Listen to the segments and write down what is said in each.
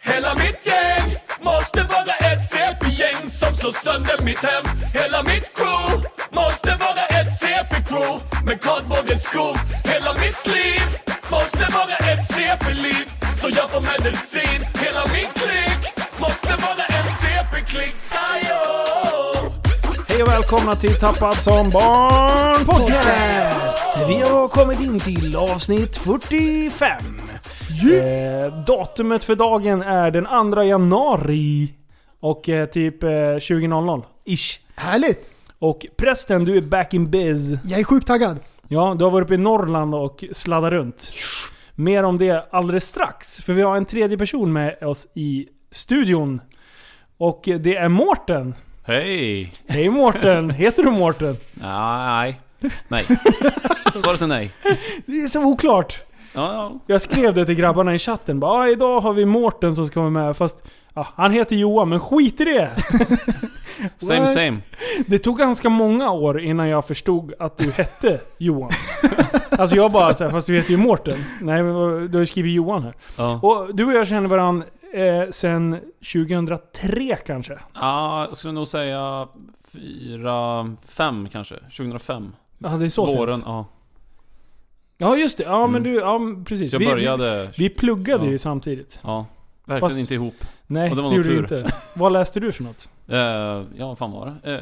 Hela mitt gäng måste vara ett CP-gäng som slår sönder mitt hem Hela mitt crew måste vara ett CP-crew med kardborrens skor Hela mitt liv måste vara ett CP-liv så jag får medicin Hela min klick måste vara en CP-klick Ajo! Hej och välkomna till Tappat som barn podcast! Vi har kommit in till avsnitt 45. Eh, datumet för dagen är den 2 januari. Och eh, typ eh, 20.00. Ish. Härligt! Och prästen, du är back in biz. Jag är sjukt taggad. Ja, du har varit uppe i Norrland och sladdat runt. Mer om det alldeles strax. För vi har en tredje person med oss i studion. Och det är Mårten. Hej! Hej Mårten! Heter du Mårten? Nej. Nej. Svaret är nej. Det är så oklart. Ja, ja. Jag skrev det till grabbarna i chatten. Bara, "Ah, idag har vi Mårten som ska vara med. Fast ja, han heter Johan, men skit i det! Same What? same. Det tog ganska många år innan jag förstod att du hette Johan. Alltså jag bara såhär, fast du heter ju Mårten. Nej, men vad- du har ju skrivit Johan här. Ja, Och du och jag känner varandra eh, sen 2003 kanske. Ja, jag skulle nog säga fyra, fem kanske. 2005. Ja, det är så Våren, sent. ja. Ja, just det. Ja, men Mm. du, ja men precis. Jag Vi- började... Vi, vi pluggade Ja. ju samtidigt. Ja. Verkligen Fast- inte ihop. Nej, Och det, det var gjorde vi nog inte. Vad läste du för något? Eh, ja, vad fan var det? Eh,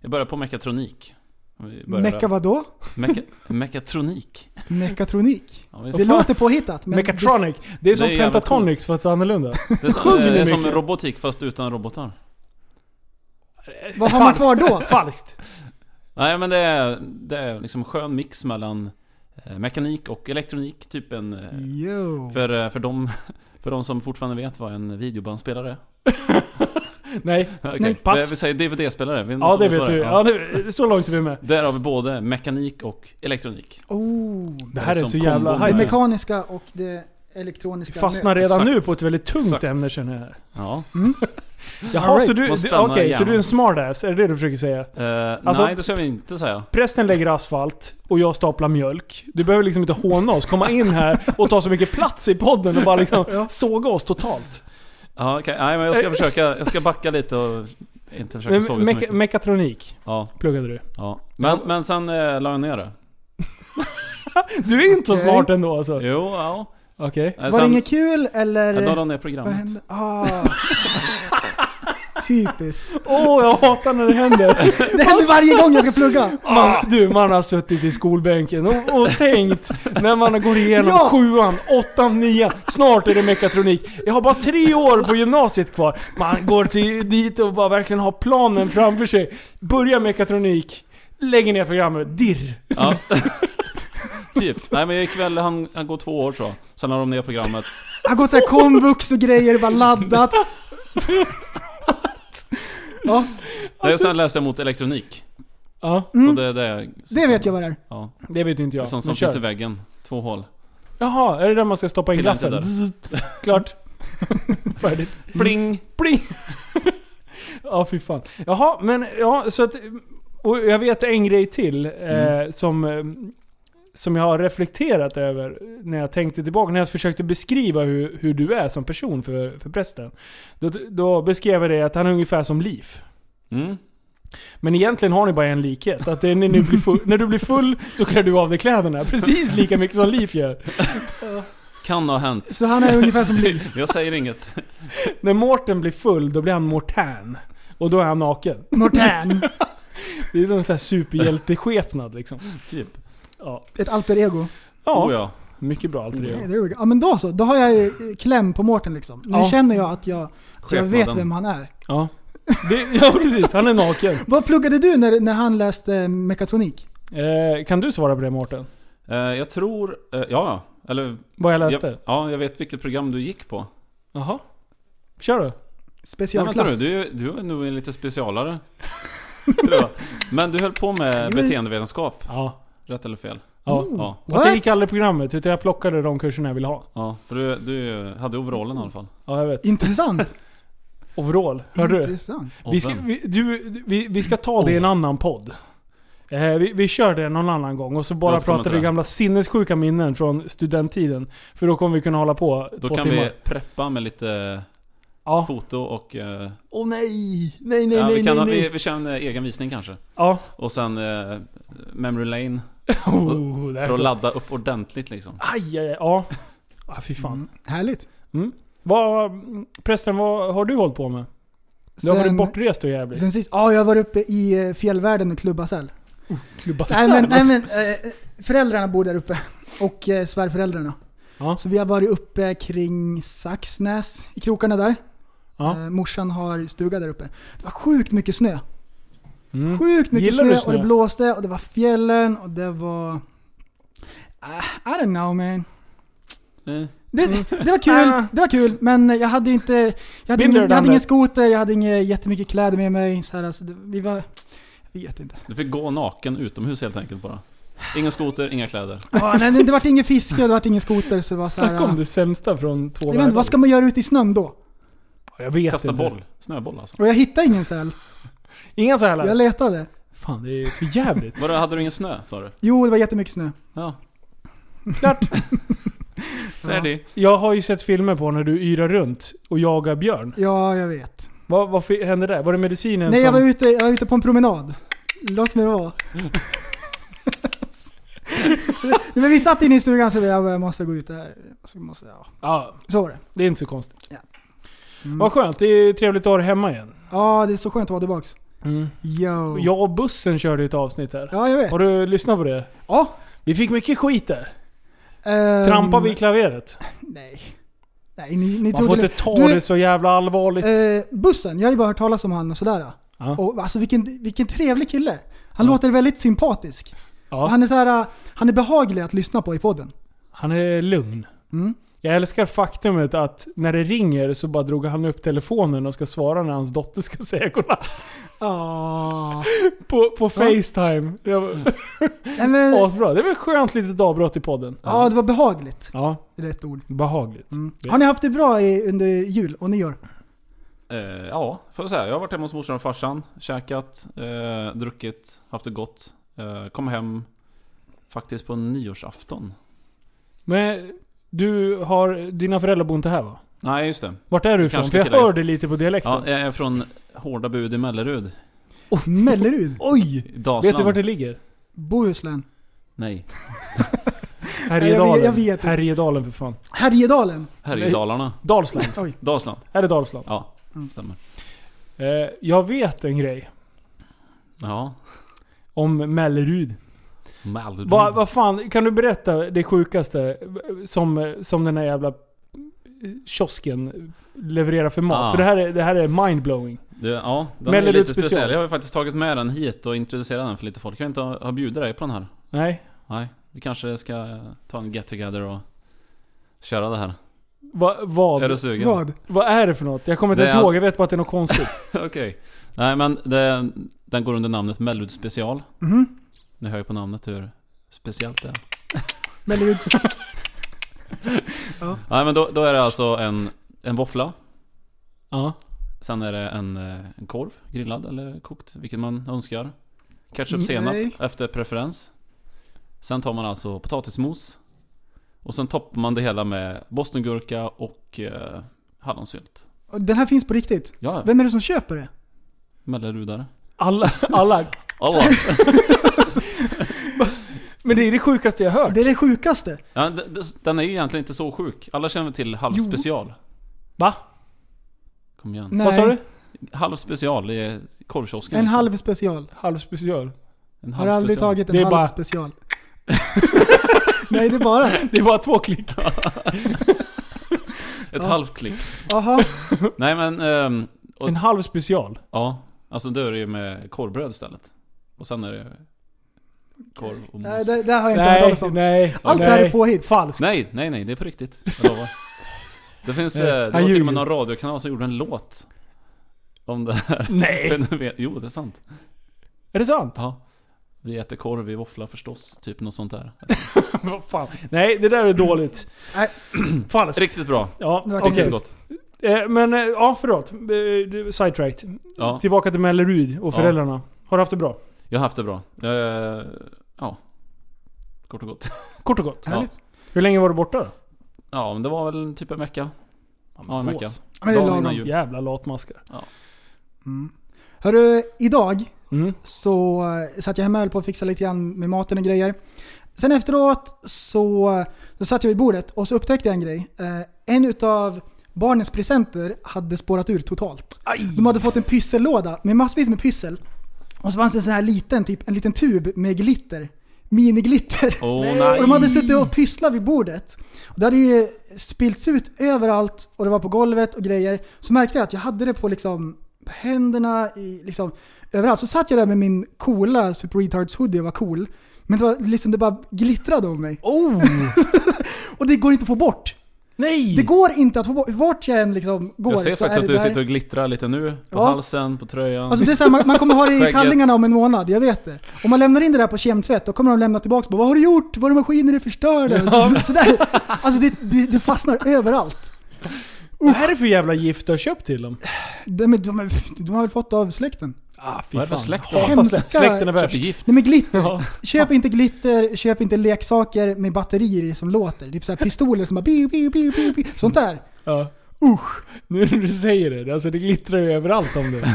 jag började på mekatronik. Vi började- Mecka vadå? Meka, mekatronik. Mekatronik. Ja, visst. Det låter påhittat men... Mechatronic. Det är som Det är jävligt Pentatonix fast annorlunda. det är som, Sjunger ni det är som mycket? robotik fast utan robotar. Vad har man kvar då? Falskt. Nej men det är, det är liksom skön mix mellan eh, mekanik och elektronik. Typ en... eh, Jo. För, eh, för, de, för de som fortfarande vet vad en videobandspelare är. Nej. Okej. Nej, pass. Det vill säga DVD-spelare. Vi Ja, det måste veta vet du. Ja, det, så långt är vi med. Där har vi både mekanik och elektronik. Oh. Det här är Som så jävla kombon. Det Nej. hype. mekaniska och det elektroniska Fastnar möts. redan Exakt. nu på ett väldigt tungt Exakt. ämne känner jag. Ja. Jaha, Alright. så du, Vad du- spännande okej, så hjärnan. du är en smartass? Är det det du försöker säga? Eh, Alltså- nej, det ska vi inte säga. Prästen lägger asfalt och jag staplar mjölk. Du behöver liksom inte håna oss, komma in här och ta så mycket plats i podden och bara liksom Ja. såga oss totalt. Ja, okej. Nej, men jag ska försöka. Jag ska backa lite och inte försöka Men, såga så meka- mycket. mekatronik Ja, pluggade du. ja. Men, men sen eh, la jag ner det. Du är inte så Okej. smart ändå alltså. Jo, ja. Okej. Eh, Var det sen- inget kul eller? Ja, Då la jag ner Vad programmet. hände? Ah. Typiskt. Åh, jag hatar när det händer. Det händer varje gång jag ska plugga. Man, du, man har suttit i skolbänken och, och tänkt när man går igenom Ja. sjuan, åttan, nian. Snart är det mekatronik. Jag har bara tre år på gymnasiet kvar. Man går till, dit och bara verkligen har planen framför sig. Börjar mekatronik, lägger ner programmet, dirr. Ja. typ. Nej men jag gick väl, han, han går två år tror jag. Sen la de ner programmet. Jag har gått såhär komvux och grejer, bara laddat. Ja, Nej, sen läste jag mot elektronik. Ja, Så mm. det, det, är- det vet jag vad det är. Ja. det vet inte jag. Sånt Men som kör. Alltså, Mm. finns i väggen. Två hål. Jaha, är det där man ska stoppa in Pilla inte gaffeln? där. Zzz, Klart. Färdigt. Pling! Pling! ja, fy fan. Jaha, men ja, så att... Och jag vet en grej till eh, som, eh, som jag har reflekterat över när jag tänkte tillbaka. När jag försökte beskriva hur, hur du är som person för, för prästen. Då, då beskrev jag dig att han är ungefär som Liv. Mm. Men egentligen har ni bara en likhet. Att det är när, ni blir full, när du blir full så klär du av dig kläderna. Precis lika mycket som Liv gör. Kan ha hänt. Så han är ungefär som Liv. Jag säger inget. När Mårten blir full, då blir han Mortän. Och då är han naken. Mortan. Det är någon sån här superhjälteskepnad liksom. Typ. Ja, Ett alter ego. ja Oh, ja. mycket bra allt Nej, det there we go. Ja men då så, då har jag ju kläm på Mårten liksom. Nu Ja. känner jag att jag, att jag vet Skepnaden. vem han är. Ja. Det, ja precis, han är naken. Vad pluggade du när, när han läste mekatronik? Eh, kan du svara på det Mårten? Eh, jag tror... eh, ja, ja. Eller... Vad jag läste? Jag, ja, jag vet vilket program du gick på. Jaha. Kör då. Nej, vänta nu, Specialklass? du, är- du är nog en lite specialare. tror jag. Men du höll på med beteendevetenskap. Ja. Rätt eller fel? Mm. Mm. Ja. Oh. Ja. Fast jag What? gick aldrig programmet, utan jag plockade de kurserna jag ville ha. Ja, för du, du hade overallen i alla fall. Ja, jag vet. Intressant. Overall. Hörde du? Intressant. Och Vi ska, vem? Oh. vi, du, vi, vi ska ta det i en annan podd. Eh, vi, vi kör det någon annan gång och så bara Låt komma pratar till vi det. gamla sinnessjuka minnen från studenttiden. För då kommer vi kunna hålla på Då två kan timmar. vi preppa med lite Ja. foto och... eh, Åh nej! Nej, nej, ja, nej, vi, kan, nej, ha- nej. Vi, vi kör en eh, egen visning kanske. Ja. Och sen eh, Memory Lane. Oh, där För att kom- ladda upp ordentligt liksom. Aj, aj, aj. Ja. Ah, fy fan. Mm, härligt. Vad, prästen, vad har du hållit på med? Du har varit bortrest och jävligt. sen sist, ja jag har varit uppe i eh, fjällvärlden med Klubbasell. Klubba Nej men, nej, men eh, föräldrarna bor där uppe. Och eh, svärföräldrarna. Ja. Så vi har varit uppe kring Saxnäs, i krokarna där. Ja. Eh, morsan har stuga där uppe. Det var sjukt mycket snö. Mm. Sjukt mycket Gillar snö, du och snö? det blåste och det var fjällen och det var... Ah, I don't know man. Eh, Det, det var kul, det var kul. Men jag hade inte... Mm. Jag hade, Ah. Binder ingen, jag hade done ingen that. skoter, jag hade inga jättemycket kläder med mig. Så här, alltså, det- vi var... Jag vet inte. Du fick gå naken utomhus helt enkelt bara. Ingen skoter, inga kläder. Ah, nej, det, det var ingen fiske och det var ingen skoter så det var så här, Snacka om ah, det sämsta från två jag vet inte, Vad ska man göra ute i snön då? Jag vet Kasta inte. boll. Snöboll alltså. Och jag hittade ingen säl. Inga sälar? Jag letade. Fan, det är för jävligt. Vadå, hade du ingen snö sa du? Jo, det var jättemycket snö. Ja. Klart. Färdig. Jag har ju sett filmer på när du yrar runt och jagar björn. Ja, jag vet. Vad, vad fi- hände där? Var det medicinen Nej, som... jag var, ute, jag var ute på en promenad. Låt mig vara. Nej, Men vi satt inne i stugan så vi jag bara, jag måste gå ut där. Så, måste, jag- ja. Ja, så var det. det är inte så konstigt. Mm. Ja. Mm. Vad skönt, det är trevligt att ha dig hemma igen. Ja, det är så skönt att vara tillbaks. Yo. Jag och bussen körde ett avsnitt här. Mm. Ja, jag vet. Har du lyssnat på det? Ja. Vi fick mycket skit där. ehm, Trampar vi i klaveret? Nej. Nej, ni, Man ni trodde... får inte ta Du- det så jävla allvarligt. eh, bussen, jag har ju bara hört talas om han och sådär. Ja. Och, alltså vilken, vilken trevlig kille. Han Ja. låter väldigt sympatisk. ja. Och han, han är så här, han är behaglig att lyssna på i podden. är lugn. Mm. Jag älskar faktumet att när det ringer så bara drog han upp telefonen och ska svara när hans dotter ska säga godnatt. Ah. På, på Facetime. Jag var- Nej, men, Asbra. Det var ett skönt litet avbrott i podden. ja, det var behagligt. Ja, är Rätt ord. behagligt. Mm. Det- Har ni haft det bra i, under jul och nyår? Eh, ja, får jag säga. Jag har varit hemma hos morsan och farsan. Käkat, eh, druckit, haft det gott. Eh, kom hem faktiskt på nyårsafton. Men du har, dina föräldrar bor inte här va? Nej, just det. Vart är du ifrån? Kanske För jag inte där. hörde lite på dialekten. Ja, jag är från Hårda Bud i Mellerud. Mellerud? Oj! I Dalsland. Vet du vart det ligger? Bohuslän? Nej. Härjedalen. jag vet inte. Härjedalen för fan. Härjedalen? Härjedalarna. Dalsland. Oj. Dalsland. Är det Dalsland? Ja, Mm. stämmer. Eh, jag vet en grej. Ja. Om Mellerud. Mellerud. Mm. Vad vad fan, kan du berätta det sjukaste som, som den här jävla kiosken levererar för mat? Ah. För det här är, det här är mindblowing. Du, ja, den är Mellerud lite special. speciell. Jag har ju faktiskt tagit med den hit och introducerat den för lite folk. Jag kan inte ha, ha bjudit dig på den här. Nej. Nej, vi kanske ska eh, ta en get together och köra det här. Va, vad, Är du sugen? Vad? vad är det för något? Jag kommer inte Det ens är all- ihåg, jag vet bara att det är något konstigt. Okej. Nej men det, den går under namnet Mellerud special. Mhm. Ni hör ju på namnet hur speciellt det är. Mellerud? Nej men då, då är det alltså en, en våffla. ja. Sen är det en, eh, en korv, grillad eller kokt, vilket man önskar. Ketchup, Mm, senap nej. efter preferens. Sen tar man alltså potatismos. Och sen toppar man det hela med bostongurka och eh, hallonsylt. Och Den här finns på riktigt? Ja, Vem är det som köper det? mellerudare. Alla, alla. Alla. Men det är det sjukaste jag har hört. Mm. Det är det sjukaste. Ja, d- d- den är ju egentligen inte så sjuk. Alla känner till Halv Jo. special. Va? Kom igen. Nej. Vad sa du? Halv special i korvkiosken. En liksom. halv special. Halvspecial. En Har halv du aldrig special. tagit en Det är halv bara- special? Nej, det är bara... Det var två klick. Ett Ja. halvt klick. Mm. Aha. Nej men, ehm, Och- En halv special. ja. Alltså då är det ju med korvbröd istället. Och sen är det korv och mos. Nej, det, det har jag inte hört Nej, talas om. nej. Allt nej. det här är påhitt. Falskt. Nej, nej, nej, det är på riktigt. Jag lovar. Det finns, eh, Nej, det han var till och ljuger. med någon radiokanal som gjorde en låt. Om det här Nej. fenomenet. Jo, det är sant. Är det sant? Ja. Vi äter korv, vi våfflar förstås. Typ något sånt där. Vad fan. Nej, det där är dåligt. Nej. Falskt. Riktigt bra. Ja, Det var okej. Riktigt Okej. gott. Eh, Men eh, ja, förlåt. Eh, du- Sidetracked. Ja. Tillbaka till Mellerud och Ja. föräldrarna. Har du haft det bra? Jag har haft det bra. Eh, ja. Kort och gott. Kort och gott. Ja. Härligt. Hur länge var du borta då? Ja, men det var väl typ en vecka. Ja, en vecka. Bås. Men det är Dagen innan lagom. jul. Jävla latmaskar. Mm. Hörru, idag Mm. så eh, satt jag hemma och höll på att fixa lite grann med maten och grejer. Sen efteråt så, så satt jag vid bordet och så upptäckte jag en grej. Eh, en utav barnens presenter hade spårat ur totalt. De hade fått en pyssellåda med massvis med pyssel. Och så fanns det en sån här liten, typ en liten tub med glitter. Miniglitter. Åh Och nej. de hade suttit och pysslat vid bordet. Och det hade ju spillts ut överallt och det var på golvet och grejer. Så märkte jag att jag hade det på liksom på händerna, i, liksom, överallt. Så satt jag där med min coola Super Retards hoodie och var cool. Men det, var, liksom, det bara glittrade om mig. Oh! Och det går inte att få bort. Nej! Det går inte att få bort. Vart jag än liksom går Mm. Jag ser så är faktiskt att det du där. sitter och glittrar lite nu. På Ja. halsen, på tröjan. Alltså det är så här, man, man kommer ha det i Skägget. kallingarna om en månad, jag vet det. Om man lämnar in det där på kemtvätt, då kommer de lämna tillbaka och bara, Vad har du gjort? Våra maskiner är förstörda. Sådär. Alltså det, det, det fastnar överallt. Vad är det för jävla gift du har köpt till dem? De, de, de, de har väl fått av släkten? Ah, fy Vad är det för fan. släkt? Hatar Hemska- slä- Släkten är Köper värst. gift. Nej men glitter. Ja. Köp inte glitter, köp inte leksaker med batterier i som låter. Typ såhär pistoler som bara biu, biu, biu, biu, biu. Sånt där. Ja. Usch. Nu när du säger det, alltså det glittrar ju överallt om dig.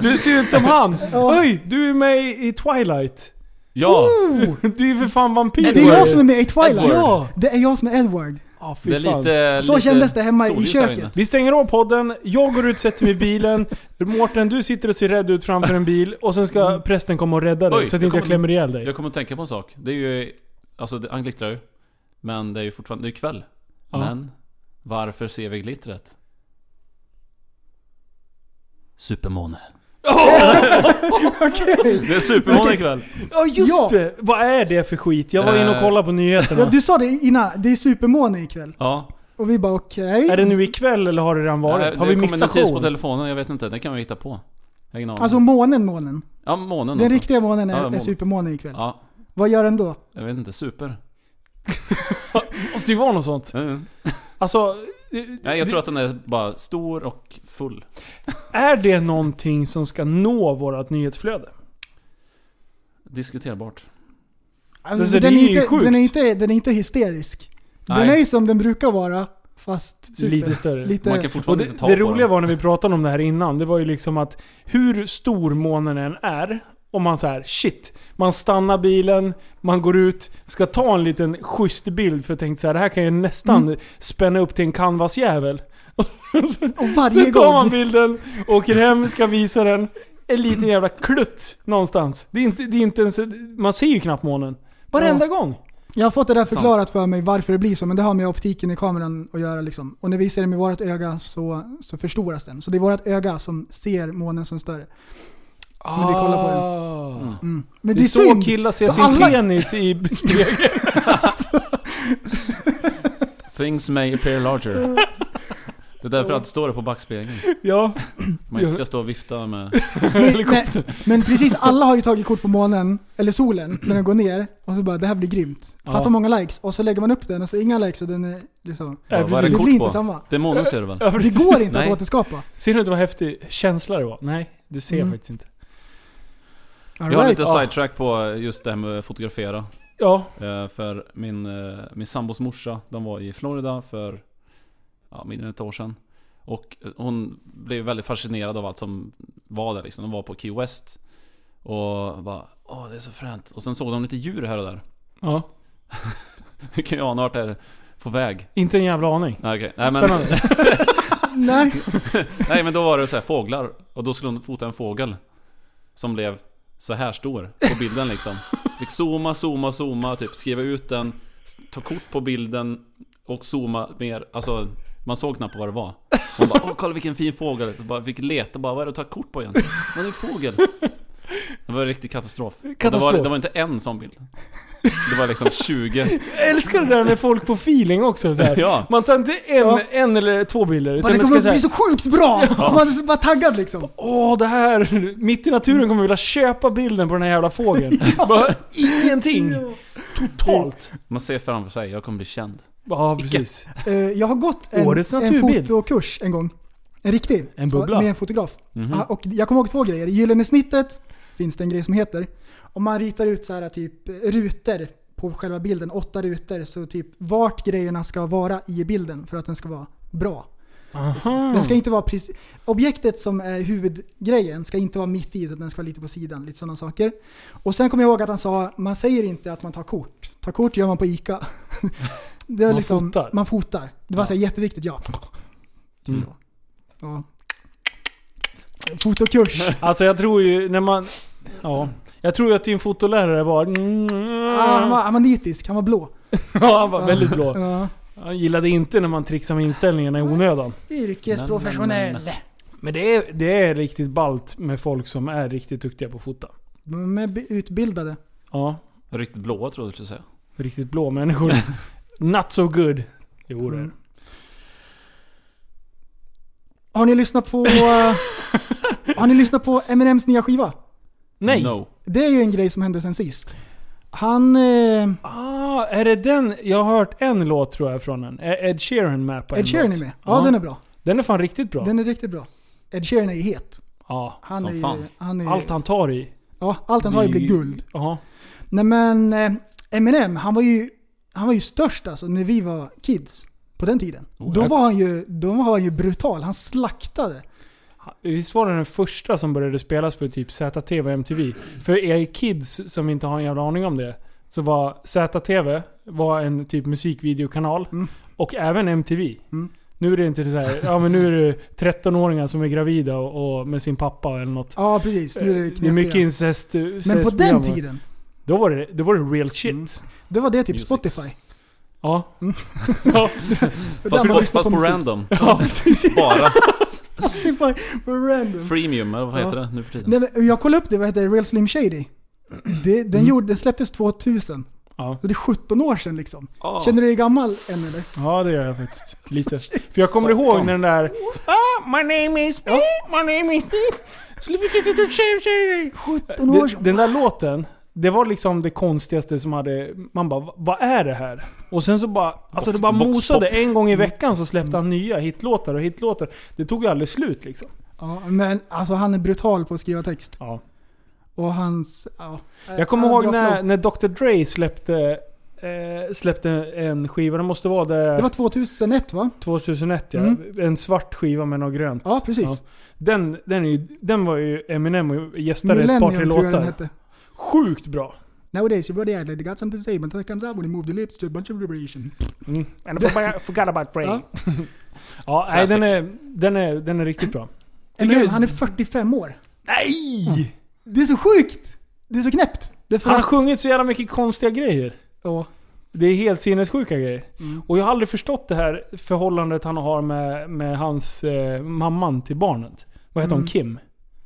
du ser ut som han. Ja. Oj, du är med i Twilight. Ja! Oh, Du är ju för fan vampyr. det är jag som är med i Twilight. Edward. Ja, det är jag som är Edward. Ah, fy Det är fan. lite... Så lite kändes det hemma i solljus köket. här inne. Vi stänger av podden, jag går ut, sätter mig i bilen. Mårten, du sitter och ser rädd ut framför en bil. Och sen ska prästen komma och rädda dig Mm. Oj, så att jag inte jag kommer- klämmer ihjäl dig. Jag kommer att tänka på en sak. Det är ju... Alltså det, han glittrar ju. Men det är ju fortfarande... Det är ju kväll. Ja. Men varför ser vi glittret? Supermåne. Det är supermåne ikväll. Ja just Ja. det! Vad är det för skit? Jag var inne och Eh. kollade på nyheterna. Ja, du sa det innan, det är supermåne ikväll. Ja. Och vi bara okej. Är det nu ikväll eller har det redan varit? Eh, har det vi kom en missat notis på showen? telefonen. Jag vet inte. Det kan vi hitta på. Jag har ingen aning. Alltså månen, månen. ja, månen Den alltså. riktiga månen är, Ja, är månen. supermånen ikväll. Ja. Alltså, Vad gör den då? Jag vet inte. Super. Måste ju vara något sånt. Mm. Alltså, Nej, jag tror att den är bara stor och full. är det någonting som ska nå vårt nyhetsflöde? Diskuterbart. Alltså, det den, är är ju inte, sjukt. den, är inte, den är inte hysterisk. Den Nej. är ju som den brukar vara, fast super. Lite större. Lite- Man kan Och fortfarande inte det, ta det på roliga den. var när vi pratade om det här innan, det var ju liksom att hur stor månen än är, om man så här, shit, man stannar bilen, man går ut, ska ta en liten schysst bild för jag tänkte så här, det här kan jag nästan Mm. spänna upp till en canvasjävel. Och varje Sen tar man gång. bilden, åker hem, ska visa den. En liten jävla klutt någonstans. Det är inte, det är inte ens, man ser ju knappt månen. Varenda gång. Jag har fått det där förklarat för mig varför det blir så, men det har med optiken i kameran att göra. Liksom. Och när vi ser den med vårt öga så, så förstoras den. Så det är vårt öga som ser månen som större. Så när vi kollar på Ah, den. Mm. Mm. Men Det är så synd. killar ser För sin alla- penis i spegeln. Things may appear larger. Det är därför allt står det på backspegeln. Ja. Man inte ska stå och vifta med... Men, nej, men precis alla har ju tagit kort på månen, eller solen, när den går ner. Och så bara det här blir grymt. Fatta Ja. vad många likes. Och så lägger man upp den och så inga likes och den är liksom... Ja, vad är Det det precis. blir kort inte på? samma. Det är månen ser du väl? Ja, precis. Det går inte att Nej. återskapa. Ser du inte vad häftig känsla det var? Nej, det ser jag Mm. faktiskt inte. All Jag har right. lite sidetrack på just det här med att fotografera. Ja, Eh, För min, eh, min sambos morsa, de var i Florida för ja, mindre än ett år sedan. Och eh, hon blev väldigt fascinerad av allt som var där liksom. De var på Key West. Och bara Åh, det är så fränt. Och sen såg de lite djur här och där. ja. Hur kan jag ana vart det är på väg? Inte en jävla aning. Nej, okej. Nej, men, Spännande. Nej. nej men då var det så här fåglar. Och då skulle hon fota en fågel. Som blev så här stor på bilden liksom. Fick zooma, zooma, zooma. Typ skriva ut den. s- Ta kort på bilden. Och zooma mer. Alltså man såg knappt vad det var. Hon bara Åh kolla vilken fin fågel. Jag bara, fick leta bara. Vad är det att ta kort på egentligen? Men det är en fågel. Det var en riktig katastrof. Och Det, var, Katastrof. det var inte en sån bild. Det var liksom 20. Jag älskar det där när folk får feeling också. Så här. Ja. Man tar inte en, Ja. en eller två bilder. Bara, Utan det man kommer ska att bli säga så sjukt bra! Man är bara taggad liksom. Åh, det här! Mitt i naturen kommer jag vilja köpa bilden på den här jävla fågeln. Bara ingenting. Totalt. Man ser framför sig. Jag kommer bli känd. Ja, precis. Eh, Jag har gått en, Årets en naturbild. fotokurs en gång. En riktig. En bubbla. Med en fotograf. Ah, Mhm. Ja, Och jag kommer ihåg två grejer. Gyllene snittet finns det en grej som heter. Om man ritar ut så här typ rutor på själva bilden, åtta rutor, så typ vart grejerna ska vara i bilden för att den ska vara bra. Aha. Den ska inte vara precis, objektet som är huvudgrejen ska inte vara mitt i utan den ska vara lite på sidan. Lite sådana saker. Och sen kommer jag ihåg att han sa, man säger inte att man tar kort. Ta kort gör man på ICA. Det var Man fotar. Man fotar. Det var Ja. så här jätteviktigt, ja. Mm. ja. Fotokurs. Alltså jag tror ju när man... Ja. Jag tror ju att din fotolärare var... "Mm, Ah, han, var, han var nitisk, han var blå. Ja, han var väldigt blå. Ja. Han gillade inte när man trixade med inställningarna i onödan. Yrkesprofessionell. Men det är, det är riktigt balt med folk som är riktigt duktiga på att fota. De är b- utbildade. Ja, Riktigt blåa tror jag du skulle säga. riktigt blå människor. Not so good. Jo det är det. Mm. Har ni lyssnat på... eh, har ni lyssnat på Eminems nya skiva? Nej! No. Det är ju en grej som hände sen sist. Han... Eh, Ah, är det den? Jag har hört en låt tror jag från den. Är Ed Sheeran med på en Ed Sheeran låt? är med. Ja, den är bra. Den är fan riktigt bra. Den är riktigt bra. Ed Sheeran är ju het. Ja. Han Som är, ju- fan. Han är, Allt han tar i. ja, allt han tar i Det är blir ju- guld. Jaha. Nej men, eh, Eminem, han var ju, han var ju störst alltså när vi var kids. På den tiden. Oh, då, jag- var han ju, då var han ju brutal. Han slaktade. Visst var det den första som började spelas på typ ZTV och MTV? För er kids som inte har en jävla aning om det. Så var ZTV var en typ musikvideokanal. Mm. Och även MTV. Mm. Nu är det inte så här, ja men nu är det 13-åringar som är gravida och, och med sin pappa eller något. Ja precis. Nu är det, det är mycket knepiga. incest. eh, Men på den incestprogram. tiden, Då var det, då var det real shit. Mm. då var det typ Music. Spotify. Ja. Det där Fast man lyssnar på, fast på musik. random. Ja precis. Bara. Spotify på random. Freemium eller vad heter Ja. det nu för tiden? Nej, men jag kollade upp det, vad heter det? Real Slim Shady. Det, den, gjorde, den släpptes 2000. Mm. Ja. Så det är 17 år sedan liksom. Ah. Känner du dig gammal än eller? Ja, det gör jag faktiskt. Lite. För jag kommer ihåg när den där... Ah, my name is beep, my name is beep. Sluta inte att tjej, tjej. 17 år Den- sedan. Den där låten, det var liksom det konstigaste som hade... Man bara, "Va- vad är det här? Och sen så bara... Alltså det bara Vox- mosade. voxpop. En gång i veckan så Mm. släppte han nya hitlåtar och hitlåtar. Det tog ju aldrig slut liksom. Ja, men alltså han är brutal på att skriva text. Ja. Och hans... Ja, Jag kommer han ihåg drar när, flow. när Dr. Dre släppte, eh, släppte en skiva. Det måste vara det... Det var 2001 va? 2001 ja. Mm. En svart skiva med något grönt. Ja, precis. Den, den, är ju, den var ju Eminem och gästade ett par tre Millennium tror jag den låtar. hette. Sjukt bra. Nowadays your brother they got something to say but that comes out when you move the lips to a bunch of vibration. Mm. And I forgot- forgot about Ray. Ja. Ja, nej, den, är, den, är, den är riktigt bra. Eminem, han är 45 år. Nej! Det är så sjukt! Det är så knäppt. Det är för Han har att- sjungit så jävla mycket konstiga grejer. Ja. Det är helt sinnessjuka grejer. Mm. Och jag har aldrig förstått det här förhållandet han har med, med hans eh, mamman till barnet. Vad heter hon? Mm. Kim?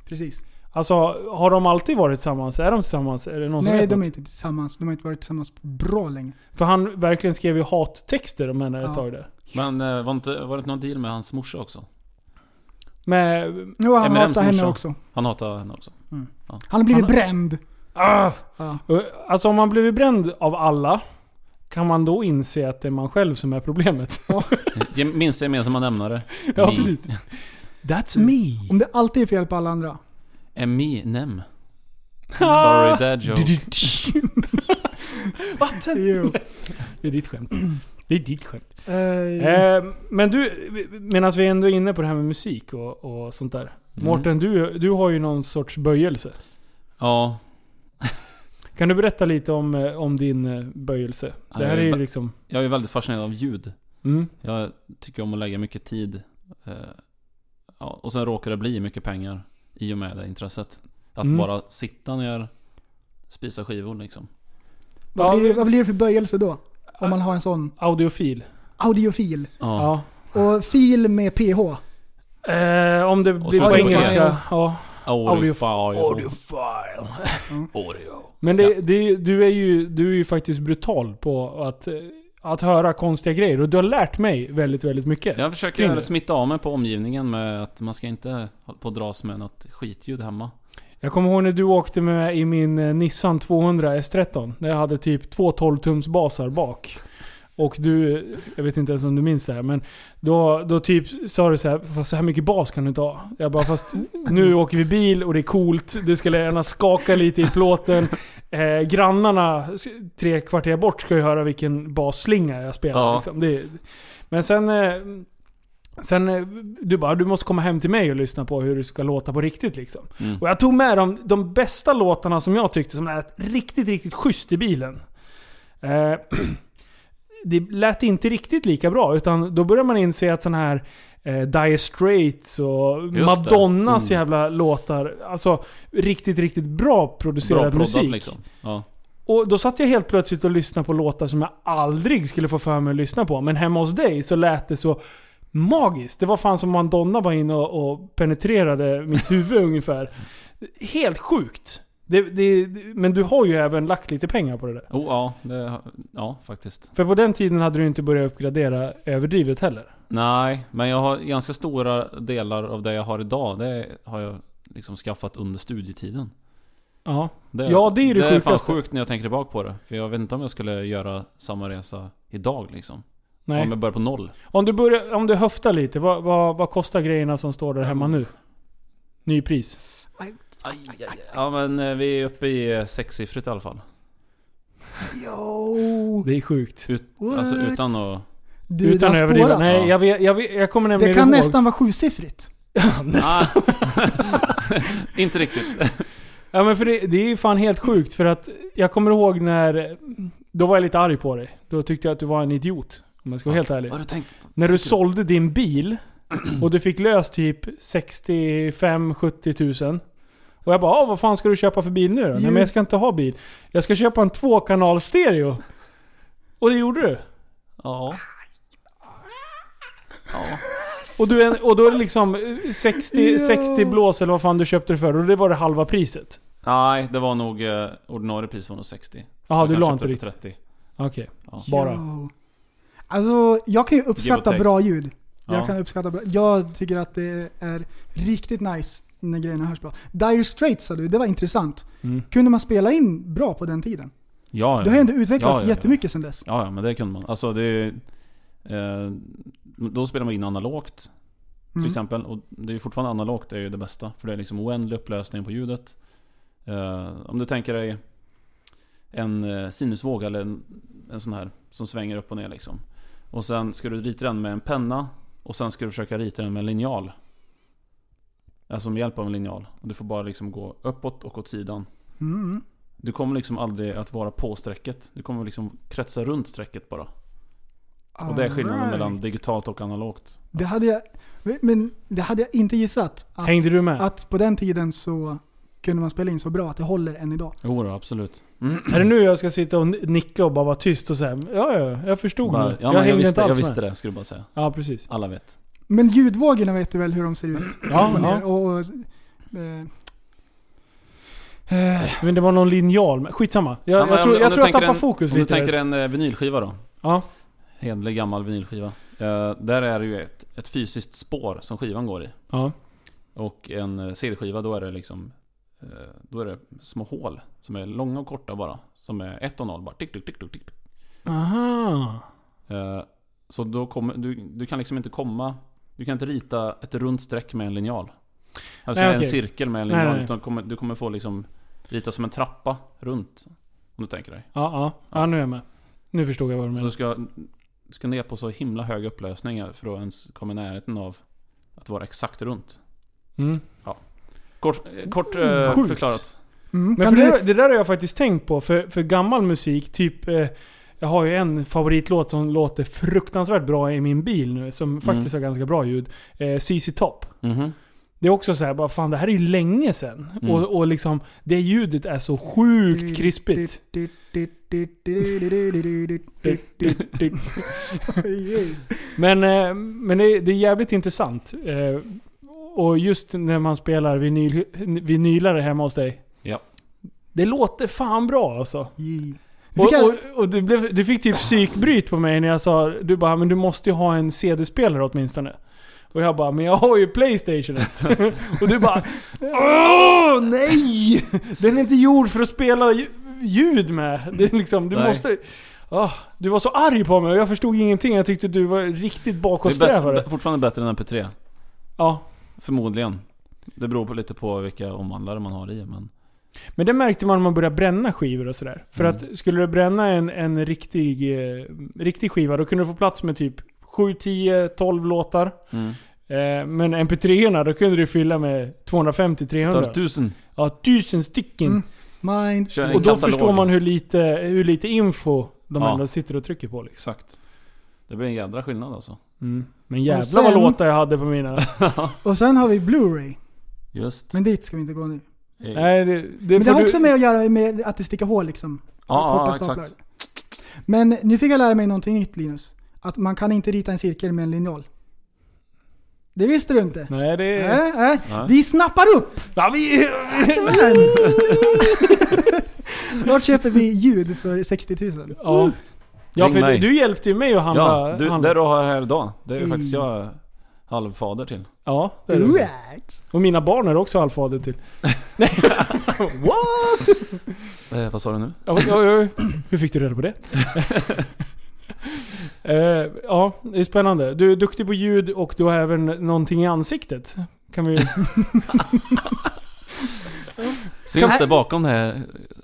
Precis. Alltså, har de alltid varit tillsammans? Är de tillsammans? Är det någon som Nej, vet de något? är inte tillsammans. De har inte varit tillsammans på bra länge. För han verkligen skrev ju hattexter om henne Ja. ett tag där. Men eh, var, inte, var det inte någon deal med hans morsa också? Men... Nu har han Eminems hatat henne morsa. också. Han hatar henne också. Han har blivit Han- bränd. Ah, Ja. Och, alltså om man blivit bränd av alla, kan man då inse att det är man själv som är problemet? Gem- Minsta gemensamma nämnare. ja, Mi- precis. That's me. Om det alltid är fel på alla andra. Eminem. Sorry dad joke. Jo. Det är ditt skämt. Det är ditt skämt. Eh, Eh, men du, medan vi ändå är inne på det här med musik och, och sånt där. Mm. Mårten, du, du har ju någon sorts böjelse. Ja. Kan du berätta lite om, eh, om din eh, böjelse? Det här är ju jag- liksom... Jag är väldigt fascinerad av ljud. Mm, Jag tycker om att lägga mycket tid. eh, Ja, och sen råkar det bli mycket pengar i och med det intresset. Att Mm. bara sitta ner, spisa skivor liksom. Ja, vad, blir, men- vad blir det för böjelse då? Om man har en sån audiofil. audiofil. Ja. Ja. Och fil med PH. Eh, om det blir på Spotify. engelska. Ja. Audio, Audiofile. Mm. Men det, det, du, är ju, du är ju faktiskt brutal på att, eh, att höra konstiga grejer. Och du har lärt mig väldigt, väldigt mycket. Jag Kring försöker det. smitta av mig på omgivningen med att man ska inte hålla på och dras med något skitljud hemma. Jag kommer ihåg när du åkte med mig i min eh, Nissan 200 S13. När jag hade typ två 12-tums basar bak. Och du, jag vet inte ens om du minns det här, men då, då typ sa du så här, fast så här mycket bas kan du inte ha. Jag bara, fast nu åker vi bil och det är coolt, du ska gärna skaka lite i plåten. Eh, grannarna s- tre kvarter bort ska ju höra vilken basslinga jag spelar. Ja. Liksom. Det, men sen... eh, Sen eh, du bara, du måste komma hem till mig och lyssna på hur du ska låta på riktigt liksom. Mm. Och jag tog med de, de bästa låtarna som jag tyckte som lät riktigt, riktigt schysst i bilen. Eh, det lät inte riktigt lika bra, utan då börjar man inse att sån här eh, Dire Straits och det. Madonnas Mm. jävla låtar, alltså riktigt, riktigt bra producerad Bra proddat musik. liksom. Ja. Och då satt jag helt plötsligt och lyssnade på låtar som jag aldrig skulle få för mig att lyssna på. Men hemma hos dig så lät det så magiskt. Det var fan som Madonna var inne och, och penetrerade mitt huvud ungefär. Helt sjukt. Det, det, det- men du har ju även lagt lite pengar på det där. Oh, ja, det, ja, faktiskt. För på den tiden hade du inte börjat uppgradera överdrivet heller. Nej, men jag har ganska stora delar av det jag har idag. Det har jag liksom skaffat under studietiden. Ja. Ja, det är ju det Det är fan sjukaste. sjukt när jag tänker tillbaka på det. För jag vet inte om jag skulle göra samma resa idag liksom. Nej. Om jag börjar på noll. Om du, börjar, om du höftar lite, vad, vad, vad kostar grejerna som står där hemma nu? Nypris. Aj, aj, aj. Ja men eh, vi är uppe i eh, sexsiffrigt i alla fall. Jo! Det är sjukt. Ut, alltså What? utan att... Du, det Utan har att spårat. överdriva. Nej, jag, vet, jag, vet, jag kommer det nämligen kan ihåg. nästan vara sjusiffrigt. Nästan. Ah. inte riktigt. Ja men för det, det är ju fan helt sjukt för att jag kommer ihåg när... Då var jag lite arg på dig. Då tyckte jag att du var en idiot. Om jag ska vara helt ärlig. Vad har du tänkt? När du sålde din bil och du fick lös typ 65-70 tusen. Och jag bara "Ah, vad fan ska du köpa för bil nu då? Nej men jag ska inte ha bil. Jag ska köpa en tvåkanalstereo. Och det gjorde du. Ja. Ja. Och, du, är en- och då är det liksom eh, 60, Ja. 60 blås eller vad fan du köpte det för. Och det var det halva priset. Nej, det var nog eh, ordinarie pris var nog 60. Jaha, Jag du la kanske inte köpte riktigt. för 30. Okej. Ja. Bara. Jo. Alltså, jag kan ju uppskatta Geotech. bra ljud. Jag Ja. kan uppskatta bra. Jag tycker att det är riktigt nice när grejerna hörs bra. Dire Straits sa du, det var intressant. Mm. Kunde man spela in bra på den tiden? Ja, ja. Det har ju ändå utvecklats Ja, ja, ja. jättemycket sedan dess. Ja, ja, men det kunde man. Alltså det... är ju, Eh, då spelar man in analogt till Mm. exempel. Och det är ju fortfarande analogt, det är ju det bästa. För det är liksom oändlig upplösning på ljudet. Eh, om du tänker dig en eh, sinusvåg eller en, en sån här som svänger upp och ner liksom. Och sen ska du rita den med en penna. Och sen ska du försöka rita den med en linjal. Alltså med hjälp av en linjal. Och du får bara liksom gå uppåt och åt sidan. Mm. mm. Du kommer liksom aldrig att vara på strecket. Du kommer liksom kretsa runt strecket bara. Och det är skillnaden Alright. mellan digitalt och analogt. Det hade jag... Men det hade jag inte gissat. Att, Hängde du med? att på den tiden så kunde man spela in så bra att det håller än idag. Jo, då, absolut. Är det nu jag ska sitta och nicka och bara vara tyst och säga ja, ja, jag förstod Bara, nu. ja, men jag, visste, jag visste det, skulle du bara säga. Ja, precis. Alla vet. Men ljudvågorna vet du väl hur de ser ut? Ja, Och, ja. och, eh, eh, Men det var någon linjal. men Skitsamma. Jag, Ja, men jag om tror, du- om jag, du tror jag tänker tappar en- fokus Om du lite. tänker där. en eh, vinylskiva då. Ja. Hedlig gammal vinylskiva. Eh, där är det ju ett, ett fysiskt spår som skivan går i. Ja. Och en eh, CD-skiva då är det liksom eh, Då är det små hål som är långa och korta bara. Som är 1 och 0 bara. Tick, tick, tick, tick, tick. Aha. Eh, Så då kommer, du, du kan liksom inte komma... Du kan inte rita ett runt streck med en linjal. Alltså Nej, en okej. cirkel med en Nej, linjal. nej. Utan du kommer, du kommer få liksom rita som en trappa runt. Om du tänker dig. Ja, ja. ja, nu är jag med. Nu förstod jag vad du Så du menade. ska, du ska ner på så himla hög upplösning för att ens komma i närheten av att vara exakt runt. Mm. Kort, eh, kort eh, sjukt. förklarat. mm, Men kan för du, det, det där har jag faktiskt tänkt på. För, för gammal musik, typ... Eh, jag har ju en favoritlåt som låter fruktansvärt bra i min bil nu. Som faktiskt har Mm. ganska bra ljud. Eh, CC Top. Mhm. Det är också så här, bara fan det här är ju länge sedan. Mm. Och, och liksom, det ljudet är så sjukt typ- krispigt. Men, eh, men det, är- det är jävligt intressant. Eh, Och just när man spelar vinyl, vinylare hemma hos dig. Ja. Det låter fan bra alltså. Yeah. Och, Fick jag- och, och du, blev, du fick typ psykbryt på mig när jag sa, du bara men du måste ju ha en CD-spelare åtminstone. Och jag bara, men jag har ju Playstationet. och du bara, åh nej! Den är inte gjord för att spela lj- ljud med. Det är liksom, du Nej. måste... "Ah, du var så arg på mig och jag förstod ingenting. Jag tyckte du var riktigt bakåtsträvare. bättre, fortfarande bättre än MP3. Ja. Förmodligen. Det beror på lite på vilka omvandlare man har i. Men Men det märkte man när man började bränna skivor och sådär. För Mm. att skulle du bränna en, en riktig, eh, riktig skiva, då kunde du få plats med typ 7, 10, 12 låtar. mm. Eh, men mp 3 erna då kunde du fylla med 250-300. 12 Ja, tusen stycken. Mm. Mind. Kör en Och då katalog. förstår man hur lite, hur lite info de Ja. ändå sitter och trycker på. Liksom. Exakt. Det blir en jädra skillnad alltså. Mm. Men jävlar sen- vad låtar jag hade på mina... Och sen har vi Blu-ray. Just. Men dit ska vi inte gå nu. Eh, Nej, det, det Men det får har du- också med att göra med att det sticker hål liksom. ja, Korta ja, staplar. exakt. Men nu fick jag lära mig någonting nytt Linus. Att man kan inte rita en cirkel med en linjal. Det visste du inte. Nej, det är... Äh, äh. Nej. Vi snappar upp! Ja, vi... Snart köper vi ljud för 60 000. ja. ja, Ring för du, mig. du hjälpte ju mig att handla... Ja, du, handla. det du har här idag. Det är ju I- faktiskt jag halvfader till. Ja, det är det. så. Right. Och mina barn är också halvfader till. What? Eh, vad sa du nu? Oj, oj, oj. Hur fick du reda på det? Eh, ja, det är spännande. Du är duktig på ljud och du har även någonting i ansiktet. Kan vi... Syns det bakom det här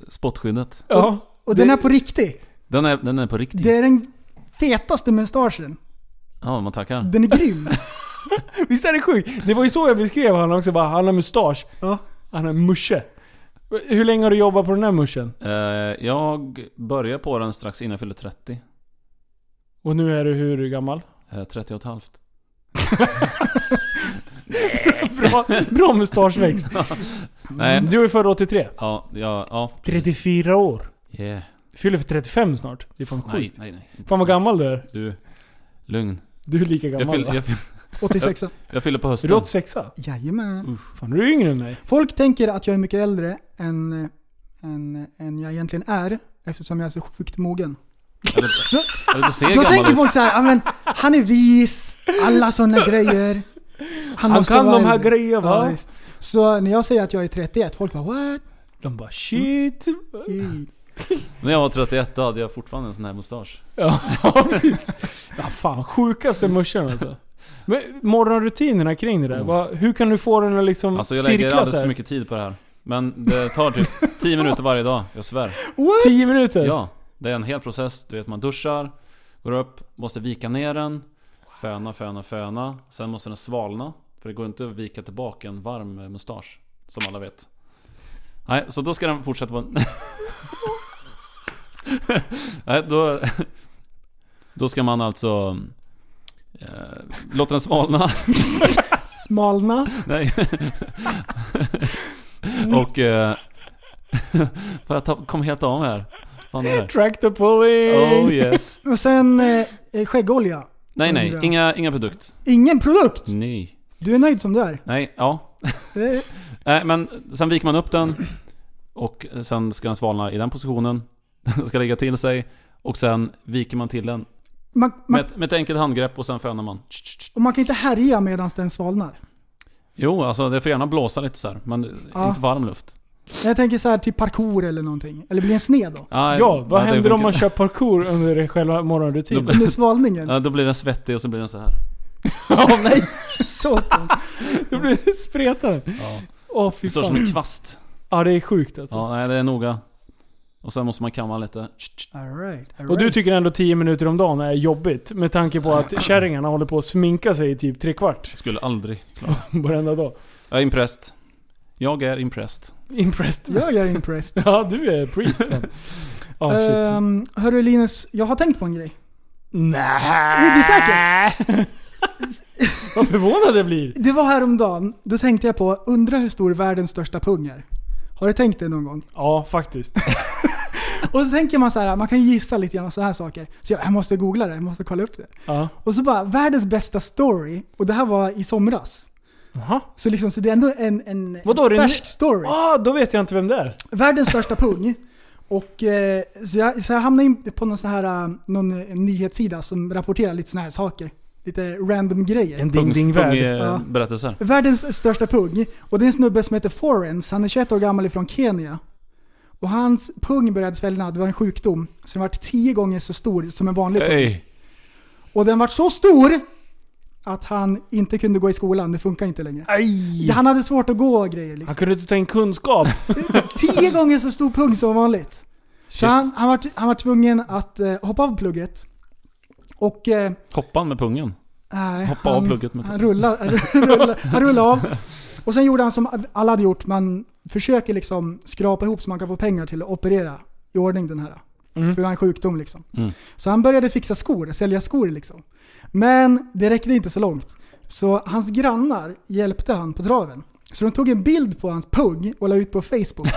spottskyddet? Ja. Och den Det- är på riktigt. Den är, den är på riktigt. Det är den fetaste mustaschen. Ja, man tackar. Den är grym. Visst är det sjukt? Det var ju så jag beskrev han också. Bara, han har mustasch. Ja. Han har musche. Hur länge har du jobbat på den här muschen? Eh, jag började på den strax innan jag fyllde 30. Och nu är du hur gammal? Eh, 30 och ett halvt. Bra, bra mustaschväxt. Nej. Du är född 83. Ja, ja, ja. 34 år. Yeah. Fyller för 35 snart. Det är fan Nej, sjukt. nej, nej. Inte Fan vad så. gammal du är. Du, lugn. Du är lika Jag, gammal fyll, va? jag, fyll, 86 jag fyller på Är du hösten. 86 Jajamän. Fan du är yngre än mig. Folk tänker att jag är mycket äldre än, eh, än, än jag egentligen är. Eftersom jag är så sjukt mogen. Eller, eller du ser Då tänker gammal ut. folk så här, "Ja, men han är vis, alla sådana grejer. Han, måste kan vara de här äldre." grejerna Ja, va? visst. Så när jag säger att jag är 31, folk bara what? de Mm. bara shit. I- När jag var 31 då hade jag fortfarande en sån här mustasch. Ja precis. Ja, fan sjukaste muschen alltså. Men morgonrutinerna kring det där. vad- hur kan du få den att liksom Mm. Alltså jag lägger cirkla alldeles så för här? mycket tid på det här. Men det tar typ 10 minuter varje dag, jag svär. 10 minuter? Ja, det är en hel process. Du vet man duschar, går upp, måste vika ner den. Föna, föna, föna. Sen måste den svalna. För det går inte att vika tillbaka en varm eh, mustasch. Som alla vet. Nej, så då ska den fortsätta vara... Nej, då... Då ska man alltså... Eh, låta den svalna. Smalna. Nej. Och... Eh, får jag ta, kom helt av mig här? Fan det här. Track the pulling! Oh yes. Och sen eh, eh, skäggolja. Nej nej, Undrar. inga, inga produkt. Ingen produkt! Nej. Du är nöjd som du är. Nej, ja. Eh, Nej men sen viker man upp den. Och sen ska den svalna i den positionen. Den ska ligga till sig. Och sen viker man till den. Man, man, Med ett, med ett enkelt handgrepp och sen fönar man. och man kan inte härja medan den svalnar. Jo, alltså det får gärna blåsa lite så här. Men Ja. inte varm luft. Jag tänker så här typ parkour eller någonting. Eller blir en sned då? Nej, Ja, vad nej, händer det om funkar man inte. kör parkour under själva morgonrutinen? Under svalningen. Ja, då blir den svettig och så blir den så här. Åh nej! Så. Då blir det spretare. Ja. Åh Det fy står som en fan. kvast. Ja det är sjukt alltså. Ja, nej det är noga. Och sen måste man kamma lite. All right, all right. Och du tycker ändå 10 minuter om dagen är jobbigt med tanke på att kärringarna håller på att sminka sig i typ tre kvart Skulle aldrig. varenda dag. Jag är impressed. Jag är impressed. Impressed. Jag är impressed. Ja, du är priest fan. Ja, shit. Ehm, hörru Linus, jag har tänkt på en grej. Nej. Är du säker? Vad förvånad jag blir. Det var häromdagen, då tänkte jag på, undra hur stor världens största pung är. Har du tänkt det någon gång? Ja, faktiskt. Och så tänker man så här, man kan ju gissa lite grann och så här saker. Så jag, jag måste googla det, jag måste kolla upp det. Ja. Och så bara, världens bästa story. Och det här var i somras. Jaha. Så liksom, så det är ändå en, en, Vadå, är en det färsk nu- story. Ah, då vet jag inte vem det är. Världens största pung. Och eh, så, jag, så jag hamnade in på någon sån här, eh, någon eh, nyhetssida som rapporterar lite såna här saker. Lite random grejer. En Pungs- ding-ding-värld. pung- eh, Ja. Berättelser. Världens största pung. Och det är en snubbe som heter Forens. Han är 21 år gammal ifrån Kenya. Och hans pung började svällna, det var en sjukdom. Så den var tio gånger så stor som en vanlig pung. Ey. Och den var så stor att han inte kunde gå i skolan, det funkar inte längre. Aj! Han hade svårt att gå och grejer Han liksom. kunde inte ta in kunskap. Tio gånger så stor pung som vanligt. Så han, han, var, han var tvungen att eh, hoppa av plugget. Och... Eh, Hoppa med pungen. nej, Hoppa han, av plugget med Han pungen. rullade, han rullade, han rullade av. Och sen gjorde han som alla hade gjort, man försöker liksom skrapa ihop så man kan få pengar till att operera i ordning den här. Mm. För det var en sjukdom liksom. Mm. Så han började fixa skor, sälja skor liksom. Men det räckte inte så långt. Så hans grannar hjälpte han på traven. Så de tog en bild på hans pung och la ut på Facebook.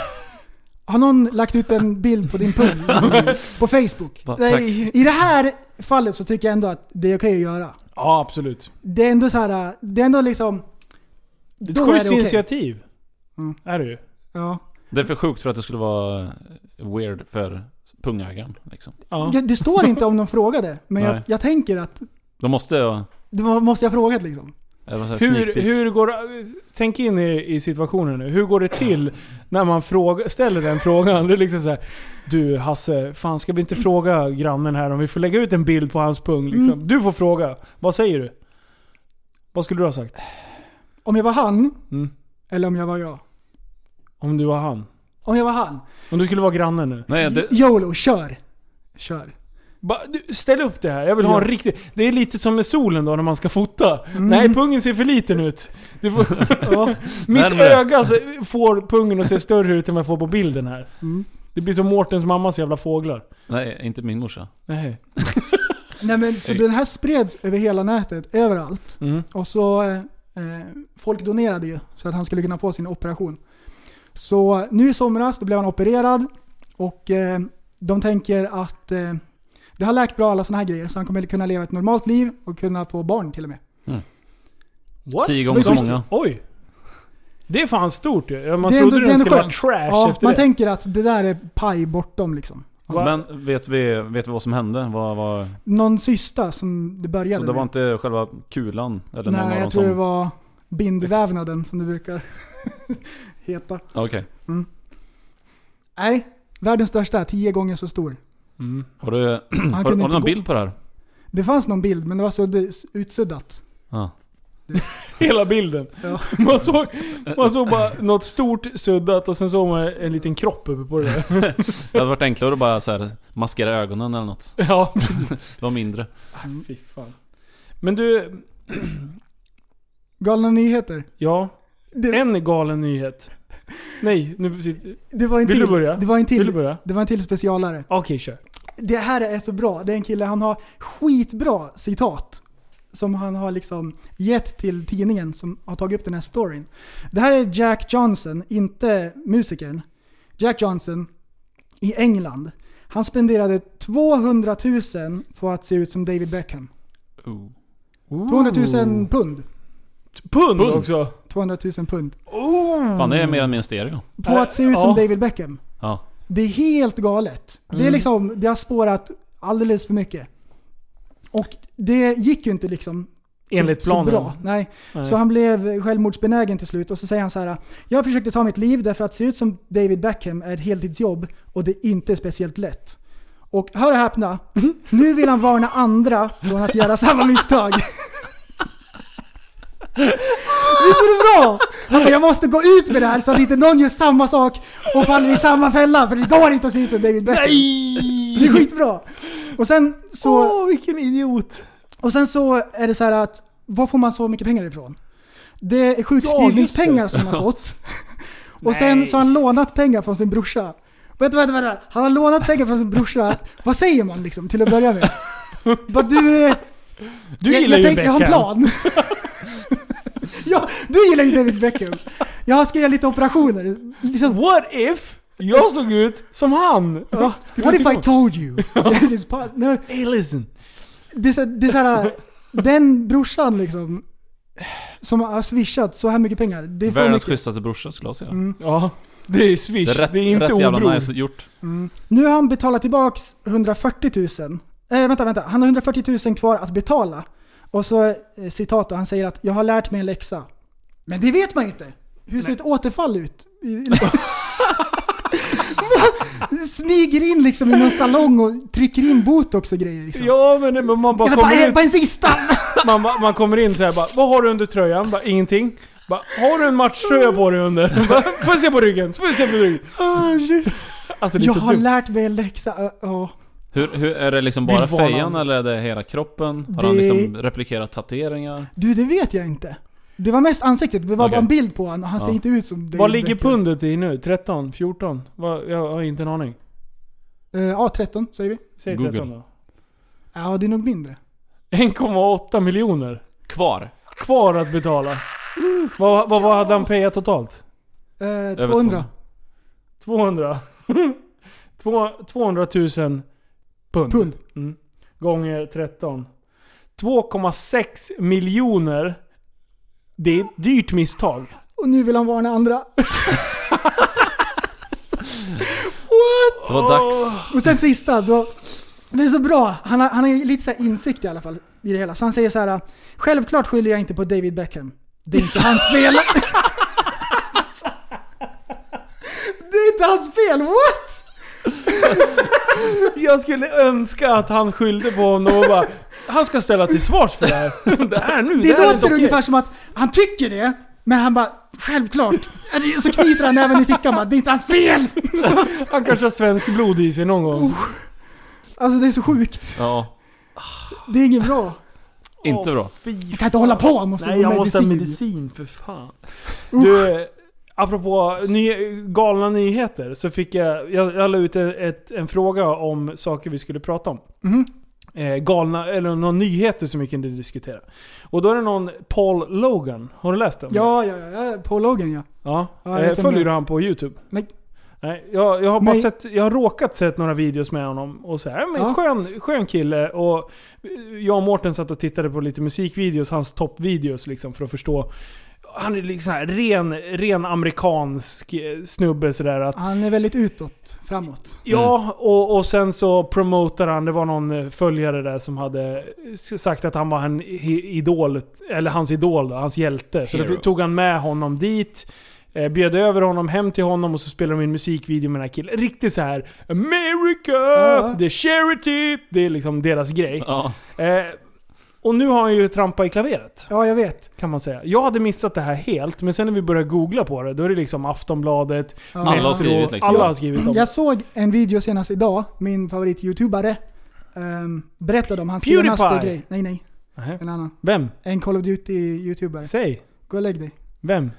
Har någon lagt ut en bild på din pung på Facebook? Bara, tack. Nej. I det här fallet så tycker jag ändå att det är okej att göra. Ja, absolut. Det är ändå så här, det är ändå liksom... Ett Då är schysst det okej. initiativ. Mm. Är det ju. Ja. Det är för sjukt för att det skulle vara weird för pungägaren. Liksom. Ja. Det, det står inte om de frågade, men jag, Nej. jag tänker att... De måste jag... Det var, måste jag ha frågat liksom. Hur, hur går Tänk in i, i situationen nu. Hur går det till när man fråga, ställer den frågan? Det är liksom så här, Du Hasse, fan ska vi inte fråga grannen här om vi får lägga ut en bild på hans pung? Liksom? Mm. Du får fråga. Vad säger du? Vad skulle du ha sagt? Om jag var han, Mm. eller om jag var jag. Om du var han? Om jag var han. Om du skulle vara grannen nu? Nej, det, YOLO, kör! Kör. Ba, du, ställ upp det här, jag vill ha en Ja. Mm. riktig... Det är lite som med solen då när man ska fota. Nej, pungen ser för liten ut. Du får, Ja. mitt Närmare. öga så- får pungen att se större ut än vad jag får på bilden här. Mm. Det blir som Mårtens mammas jävla fåglar. nej, inte min morsa. Nej. Nej men så den här spreds över hela nätet, överallt. Mm. Och så... eh, Eh, folk donerade ju så att han skulle kunna få sin operation. Så nu i somras, då blev han opererad. Och eh, de tänker att eh, det har läkt bra alla sådana här grejer. Så han kommer kunna leva ett normalt liv och kunna få barn till och med. What? Tio gånger så många. Oj! Det är fan stort ju. Man Det är ändå- trodde det är den ändå skulle vara skönt. trash Ja, efter man det. tänker att det där är paj bortom liksom. Va? Men vet vi, vet vi vad som hände? Vad, vad, Någon cysta som det började så det var med. inte själva kulan? Eller någon av Nej, dem jag tror som, det var bindvävnaden som det brukar heta. Okej. Nej, världens största, tio gånger så stor. Mm. Har du, har, har kunde du inte någon gå. bild på det här? Det fanns någon bild, men det var så det- utsuddat. Ja. Hela bilden. Ja. Man, såg, man såg bara något stort suddat och sen såg man en liten kropp uppe på det där. Det hade varit enklare att bara så här, maskera ögonen eller något. Ja, Det var mindre. Fy fan. Men du, Galna nyheter. ja. Det, En galen nyhet. Nej, nu sitter... det var en Vill till. du börja? Det var en Vill du till. börja? Det var en till specialare. Okej, kör. Det här är så bra. Det är en kille, han har skitbra citat. Som han har liksom gett till tidningen som har tagit upp den här storyn. Det här är Jack Johnson, inte musikern. Jack Johnson i England. Han spenderade 200 000 på att se ut som David Beckham. 200 000 pund. Pund, Pund. också. 200 000 pund. Fan, Mm. det är mer än min stereo. På att se ut som Äh, Ja. David Beckham. Ja. Det är helt galet. Det är Mm. liksom, det har spårat alldeles för mycket. Och det gick ju inte liksom så- Enligt planen. Så bra. Nej. Nej. Så han blev självmordsbenägen till slut och så säger han så här. Jag försökte ta mitt liv därför att se ut som David Beckham är ett heltidsjobb och det är inte speciellt lätt. Och hör och häpna, nu vill han varna andra från att göra samma misstag. Visst är det bra? Han bara, Jag måste gå ut med det här så att inte någon gör samma sak och faller i samma fälla för det går inte att se ut som David Beckham. Det är skitbra. Och sen så... Åh, vilken idiot. Och sen så är det så här att, var får man så mycket pengar ifrån? Det är sjukskrivningspengar som han har fått. Och sen så har han lånat pengar från sin brorsa. Vänta, vänta, vänta. Han har lånat pengar från sin brorsa. Vad säger man liksom till att börja med? Bara, du, eh, Du jag, gillar jag ju tänker- Beckham. Jag har en plan. ja, du gillar ju David Beckham. Jag ska göra lite operationer. Liksom, What if jag såg ut som han? ja, Skulle what du if tycka I om- told you? It is pos- Nej, men Hey listen. det är, så, det är så här, den brorsan liksom, som har swishat så här mycket pengar. Det är för Världens mycket. Mm. schysstaste brorsa skulle jag säga. Ja. Det är swish. Det är rätt, det är inte rätt obror. jävla nice gjort. Nu har han betalat tillbaks 140 000. Eh, vänta, vänta. Han har 140 000 kvar att betala. Och så eh, citat då, han säger att jag har lärt mig en läxa. Men det vet man ju inte. Hur ser ett återfall ut? I- Va? smyger in liksom i någon salong och trycker in botox och grejer liksom. Ja men det- men man bara Jag bara, kommer "Äh, in, bara en sista! man, bara- man kommer in så här bara, vad har du under tröjan? Bara, ingenting. Bara, har du en matchtröja på dig under? Bara, Får jag se på ryggen? Får jag se på ryggen? Ah, shit. Alltså det är Jag så har dumt. lärt mig en läxa. Ö, ja. Hur, hur, är det liksom bara Vill varna fejan andra. eller är det hela kroppen? Har han Det- liksom replikerat tatueringar? Du, det vet jag inte. Det var mest ansiktet, det var Okej. bara en bild på honom och han Ja. ser inte ut som Vad David ligger Beckham. pundet i nu? 13? 14? Vad- jag har inte en aning. Eh, Ja, 13 säger vi. Säg Google. 13 då. Ja, det är nog mindre. 1,8 miljoner Kvar? kvar att betala. Vad, vad, vad hade han payat totalt? Eh, Över 200. 200? Två- 200 000 pund. Pund. Mm. Gånger 13. 2,6 miljoner. Det är ett dyrt misstag. Och nu vill han varna andra. Det var dags. Och sen sista, då, det är så bra. Han har, han har ju lite så här insikt i alla fall i det hela. Så han säger så här. Självklart skyller jag inte på David Beckham. Det är inte hans fel. det är inte hans fel, what? Jag skulle önska att han skyllde på honom och bara Han ska ställa till svars för det här. Det här nu, det, Det, här är inte låter okej. ungefär som att han tycker det, men han bara Självklart! Så knyter han även i fickan bara, det är inte hans fel! Han kanske har svensk blod i sig någon gång. Alltså det är så sjukt. Ja, Det är inget bra. inte bra. Åh, fy Jag kan inte hålla på, jag måste Nej, jag måste ha medicin. medicin för fan. Du, apropå ny, galna nyheter så fick jag, jag, jag la ut en, ett, en fråga om saker vi skulle prata om. Mhm. Eh, galna, eller några nyheter som vi kunde diskutera. Och då är det någon Paul Logan, har du läst den? Ja, ja, ja, ja. På Logan ja. ja. Ja, jag eh, vet om följer du det. han på YouTube? Nej. Nej, jag, jag har bara Nej. sett, jag har råkat sett några videos med honom och så här, men Ja. skön, skön kille och eh, jag och Mårten satt och tittade på lite musikvideos, hans toppvideos liksom för att förstå. Han är liksom här, ren, ren amerikansk eh, snubbe sådär att Han är väldigt utåt, framåt. Mm. Ja, och, och sen så promotar han, det var någon eh, följare där som hade s- sagt att han var en i- idol, eller hans idol då, hans hjälte. Så då Hero. tog han med honom dit, eh, bjöd över honom hem till honom och så spelade de in musikvideo med den här killen. Riktigt så här America, Ja. the charity, det är liksom deras grej. Ja. Eh, och nu har han ju trampat i klaveret. Ja, jag vet. Kan man säga. Jag hade missat det här helt, men sen när vi började googla på det, då är det liksom Aftonbladet, Ja. Alla har Metro, skrivit liksom. alla har skrivit om det. Jag såg en video senast idag, min favorit-youtubare ehm, berättade om hans Pewdiepie. senaste grej. Nej, nej. Nähä. En annan. Vem? En Call of Duty-youtubare. Säg. Gå och lägg dig. Vem?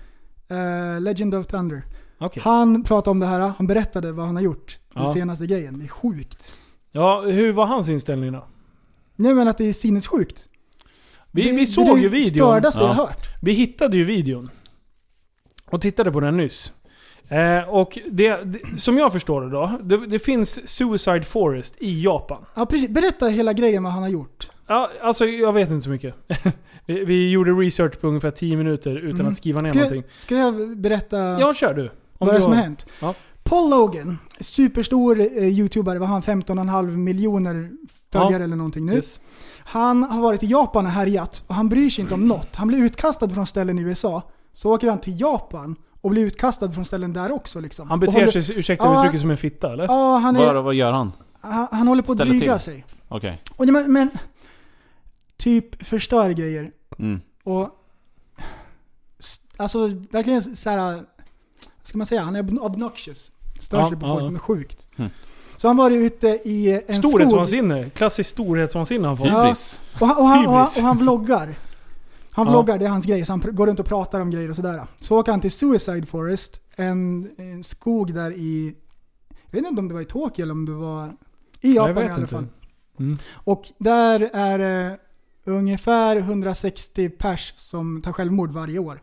Eh, Legend of Thunder. Okej. Han pratade om det här, han berättade vad han har gjort. Ja. Den senaste grejen. Det är sjukt. Ja, hur var hans inställning då? Nej men att det är sinnessjukt. Vi, det, vi såg det ju är det videon. stördaste jag Ja. har hört. Vi hittade ju videon. Och tittade på den nyss. Eh, och det, det, som jag förstår det då, det, det finns Suicide Forest i Japan. Ja, precis. Berätta hela grejen vad han har gjort. Ja, alltså jag vet inte så mycket. vi, vi gjorde research på ungefär 10 minuter utan Mm. att skriva ner Ska jag, någonting. ska jag berätta Ja, kör du. Om vad du det är som har- har hänt? Ja. Paul Logan, superstor eh, YouTuber, vad har han 15,5 miljoner följare eller någonting nu. Yes. Han har varit i Japan och härjat och han bryr sig inte om Mm. något. Han blir utkastad från ställen i USA, så åker han till Japan och blir utkastad från ställen där också. Liksom. Han och beter håller, sig, ursäkta Ja. uttrycket, som en fitta eller? Ja, han, är, Vad, vad gör han? han, han håller på att Ställer dryga till. sig. Okej. Och, nej, men, men, typ förstör grejer. Mm. Och... s- Alltså verkligen så här. Vad ska man säga? Han är ob- obnoxious. Stör Ja, sig på ja, folk, ja. men sjukt. Mm. Så han var ju ute i en skog. Storhetsvansinne. Klassiskt storhetsvansinne han får. Ja. Hybris. Och han, och, han, och, han, Hybris. och han vloggar. Han Ja. vloggar, det är hans grej. Så han pr- går runt och pratar om grejer och sådär. Så åker han till Suicide Forest, en, en skog där i... Jag vet inte om det var i Tokyo eller om det var... I Jag Japan i vet alla inte. fall. Mm. Och där är det ungefär 160 pers som tar självmord varje år.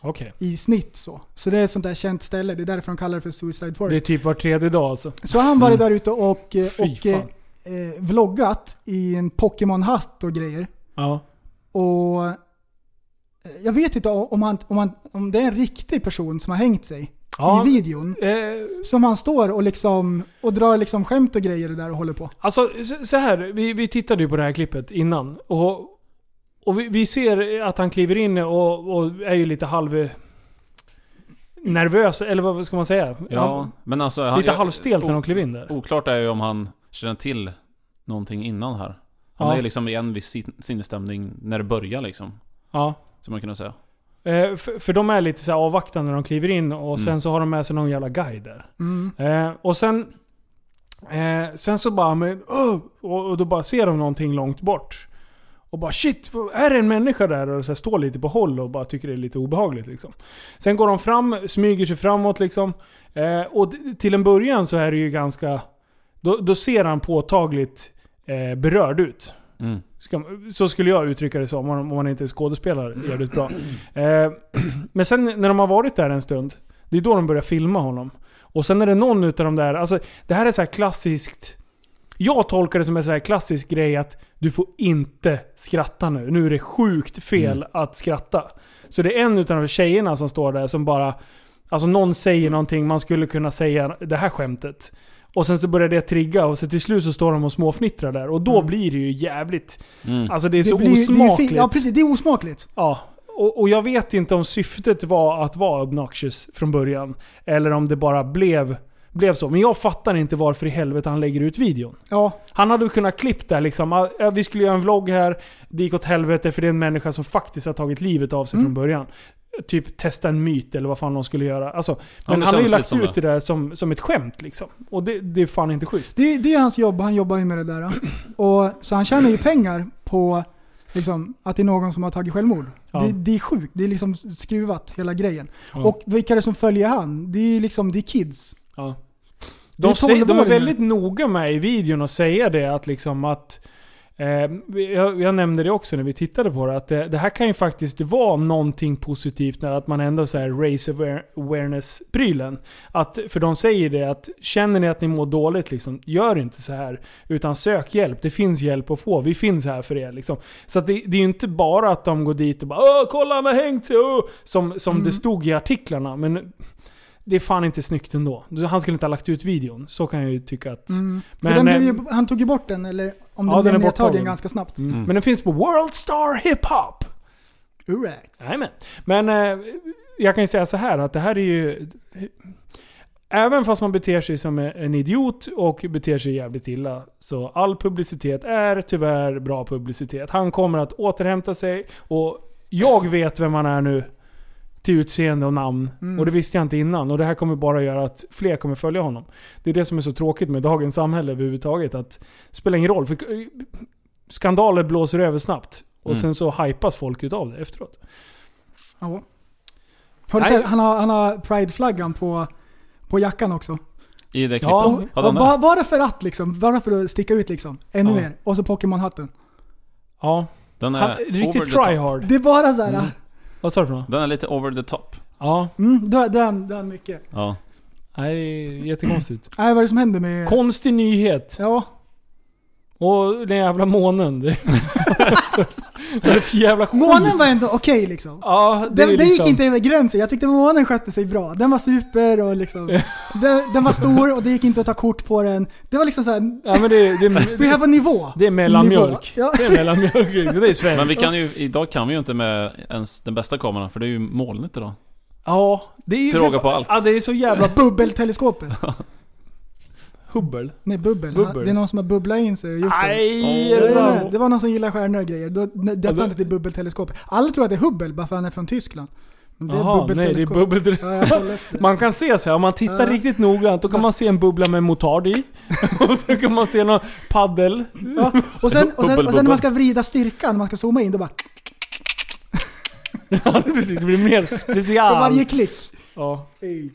Okej. I snitt så. Så det är ett sånt där känt ställe. Det är därför de kallar det för Suicide Det är Forest. typ var tredje dag alltså. Så han varit där ute och, eh, Fy och eh, fan. eh, vloggat i en Pokémon-hatt och grejer. Ja. Och eh, jag vet inte om, han, om, han, om det är en riktig person som har hängt sig ja. i videon. Eh, Som han står och, liksom, och drar liksom skämt och grejer där och håller på. Alltså så- så här, vi, vi tittade ju på det här klippet innan. Och, och vi, vi ser att han kliver in och, och är ju lite halv... eh, nervös, eller vad ska man säga? Ja, men alltså... han- lite jag- halvstelt när o- de klev in där. Oklart är ju om han känner till någonting innan här. Han Ja. är liksom i en viss sin- sinnesstämning när det börjar liksom. Ja. Som man kunde säga. Eh, för, för de är lite så här avvaktande när de kliver in Mm. och sen så har de med sig någon jävla guide där. Mm. Eh, och sen... Eh, sen så bara, men, "Åh!" och, och då bara ser de någonting långt bort. Och bara shit, vad- är det en människa där? Och så här, står lite på håll och bara tycker det är lite obehagligt liksom. Sen går de fram, smyger sig framåt liksom. Eh, och d- till en början så är det ju ganska... Då, då ser han påtagligt eh, berörd ut. Mm. Ska, så skulle jag uttrycka det som, om man- om man inte är skådespelare jävligt bra. Eh, men sen när de har varit där en stund, det är då de börjar filma honom. Och sen är det någon utav de där, alltså det här är så här klassiskt... Jag tolkar det som en så här klassisk grej att du får inte skratta nu. Nu är det sjukt fel att skratta. Så det är en utav de tjejerna som står där som bara... Alltså någon säger någonting, man skulle kunna säga det här skämtet. Och sen så börjar det trigga och så till slut så står de och småfnittrar där. Och då Mm. blir det ju jävligt Mm. Alltså det är så blir- det är ju fi- osmakligt. ja, precis. Det är osmakligt. Ja. Och, och jag vet inte om syftet var att vara obnoxious från början. Eller om det bara blev, blev så. Men jag fattar inte varför i helvete han lägger ut videon. Ja, Han hade ju kunnat klippt där liksom. "Ah, ja, Vi skulle göra en vlogg här. Det gick åt helvete för det är en människa som faktiskt har tagit livet av sig Mm. från början. Typ testa en myt eller vad fan de skulle göra. Alltså, men det han har ju känns lagt lite som ut det det. där som, som ett skämt liksom. Och det, det är fan inte schysst. det, det är hans jobb. Han jobbar ju med det där. Och, så han tjänar ju pengar på liksom, att det är någon som har tagit självmord. Ja. Det, det är sjukt. Det är liksom skruvat, hela grejen. Ja. Och vilka är det som följer han? Det är ju liksom, det är kids. Ja. Det är De, säger, de är tolvåringar. väldigt noga med i videon att säga det att liksom att eh, jag, jag nämnde det också när vi tittade på det, att det, det här kan ju faktiskt vara någonting positivt när att man ändå så här race aware- awareness-prylen. Att, för de säger det att känner ni att ni mår dåligt, liksom, gör inte så här. Utan sök hjälp, det finns hjälp att få, vi finns här för er. Liksom. Så att det, det är ju inte bara att de går dit och bara Åh, kolla han har hängt sig! Åh! Som, som det stod i artiklarna. Men det är fan inte snyggt ändå. Han skulle inte ha lagt ut videon. Så kan jag ju tycka att... Mm. För Men, den eh, blev ju, han tog ju bort den, eller om ja, den blev den är nedtagen borttagen. ganska snabbt. Mm. Men den finns på Worldstar Hiphop! All right. Jajamän. Men eh, jag kan ju säga så här att det här är ju... Även fast man beter sig som en idiot och beter sig jävligt illa. Så all publicitet är tyvärr bra publicitet. Han kommer att återhämta sig och jag vet vem han är nu. Till utseende och namn. Mm. Och det visste jag inte innan. Och det här kommer bara göra att fler kommer följa honom. Det är det som är så tråkigt med dagens samhälle överhuvudtaget. Att det spelar ingen roll. För eh, skandaler blåser över snabbt. Och Mm. sen så hypas folk utav det efteråt. Ja. Har du Nej. sett, han har, han har prideflaggan på, på jackan också. I det klippet? Ja, Ja, Och hade han det? bara, bara för att liksom, bara för att sticka ut liksom. Ännu Ja. mer. Och så Pokémon-hatten. Ja, Den är han, over riktigt the top. tryhard. Det är bara såhär, Mm. mm. Vad sa du för något? Den är lite over the top. Ja, mm, då, då, är han- då är han mycket. Ja. nej, det är jättekonstigt. Nej, vad är det som händer med... Konstig nyhet. ja, Och den jävla månen. Det Vad är det för jävla skit? månen var ändå okej liksom. Ja, det, Den, är den liksom, gick inte över gränsen. Jag tyckte månen skötte sig bra. Den var super och liksom... den, den var stor och det gick inte att ta kort på den. Det var liksom såhär, Ja, men det, det, det, vi har på nivå. det är mellanmjölk. Nivå. Ja. Det är mellanmjölk. Det är svenskt. Men vi kan ju, idag kan vi ju inte med ens den bästa kameran för det är ju molnigt idag. Ja, det är ju... Till råga på allt. Ja, det är så jävla Bubbelteleskopet. hubbel. Nej, bubbel. Bubbel. Det är någon som har bubblat in sig och gjort det. Nej, Åh. är det Nej, nej, sant? nej. Det var någon som gillar stjärnor och grejer. Då nej, Ja, döpte det- han det till bubbelteleskopet. Alla tror att det är Hubble bara för att han är från Tyskland. Men det är Jaha, nej det är bubbelteleskop. bubbel. Ja, jag kollade efter. Man kan se så här, om man tittar Ja. riktigt noggrant, då kan man se en bubbla med motard i. Och så kan man se någon paddel. Ja, och, sen, och, sen, och sen Bubbelbubbel. när man ska vrida styrkan, när man ska zooma in, då bara... Ja, precis. Det blir mer special. På varje klick. Ja. Ey.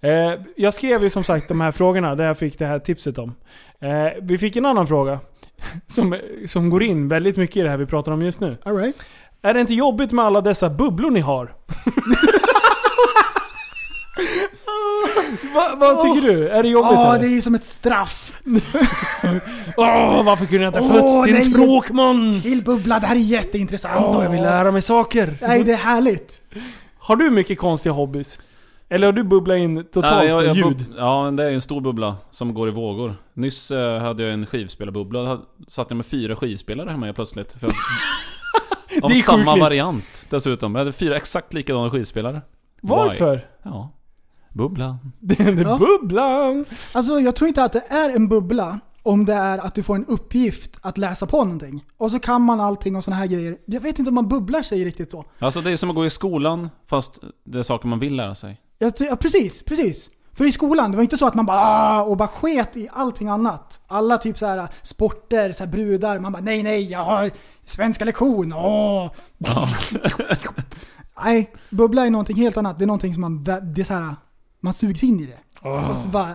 Eh, jag skrev ju som sagt de här frågorna där jag fick det här tipset om. Eh, vi fick en annan fråga. Som, som går in väldigt mycket i det här vi pratar om just nu. All right. Är det inte jobbigt med alla dessa bubblor ni har? Va, vad tycker du? Är det jobbigt? Ja, eller? det Mm. är ju som ett straff. Åh, varför kunde jag inte Åh, fötts det är din ju- språk Måns? Till bubbla, det här är jätteintressant. Åh, jag vill lära mig saker. Nej, det är härligt. Har du mycket konstiga hobbys? Eller har du bubblat in totalt Nej, jag- jag ljud? bub- Ja, men det är ju en stor bubbla som går i vågor. Nyss eh, hade jag en skivspelarbubbla. Då hade- satt jag med fyra skivspelare hemma helt plötsligt. För av Det är samma sjukligt. variant dessutom. Jag hade fyra exakt likadana skivspelare. Varför? Ja. Bubbla. Den Ja. bubblan! Alltså jag tror inte att det är en bubbla om det är att du får en uppgift att läsa på någonting. Och så kan man allting och såna här grejer. Jag vet inte om man bubblar sig riktigt så. Alltså det är som att gå i skolan fast det är saker man vill lära sig. Jag, ty- ja, precis, precis. För i skolan, det var inte så att man bara "Ah", och bara sket i allting annat. Alla typ så här sporter, så här brudar. Man bara nej, nej, jag har svenska lektion. Åh. nej, bubbla är någonting helt annat. Det är någonting som man, vä- det är så här, äh, man sugs in i det. Och så bara...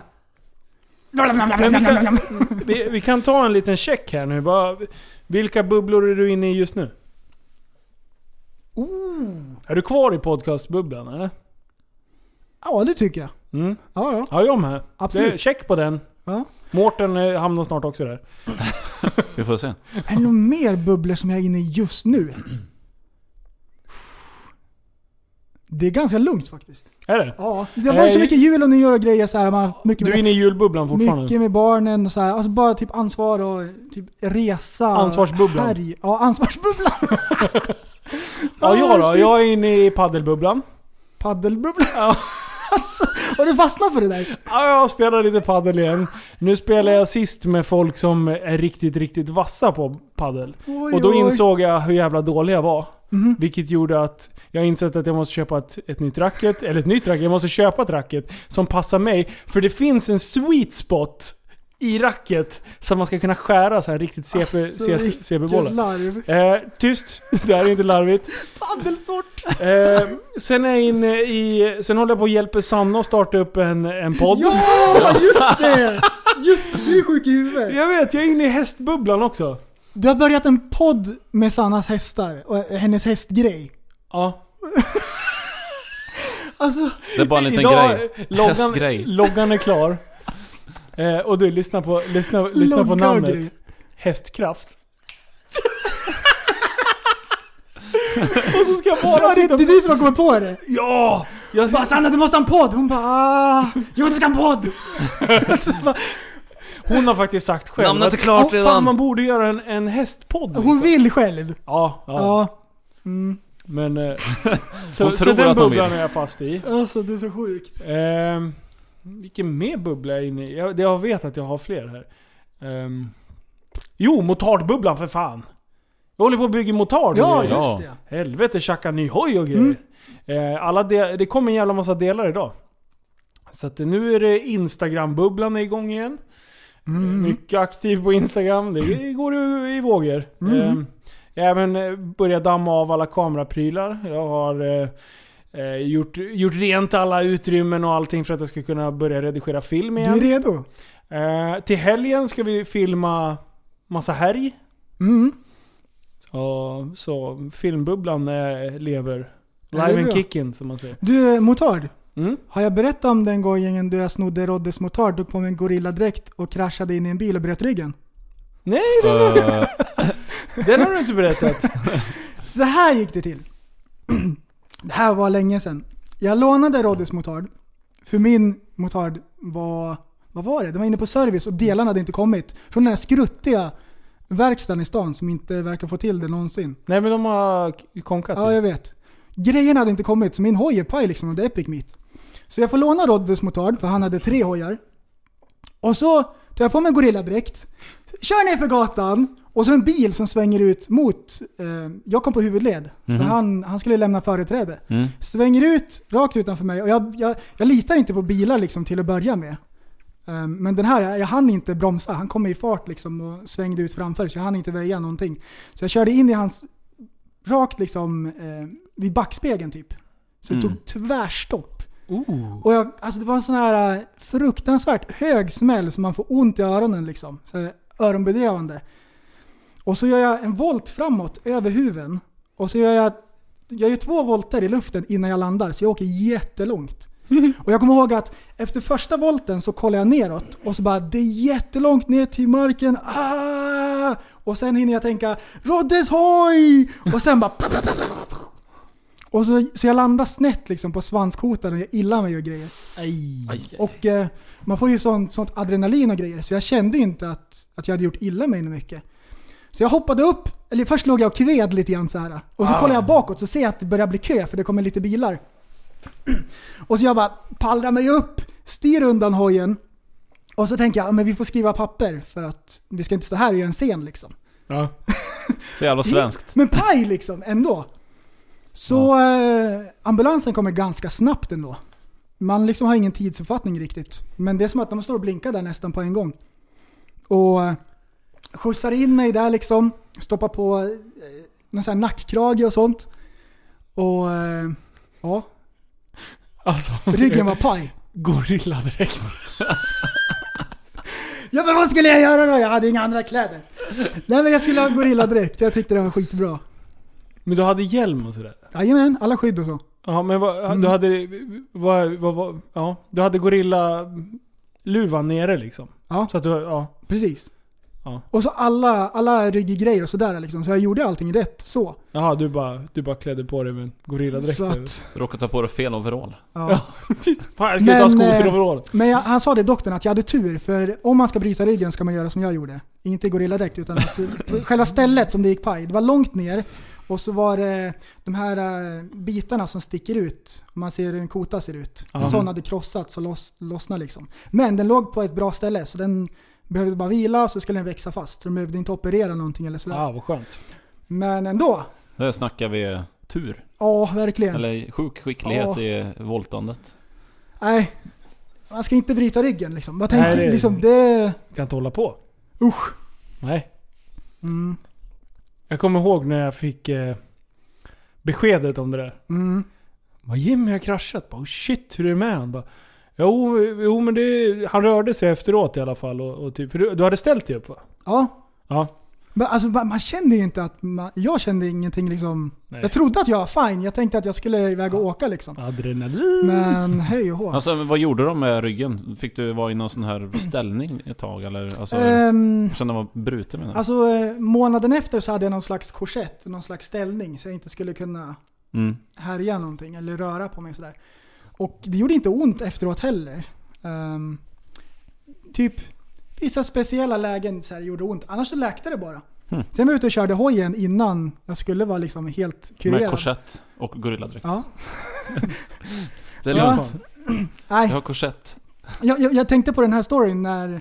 Vi, vi kan ta en liten check här nu. Bara, vilka bubblor är du inne i just nu? Är du kvar i podcastbubblan eller? Ja, det tycker jag. Mm. Ja, ja. Ja, jag med. Absolut. Det, check på den. Ja. Mårten eh, hamnar snart också där. Vi får se. Är det nog mer bubblor som jag är inne i just nu? Det är ganska lugnt faktiskt. Är det? Ja, det var ju så Eh, mycket jul och nyår och grejer så här, man, mycket, Du är med, inne i julbubblan fortfarande? mycket med barnen och så här, alltså bara typ ansvar och typ resa. Ansvarsbubblan. Härj. Ja, ansvarsbubblan. Ja, jag då? shit. Jag är inne i paddelbubblan. Paddelbubblan. alltså, har du fastnat för det där? Ja, jag spelar lite paddel igen. Nu spelar jag sist med folk som är riktigt, riktigt vassa på paddel. Oj, Och då oj. insåg jag hur jävla dålig jag var. Vilket gjorde att jag insett att jag måste köpa ett, ett nytt racket. Eller ett nytt racket, jag måste köpa ett racket som passar mig. För det finns en sweet spot i racket som man ska kunna skära så här riktigt CP, Alltså, CP, vilket CP-bollar. larv. Eh, tyst, det här är inte larvigt. Paddelsort. Eh, sen är jag inne i... Sen håller jag på att hjälpa Sanna att starta upp en, en podd. Ja, just det! Just det, du är sjuk i huvudet. Jag vet, jag är inne i hästbubblan också. Du har börjat en podd med Sannas hästar och hennes hästgrej. Ja. Alltså, Det är bara en liten grej. eh, Loggan, Hästgrej. loggan är klar. Eh, och du, lyssna på, lyssna, lyssna på logga och namnet. grejer. Hästkraft. och så ska jag bara Ja, det, sitta det är på... du som har kommit på det. Ja! Jag Bara, Sanna du måste ha en podd! Hon bara ah, Jo du ska ha en podd! Så bara, hon har faktiskt sagt själv Namnet är att, klart "Åh, Fan, redan." man borde göra en, en hästpodd. liksom. hon vill själv. Ja, ja. Ja. Mm. Men... Eh, så Hon så tror den att hon vill. bubblan är jag fast i. Alltså det är så sjukt. Ehm, vilken mer bubbla är jag inne i? Jag, jag vet att jag har fler här. Ehm, jo, motardbubblan för fan! Jag håller på att bygga motard. Ja, nu. Ja. just det. Helvete tjacka ny hoj och grejer. Eh, alla de, det kom en jävla massa delar idag. Så att nu är det Instagram-bubblan är igång igen. Eh, Mycket aktiv på Instagram. Det går i, i vågor. Eh, jag har även eh, börjat damma av alla kameraprylar. Jag har eh, eh, gjort, gjort rent alla utrymmen och allting för att jag ska kunna börja redigera film Du är igen. redo? Eh, till helgen ska vi filma massa härj. Mm. Ja, så filmbubblan eh, lever. Ja, det Live är and bra. kicking som man säger. Du, motard. Mm. Har jag berättat om den gången du jag snodde Roddes motard, tog på mig en gorilladräkt och kraschade in i en bil och bröt ryggen? Nej, Eh, den har du inte berättat. Så här gick det till. Det här var länge sedan. Jag lånade Roddys motard. För min motard var... Vad var det? Den var inne på service och delarna hade inte kommit. Från den här skruttiga verkstaden i stan som inte verkar få till det någonsin. Nej men de har k- konkat Ja, det. jag vet. Grejerna hade inte kommit, så min hoj är paj liksom och det är Epic Meat. Så jag får låna Roddys motard, för han hade tre hojar. Och så tar jag på mig gorilladräkt, kör ner för gatan och så en bil som svänger ut mot... Eh, jag kom på huvudled, så han, han skulle lämna företräde. Mm. Svänger ut rakt utanför mig och jag, jag, jag litar inte på bilar liksom till att börja med. Ehm, Men den här, jag, jag hann inte bromsa. Han kom i fart liksom och svängde ut framför så jag hann inte väja någonting. Så jag körde in i hans, rakt liksom eh, vid backspegeln typ. Så det Mm. tog tvärstopp. Oh. Och jag, alltså det var en sån här eh, fruktansvärt hög smäll som man får ont i öronen liksom. Så här öronbedövande. Och så gör jag en volt framåt över huven. Och så gör jag, jag gör två volter i luften innan jag landar. Så jag åker jättelångt. Och jag kommer ihåg att efter första volten så kollar jag neråt och så bara det är jättelångt ner till marken. Ah! Och sen hinner jag tänka Roddes hoj! Och sen bara och så, så jag landar snett liksom på svanskotan och jag illar mig och grejer. aj. Och eh, man får ju sånt, sånt adrenalin och grejer, så jag kände inte att, att jag hade gjort illa mig så mycket. Så jag hoppade upp, eller först låg jag och kved lite grann så här. Och så kollar jag bakåt så ser jag att det börjar bli kö för det kommer lite bilar. Och så jag bara pallrar mig upp, styr undan hojen. Och så tänker jag, "Ja, men vi får skriva papper för att vi ska inte stå här och göra en scen liksom. Ja. Så jävla svenskt. Men paj liksom, ändå. Så eh, ambulansen kommer ganska snabbt ändå. Man liksom har ingen tidsuppfattning riktigt. Men det är som att de står och blinkar där nästan på en gång. Och eh, skjutsar in mig där liksom. Stoppar på eh, någon sån här nackkrage och sånt. Och eh, ja, Alltså, ryggen var paj. gorilladräkt. Ja men vad skulle jag göra då? Jag hade inga andra kläder. Nej men jag skulle ha gorilladräkt. Jag tyckte det var skitbra. Men du hade hjälm och sådär? Jajamän, alla skydd och så. Ja, men vad, Mm. du hade... Vad, vad, vad, ja, du hade gorilla-luvan nere liksom. Ja. Så att du, ja. Precis. Ja. Och så alla, alla rygggrejer och sådär liksom. Så jag gjorde allting rätt så. Jaha, du bara, du bara klädde på dig med en gorilladräkt. Så eller? att, Råkade ta på dig fel overall. ja. Ja, precis. Fan, jag ska ju ta Men, eh, skoteroverall. Men jag, han sa det doktorn att jag hade tur för om man ska bryta ryggen ska man göra som jag gjorde. Inte gorilladräkt utan att på själva stället som det gick paj, det var långt ner och så var det de här eh, bitarna som sticker ut. Om man ser hur en kota ser ut. En Ja. sån hade krossats och loss, lossnade liksom. Men den låg på ett bra ställe så den behövde bara vila så skulle den växa fast. Så de behövde inte operera någonting eller sådär. Ja, ah, vad skönt. Men ändå. Där snackar vi tur. Ja, verkligen. Eller sjuk skicklighet Ja. i voltandet. Nej. Man ska inte bryta ryggen liksom. Man tänker Nej, det- liksom det... Kan inte hålla på. Usch. Nej. Mm, Jag kommer ihåg när jag fick eh, beskedet om det där. mm, Bara, Jimmy har kraschat. Bara, oh shit, hur är det med han? Bara, jo, jo, men det, han rörde sig efteråt i alla fall. Och, och typ, för du, du hade ställt dig upp va? ja. Ja. Men alltså man, man känner ju inte att man, Jag kände ingenting liksom. Nej. Jag trodde att jag var fine. Jag tänkte att jag skulle iväg och åka liksom. Adrenalin. Men hej och hå. Alltså men vad gjorde de med ryggen? Fick du vara i någon sån här ställning ett tag eller? Alltså, Ehm, sen den var bruten menar jag. alltså eh, månaden efter så hade jag någon slags korsett, någon slags ställning så jag inte skulle kunna mm. härja någonting eller röra på mig sådär. Och det gjorde inte ont efteråt heller. Ehm, typ vissa speciella lägen så här gjorde ont, annars så läkte det bara. Hmm. Sen var jag ute och körde hojen innan jag skulle vara liksom helt Med kurerad. korsett och gorilladräkt. Ja. Det är Ja. lugnt. Nej, Jag har korsett. jag, jag, jag tänkte på den här storyn när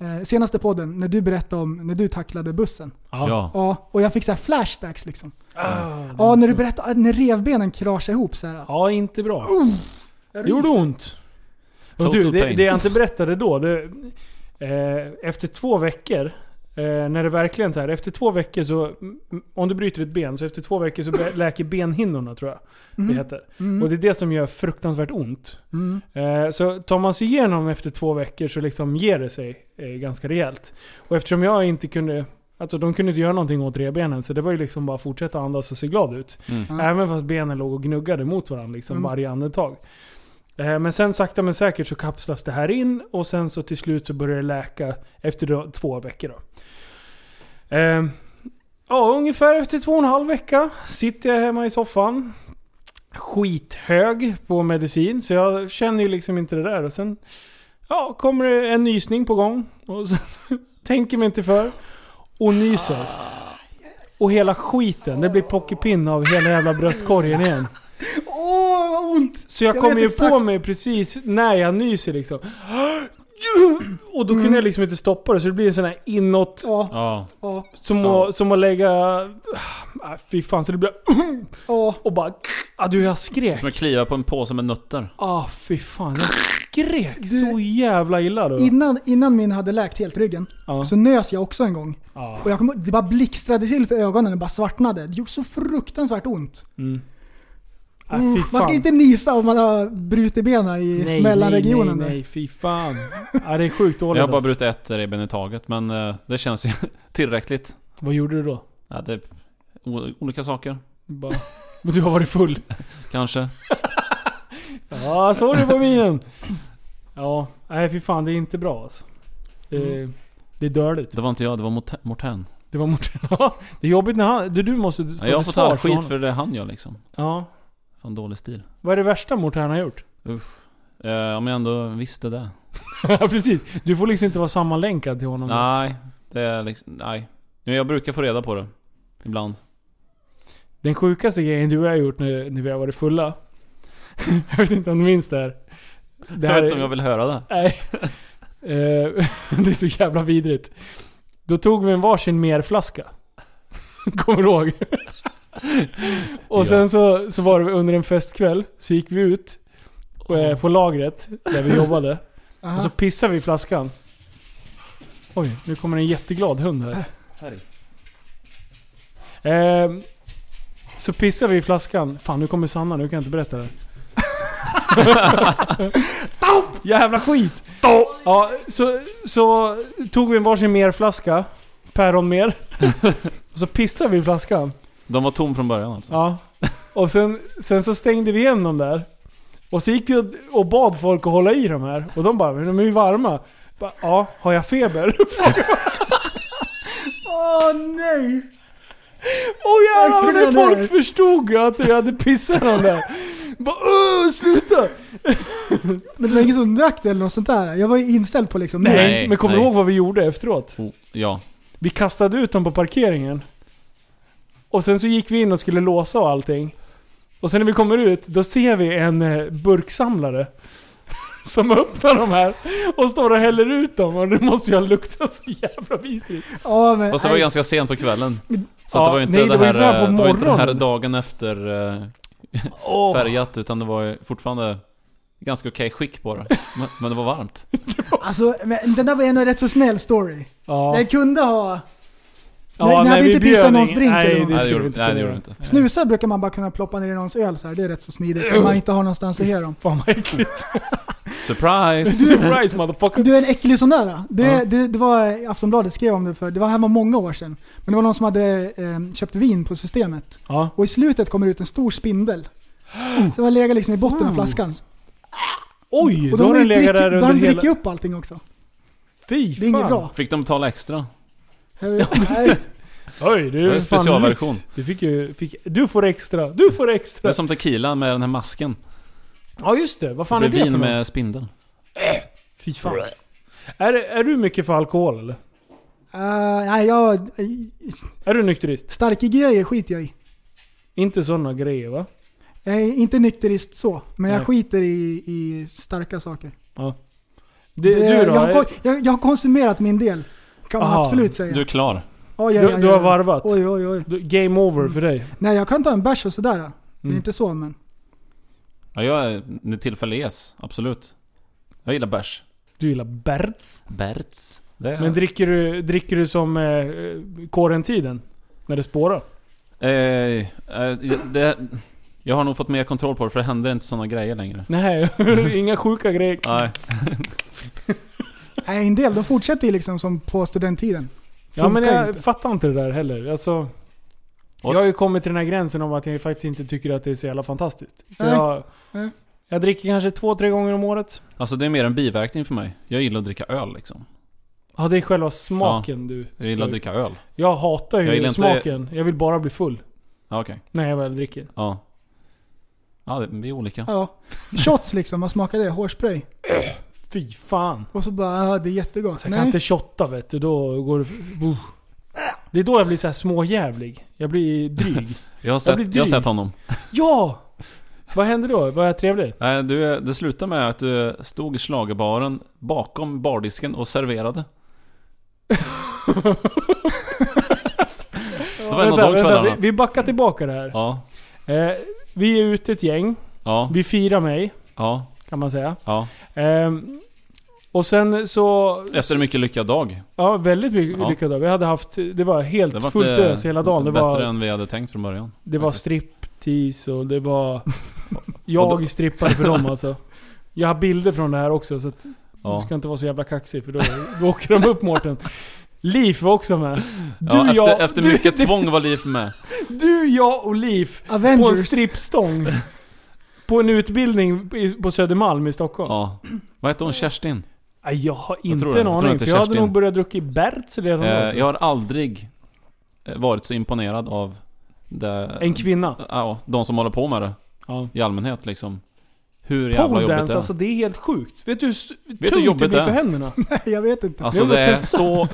eh, senaste podden, när du berättade om när du tacklade bussen. Ja. Ja. Ja, och jag fick så här flashbacks liksom. Ah. Ja, när du berättade, när revbenen kraschade ihop så här. ja, inte bra. Jag Det gjorde ryser. ont. Och Total du, det, pain. det jag inte berättade då. Det, eh, efter två veckor, eh, när det verkligen så här, efter två veckor så, m- m- om du bryter ett ben, så efter två veckor så bä- läker benhinnorna tror jag det heter. Och det är det som gör fruktansvärt ont. Mm. Eh, så tar man sig igenom efter två veckor så liksom ger det sig eh, ganska rejält. Och eftersom jag inte kunde, alltså de kunde inte göra någonting åt revbenen så det var ju liksom bara fortsätta andas och se glad ut. Mm. Ja. Även fast benen låg och gnuggade mot varandra liksom, Mm. varje andetag. Eh, Men sen sakta men säkert så kapslas det här in och sen så till slut så börjar det läka efter då, två veckor. Då. Eh, Ja, ungefär efter två och en halv vecka sitter jag hemma i soffan. Skithög på medicin, så jag känner ju liksom inte det där. Och sen ja, kommer det en nysning på gång. Och så tänker mig inte för. Och nyser. Och hela skiten, det blir pockepinn av hela jävla bröstkorgen igen. Åh, vad ont! Så jag, Jag kommer vet ju på exakt. mig precis när jag nyser liksom. Och då Mm. kunde jag liksom inte stoppa det, så det blir en sån här inåt... Ja, Ja. ja, Som, Ja. att, som att lägga... Ah, fy fan, så det blir... ja. Och bara... Ah, du, jag skrek. Som att kliva på en påse med nötter. Ah, fy fan. Jag skrek så jävla illa då. Innan, innan min hade läkt helt ryggen Ja. så nös jag också en gång. Ja. Och jag kom, det bara blixtrade till för ögonen och bara svartnade. Det gjorde så fruktansvärt ont. Mm. Ah, fy Usch, man ska fan. inte nysa om man har brutit benen i Nej, mellanregionen. Nej, nej, nej, fy fan. Ja, det är sjukt dåligt Jag har bara alltså. brutit ett revben i taget men eh, det känns ju tillräckligt. Vad gjorde du då? Ja, det är o- olika saker. Bara, men du har varit full. Kanske. Ja, så var det på minen. Ja, nej fy fan det är inte bra alltså. Det, Mm. det är dörligt. Det var inte jag, det var Mort- Morten. Det var mot... Ja, det är jobbigt när han... Du, du måste stå Ja, jag till får ta svars skit honom. för det han gör liksom. Ja. Fan dålig stil. Vad är det värsta Mårten har gjort? Usch. Eh, om jag ändå visste Mm. det. Ja, precis. Du får liksom inte vara sammanlänkad till honom. Nej, det är liksom, nej. Men jag brukar få reda på det. Ibland. Den sjukaste grejen du har gjort när, när vi har varit fulla. Jag vet inte om du minns det här. Det Jag här vet inte om är- jag vill höra det. Nej. Eh, det är så jävla vidrigt. Då tog vi en varsin merflaska. Kommer du ihåg? Och Ja. sen så, så var det under en festkväll, så gick vi ut eh, på lagret där vi jobbade. Aha. Och så pissade vi i flaskan. Oj, nu kommer en jätteglad hund här. Ehm, så pissar vi i flaskan. Fan nu kommer Sanna, nu kan jag inte berätta det. Jävla skit! Ja, så, så tog vi en varsin mer flaska. Päron mer. Och så pissade vi i flaskan. De var tom från början alltså. Ja. Och sen, sen så stängde vi igen dem där. Och så gick vi och- och bad folk att hålla i de här. Och de bara, men de är ju varma. Bara, ja, har jag feber? Åh nej! Åh oh, jävlar vad Verkligen när det folk här. förstod att jag hade pissat någon där. Bara öh, sluta! Men det var ingen som drack det eller något sånt där? Jag var ju inställd på liksom... Nej, Nej. Nej, men kommer du nej. ihåg vad vi gjorde efteråt? Oh, ja. Vi kastade ut dem på parkeringen. Och sen så gick vi in och skulle låsa och allting. Och sen när vi kommer ut, då ser vi en eh, burksamlare. Som öppnar de här och står och häller ut dem och det måste ju ha luktat så jävla vidrigt. Ja, men, Fast det var nej. ganska sent på kvällen. Så Ja, att det var ju inte, nej, det det var ju här, fram på eh, det var ju inte den här morgonen. dagen efter eh, Åh. färgat utan det var ju fortfarande ganska okej skick på det. Men, men det var varmt. Alltså, men den där var ändå en rätt så snäll story. Ja. Den kunde ha... Ja, ni hade nej, vi inte bjöd pissat någons ingen- drink nej, eller det något. Nej, det skulle gjorde- vi inte nej, det kunna gjorde göra. vi inte. Snusar brukar man bara kunna ploppa ner i någons öl så här. det är rätt så smidigt. Om man inte har någonstans att ge dem. Fan vad äckligt. Surprise! Surprise motherfucker. Du är en äcklig sån där. Det, Ja. det, det var eh, Aftonbladet skrev om det för, det var här var många år sedan. Men det var någon som hade eh, köpt vin på systemet. Ja. Och i slutet kommer det ut en stor spindel. Oh. Så den legat liksom i botten av flaskan. Oj, Och Oh. då har ju den legat drickit- där Då under har de hela... druckit upp allting också. Fy Det är inget fan. bra. Eh, Fick de betala extra? Nej. Oj, det är Det är fan specialversion. lyx. Du fick ju... Fick, du får extra. Du får Det extra. är som tequila med den här masken. Ja just det, vad fan är det det för vin med... med spindel. Fy fan. Är, är du mycket för alkohol eller? Eh, nej, jag... Är du nykterist? Starka grejer skiter jag i. Inte sådana grejer va? Jag är inte nykterist så, men jag Nej. skiter i, i starka saker. Det, Det- du då? jag, har, kon- jag, jag har konsumerat min del. Kan man Aha, absolut säga. Du är klar. Ja, ja, du- ja, du ja, har ja. varvat. Oj, oj, oj. Du- Game over för dig. Nej, jag kan ta en bärs och sådär. Det Mm. är inte så, men... Ja, jag är, när tillfälle ges. Absolut. Jag gillar bärs. Du gillar Berts. Bärts. Det är... Men dricker du, dricker du som eh, kåren-tiden? När det spårar? eh, eh, det, jag har nog fått mer kontroll på det för det händer inte sådana grejer längre. Nej, inga sjuka grejer. Nej. Nej, en del de fortsätter ju liksom som på studenttiden. Ja men Funkar jag inte. fattar inte det där heller. Alltså, jag Och- har ju kommit till den här gränsen om att jag faktiskt inte tycker att det är så jävla fantastiskt. Så Nej. jag, Nej. jag dricker kanske två, tre gånger om året. Alltså det är mer en biverkning för mig. Jag gillar att dricka öl liksom. Ja det är själva smaken du... Jag gillar att dricka öl. jag hatar ju Jag gillar inte- smaken. Jag vill bara bli full. Ja, okej. När jag väl dricker. Ja. Ja, det, vi är olika. Ja. Shots liksom, man smakar det. Hårspray. Fy fan. Och så bara, ah, det är jättegott. Så jag kan inte shotta vet du. Då går det... Uh. Det är då jag blir så här småjävlig. Jag blir dryg. Jag blir har sett, jag har dyr. sett honom. ja! Vad händer då? Var jag trevlig? Nej, du, det slutade med att du stod i slagerbaren bakom bardisken och serverade. det var en av Vänta, de vänta, vi, kvällarna. vi backar tillbaka det här. Ja, Eh, vi är ute ett gäng. ja, Vi firar mig, ja, kan man säga. ja. Ehm, och sen så... Efter en mycket lyckad dag. Ja, väldigt mycket Ja. lyckad dag. Vi hade haft... Det var helt Det var fullt inte ös hela dagen. Det bättre var, än vi hade tänkt från början. det var faktiskt. striptease och det var... Och då- Jag strippade för dem alltså. Jag har bilder från det här också så att du Ja. ska inte vara så jävla kaxig för då, då åker de upp Mårten. Liv var också med. Du, ja, efter, jag, efter du, mycket tvång var Liv med. du, jag och Liv på en Avengers. strippstång. På en utbildning i- på Södermalm i Stockholm. Ja. Vad hette hon? Kerstin? Nej, Jag har Jag inte tror det. en Jag tror aning, inte för jag hade Kerstin. nog börjat dricka Berts redan Eh, då. jag har aldrig eh, varit så imponerad av det, En kvinna. ja, de som håller på med det Ja. i allmänhet liksom. Hur jävla jobbigt det Poledance, är. alltså det är helt sjukt. Vet du hur s- hur tungt det jobbigt blir det för är? händerna? jag vet inte. Alltså Vi har det är testat. så...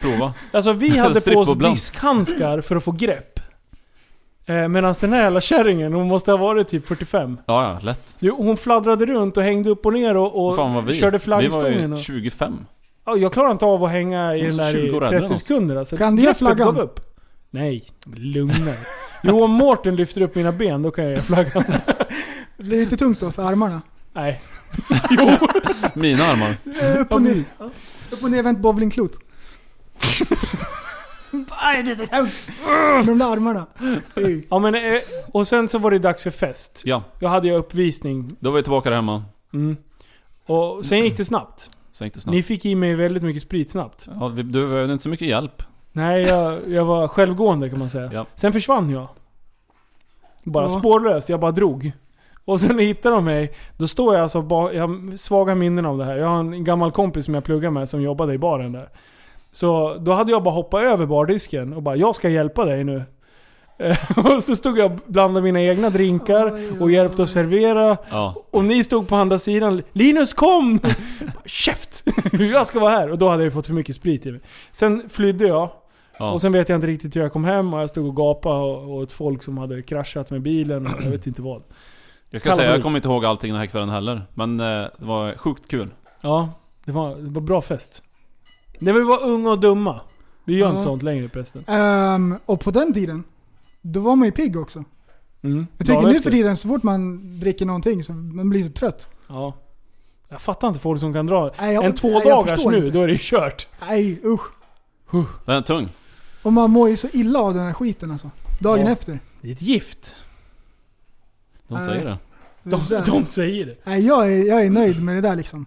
Prova. Alltså vi hade på oss Strippbubblan. diskhandskar för att få grepp. Eh, Medan den här jävla kärringen, hon måste ha varit typ 45. Ja, ja, lätt. Jo, hon fladdrade runt och hängde upp och ner och, och Fan vad vi. körde vi var flaggstången. ju Och, 25. ja, jag klarar inte av att hänga i Hon är den där 20 i år äldre än 30 oss. sekunder alltså. Kan du Greppet flaggan? gav upp. Nej, lugna dig. Jo, om Mårten lyfter upp mina ben, då kan jag göra flaggan. Det blir inte tungt då för armarna. Nej. Mina armar. Eh, Upp och ner. Ja. Upp och nervänt bowlingklot. Nej, det är så tungt. Med de där armarna. Fy. Ja, men, eh, och sen så var det dags för fest. Ja, Då hade jag uppvisning. då var vi tillbaka där hemma. Mm. Och sen gick det snabbt. Sen gick det snabbt. Ni fick i mig väldigt mycket sprit snabbt. Ja, vi, du behövde inte så mycket hjälp. Nej, jag, jag var självgående kan man säga. Ja. Sen försvann jag. Bara Ja. spårlöst, jag bara drog. Och sen hittade de mig. Då står jag alltså ba- jag har svaga minnen av det här. Jag har en gammal kompis som jag pluggar med som jobbade i baren där. Så då hade jag bara hoppat över bardisken och bara 'Jag ska hjälpa dig nu' Och så stod jag och blandade mina egna drinkar Oj, och hjälpte att servera. Ja. Och ni stod på andra sidan. Linus kom! Käft! Jag ska vara här! Och då hade jag ju fått för mycket sprit i mig. Sen flydde jag. ja. Och sen vet jag inte riktigt hur jag kom hem och jag stod och gapade och- åt folk som hade kraschat med bilen och jag vet inte vad. jag ska kalla säga, mig jag ut. kommer inte ihåg allting den här kvällen heller. Men eh, det var sjukt kul. Ja, det var, det var bra fest. När vi var unga och dumma. Vi gör Ja. inte sånt längre förresten. Ehm, och på den tiden, då var man ju pigg också. Mm. Jag tycker Dagen nu efter. för tiden så fort man dricker någonting så man blir så trött. Ja. Jag fattar inte folk som kan dra. Nej, jag- en två nej, jag dagars förstår nu, inte. då är det kört. Nej usch. Den är tung. Och man mår ju så illa av den här skiten alltså. Dagen Ja. efter. Det är ett gift. De Nej. säger det. De, Så här. de säger det. Nej, jag, är, jag är nöjd med det där liksom.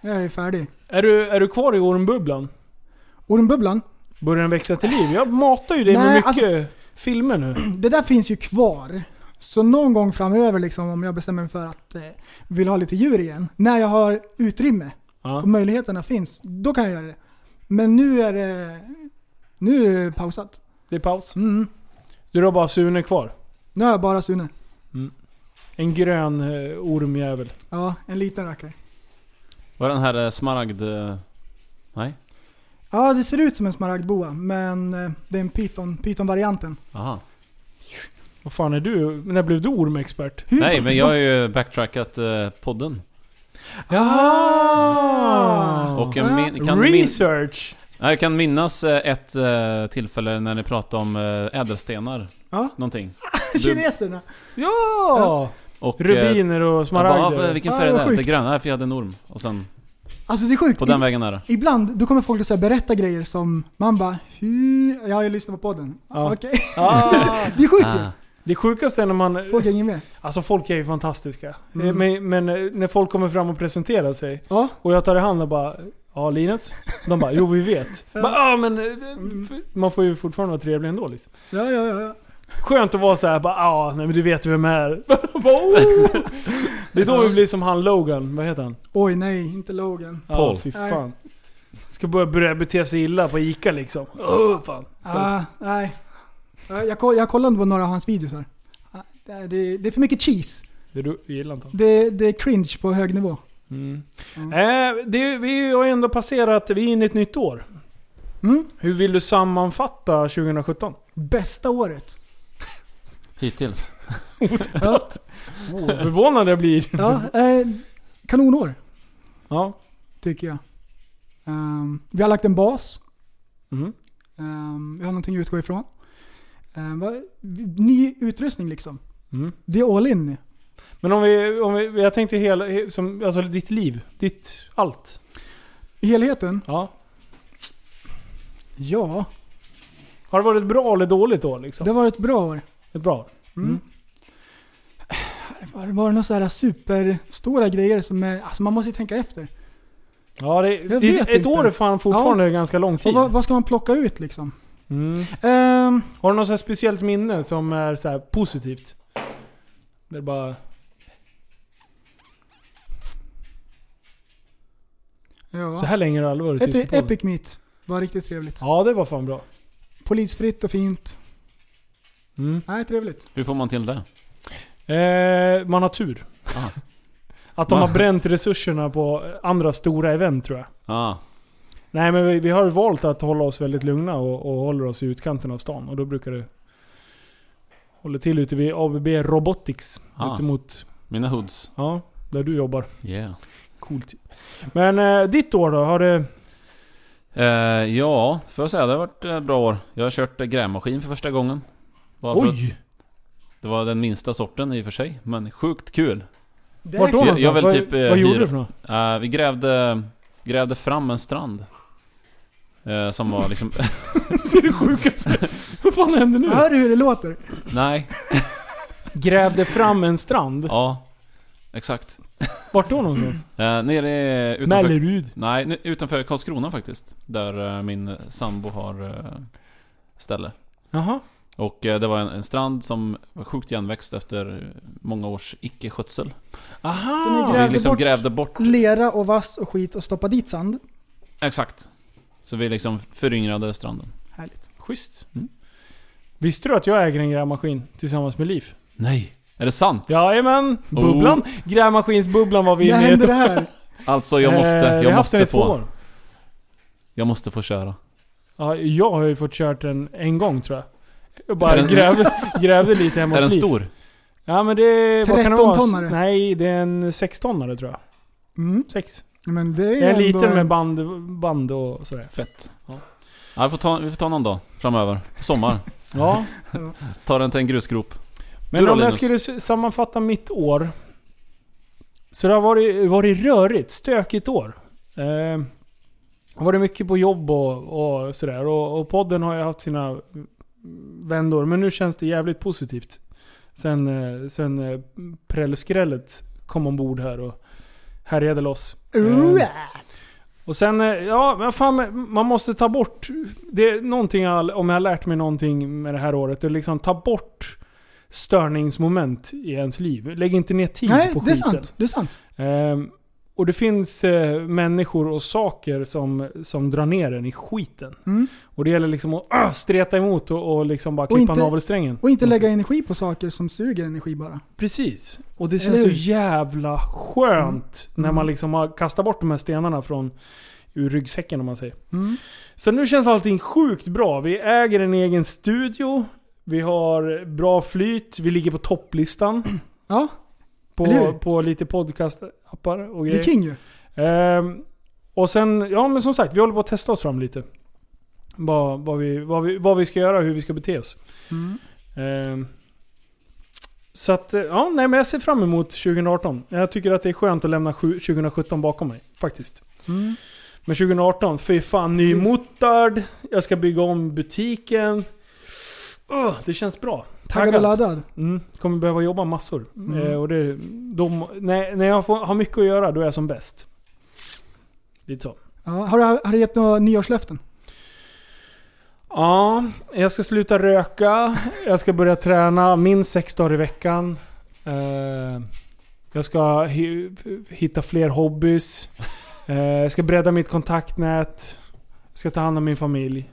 Jag är färdig. Är du, är du kvar i ormbubblan? Ormbubblan, Börjar den växa till liv? Jag matar ju dig med Nej, mycket alltså- filmer nu. det där finns ju kvar. Så någon gång framöver liksom, om jag bestämmer mig för att eh, vill ha lite djur igen. När jag har utrymme Ja. och möjligheterna finns, då kan jag göra det. Men nu är det, nu är det pausat. Det är paus. Mm. Du har bara Sune kvar. Nu har jag bara Sune. En grön eh, ormjävel. Ja, en liten rackare. Var den här eh, smaragd... eh, Nej? Ja, det ser ut som en smaragdboa, men eh, det är en pyton, pytonvarianten. Aha. Vad fan är du? När blev du ormexpert? Hur Nej, fan- men jag har ju backtrackat eh, podden. Jaha! Och jag min, kan, min, Research! Nej, jag kan minnas eh, ett eh, tillfälle när ni pratade om eh, ädelstenar. Ja. Någonting. Kineserna. Ja! Och, eh, Rubiner och jag bara, "Ah, smaragder. vilken Ja, färg är vad det? Det är sjukt. gröna, för jag hade en orm. Och sen, Alltså det är sjukt. på den I- vägen är det. Ibland då kommer folk att så här berätta grejer som man bara hur... Ja, jag lyssnar på podden. Ja. Okej. ah, Det är sjukt ju. Ah, det sjukaste är när man... Folk hänger med. Alltså folk är ju fantastiska. Mm. Eh, Men, men eh, när folk kommer fram och presenterar sig Ja. och jag tar i hand och bara Ja Linus? De bara Jo vi vet. Ja. Bara, ah, men, eh, man får ju fortfarande vara trevlig ändå liksom. Ja, ja, ja. ja. Skönt att vara såhär bara ah, nej men du vet vem jag är. Bara, oh! Det är då vi blir som han Logan, vad heter han? Oj nej, inte Logan. Ja, Paul. fy fan. Ska börja, börja bete sig illa på Ica liksom. Åh, fan. Ah, nej. Ja, Jag, koll, jag kollar inte på några av hans videosar. Ah, Det, det, det är för mycket cheese. Det du gillar inte han. Det, det är cringe på hög nivå. Mm. Eh, det, vi har ju ändå passerat, vi är inne i ett nytt år. Mm? Hur vill du sammanfatta 2017? Bästa året. hittills. Ja, Oh, förvånad jag blir. ja, eh, kanonår. Ja. tycker jag. Ehm, vi har lagt en bas. Mm. Ehm, vi har någonting att utgå ifrån. Ehm, vad- ny utrustning liksom. Mm. Det är all in nu. Men om vi, om vi, jag tänkte hela, he- som, alltså ditt liv, ditt allt. I helheten? Ja. Ja. Har det varit bra eller dåligt då liksom? Det har varit ett bra år. Ett bra? Mm. Mm. Var, var det några så här superstora grejer som är, alltså man måste ju tänka efter. Ja, det, Jag det, vet ett inte. år är fan fortfarande ganska lång Och tid. vad, vad ska man plocka ut liksom? Mm. Ehm, Har du något så här speciellt minne som är så här positivt? Där det bara... Så ja. här länge har det aldrig varit tyst i Epi, podden. Epic Meet var riktigt trevligt. Ja, det var fan bra. Polisfritt och fint. Mm. Nej, trevligt. Hur får man till det? Eh, man har tur. Ah. Att de Man- har bränt resurserna på andra stora event tror jag. Ah, Nej men vi, vi har ju valt att hålla oss väldigt lugna och, och håller oss i utkanten av stan. Och då brukar det Håller till ute vid ABB Robotics. Ah. Ute mot, Mina hoods. ja, där du jobbar. Yeah. Coolt. Men eh, ditt år då? Har det... Eh, ja, får jag säga. Det har varit eh, bra år. Jag har kört eh, grävmaskin för första gången. Bara för att Oj! Det var den minsta sorten i och för sig, men sjukt kul. Det Vart då Jag- jag någonstans? vill vad typ, eh, vad gjorde hyra. du för något? Eh, vi grävde, grävde fram en strand. Eh, som var liksom... Det är det sjukaste. vad fan händer nu? Hör du hur det låter? nej, Grävde fram en strand. ja. Exakt. Vart då någonstans? Uh, nere i- utanför... Mellerud. Nej, nu- utanför Karlskrona faktiskt. Där eh, min sambo har eh, ställe. Jaha. Och eh, det var en, en strand som var sjukt igenväxt efter många års icke-skötsel. Aha! Så ni Så vi Grävde liksom bort- grävde bort... Lera och vass och skit och stoppa dit sand. Exakt. Så vi liksom föryngrade stranden. Härligt. Schysst. Mm. Visste du att jag äger en grävmaskin tillsammans med Liv? Nej! Är det sant? Jajamän! Oh. Bubblan! Grävmaskinsbubblan var vi När inne i. hände det här? Alltså jag måste, Eh, vi har jag haft den i måste två få... år. Jag måste få köra. Ja, jag har ju fått kört den en gång tror jag. Jag bara Är den- grävde, grävde lite hemma är hos den Liv. stor? Ja men det... vad kan det vara? 13-tonnare? Nej, det är en 6-tonnare tror jag. Mm. 6. Men det är Det är en ändå liten en- med band, band och sådär. Fett. Ja. vi, får ta, vi får ta någon dag framöver. Sommar. Ja. ta den till en grusgrop. Men då, om jag Linus? skulle s- sammanfatta mitt år. Så det har varit, varit rörigt, stökigt år. Eh, det har varit mycket på jobb och, och sådär. Och, och podden har ju haft sina mm, vändor. Men nu känns det jävligt positivt. Sen, eh, sen eh, Prällskrället kom ombord här och härjade loss. Eh, Right. och sen, eh, ja men fan, man måste ta bort... Det är någonting jag, om jag har lärt mig någonting med det här året, det är liksom ta bort störningsmoment i ens liv. Lägg inte ner tid Nej, på det är skiten. sant. Det är sant. Ehm, och det finns eh, människor och saker som, som drar ner en i skiten. Mm. Och det gäller liksom att öh, streta emot och, och liksom bara Och klippa inte- navelsträngen. Och inte lägga energi på saker som suger energi bara. Precis. Och det Eller känns så hur? jävla skönt Mm. när man Mm. liksom har kastat bort de här stenarna från ur ryggsäcken om man säger. Mm. Så nu känns allting sjukt bra. Vi äger en egen studio. Vi har bra flyt. Vi ligger på topplistan. Ja, Eller hur? På, på lite podcastappar och det är grejer. king ju. Ehm, och sen, ja men som sagt, vi håller på att testa oss fram lite. Vad, vad, vi, vad, vi, vad vi ska göra och hur vi ska bete oss. Mm. Ehm, så att, eh, ja nej men jag ser fram emot 2018. Jag tycker att det är skönt att lämna sju- 2017 bakom mig. Faktiskt. Mm. Men 2018, fy fan ny Precis. motard. Jag ska bygga om butiken. Ugh, det känns bra. Taggad och laddad. Mm, kommer behöva jobba massor. Mm. Eh, och det, de, när, när jag får, har mycket att göra, då är jag som bäst. Lite så. Ja, har, du, har du gett några nyårslöften? Ja, jag ska sluta röka. Jag ska börja träna minst sex dagar i veckan. Eh, jag ska hi- hitta fler hobbys. Eh, jag ska bredda mitt kontaktnät. Jag ska ta hand om min familj.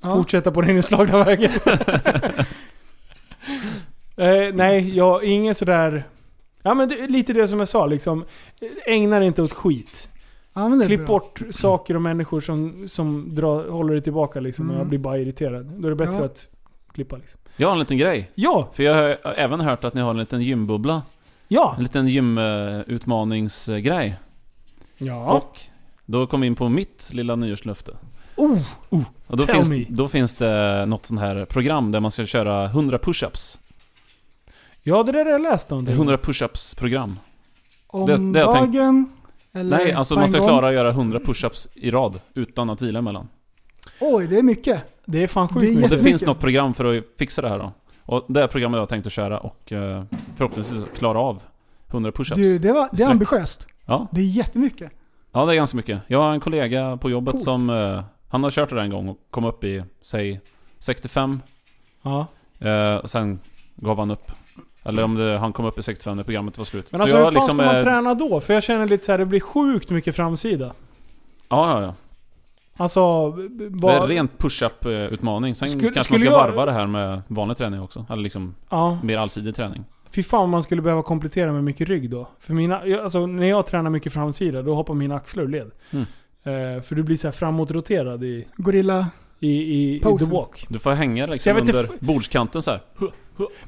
Ja. Fortsätta på den inslagna vägen. eh, nej, jag ingen sådär... Ja men det, är lite det som jag sa liksom. Ägna dig inte åt skit. Ja, men det är Klipp bra. bort saker och människor som, som drar, håller dig tillbaka liksom. Och jag Mm. blir bara irriterad. Då är det bättre Ja. att klippa liksom. Jag har en liten grej. Ja! För jag har jag har även hört att ni har en liten gymbubbla. Ja! En liten gymutmaningsgrej. Ja! Och då kom vi in på mitt lilla nyårslöfte. Oh! Och då, Tell finns, me. då finns det något sånt här program där man ska köra 100 pushups. Ja det där har jag läst Det är någonting. 100 pushups program. Om det- det jag tänkt- dagen? Eller Nej, alltså på man en ska gång? klara att göra 100 pushups i rad utan att vila emellan. Oj, det är mycket. Det är fan Det sjukt är Och det mycket. jättemycket. finns något program för att fixa det här då. Och det här programmet jag tänkte köra och eh, förhoppningsvis klara av 100 pushups. Du, det, var, det är Sträck. ambitiöst. Ja. Det är jättemycket. ja, det är ganska mycket. Jag har en kollega på jobbet Coolt. som... eh, han har kört det där en gång och kom upp i, säg 65 Ja. eh, och sen gav han upp. Eller om det, han kom upp i 65 när programmet var slut. Men Så alltså hur jag fan ska man eh, träna då? För jag känner lite så här, det blir sjukt mycket framsida. Ja, ja, ja. Alltså... b- b- Det är bara- en rent push-up-utmaning. Sen Skulle- kanske skulle man ska jag- varva det här med vanlig träning också. Eller liksom Ja. mer allsidig träning. Fy fan om man skulle behöva komplettera med mycket rygg då. För mina, jag- alltså, när jag tränar mycket framsida, då hoppar mina axlar ur led. Mm. Eh, för du blir så här framåtroterad i... Gorilla. i, i, i The Posen. Walk. Du får hänga Så liksom jag vet under inte bordskanten så här.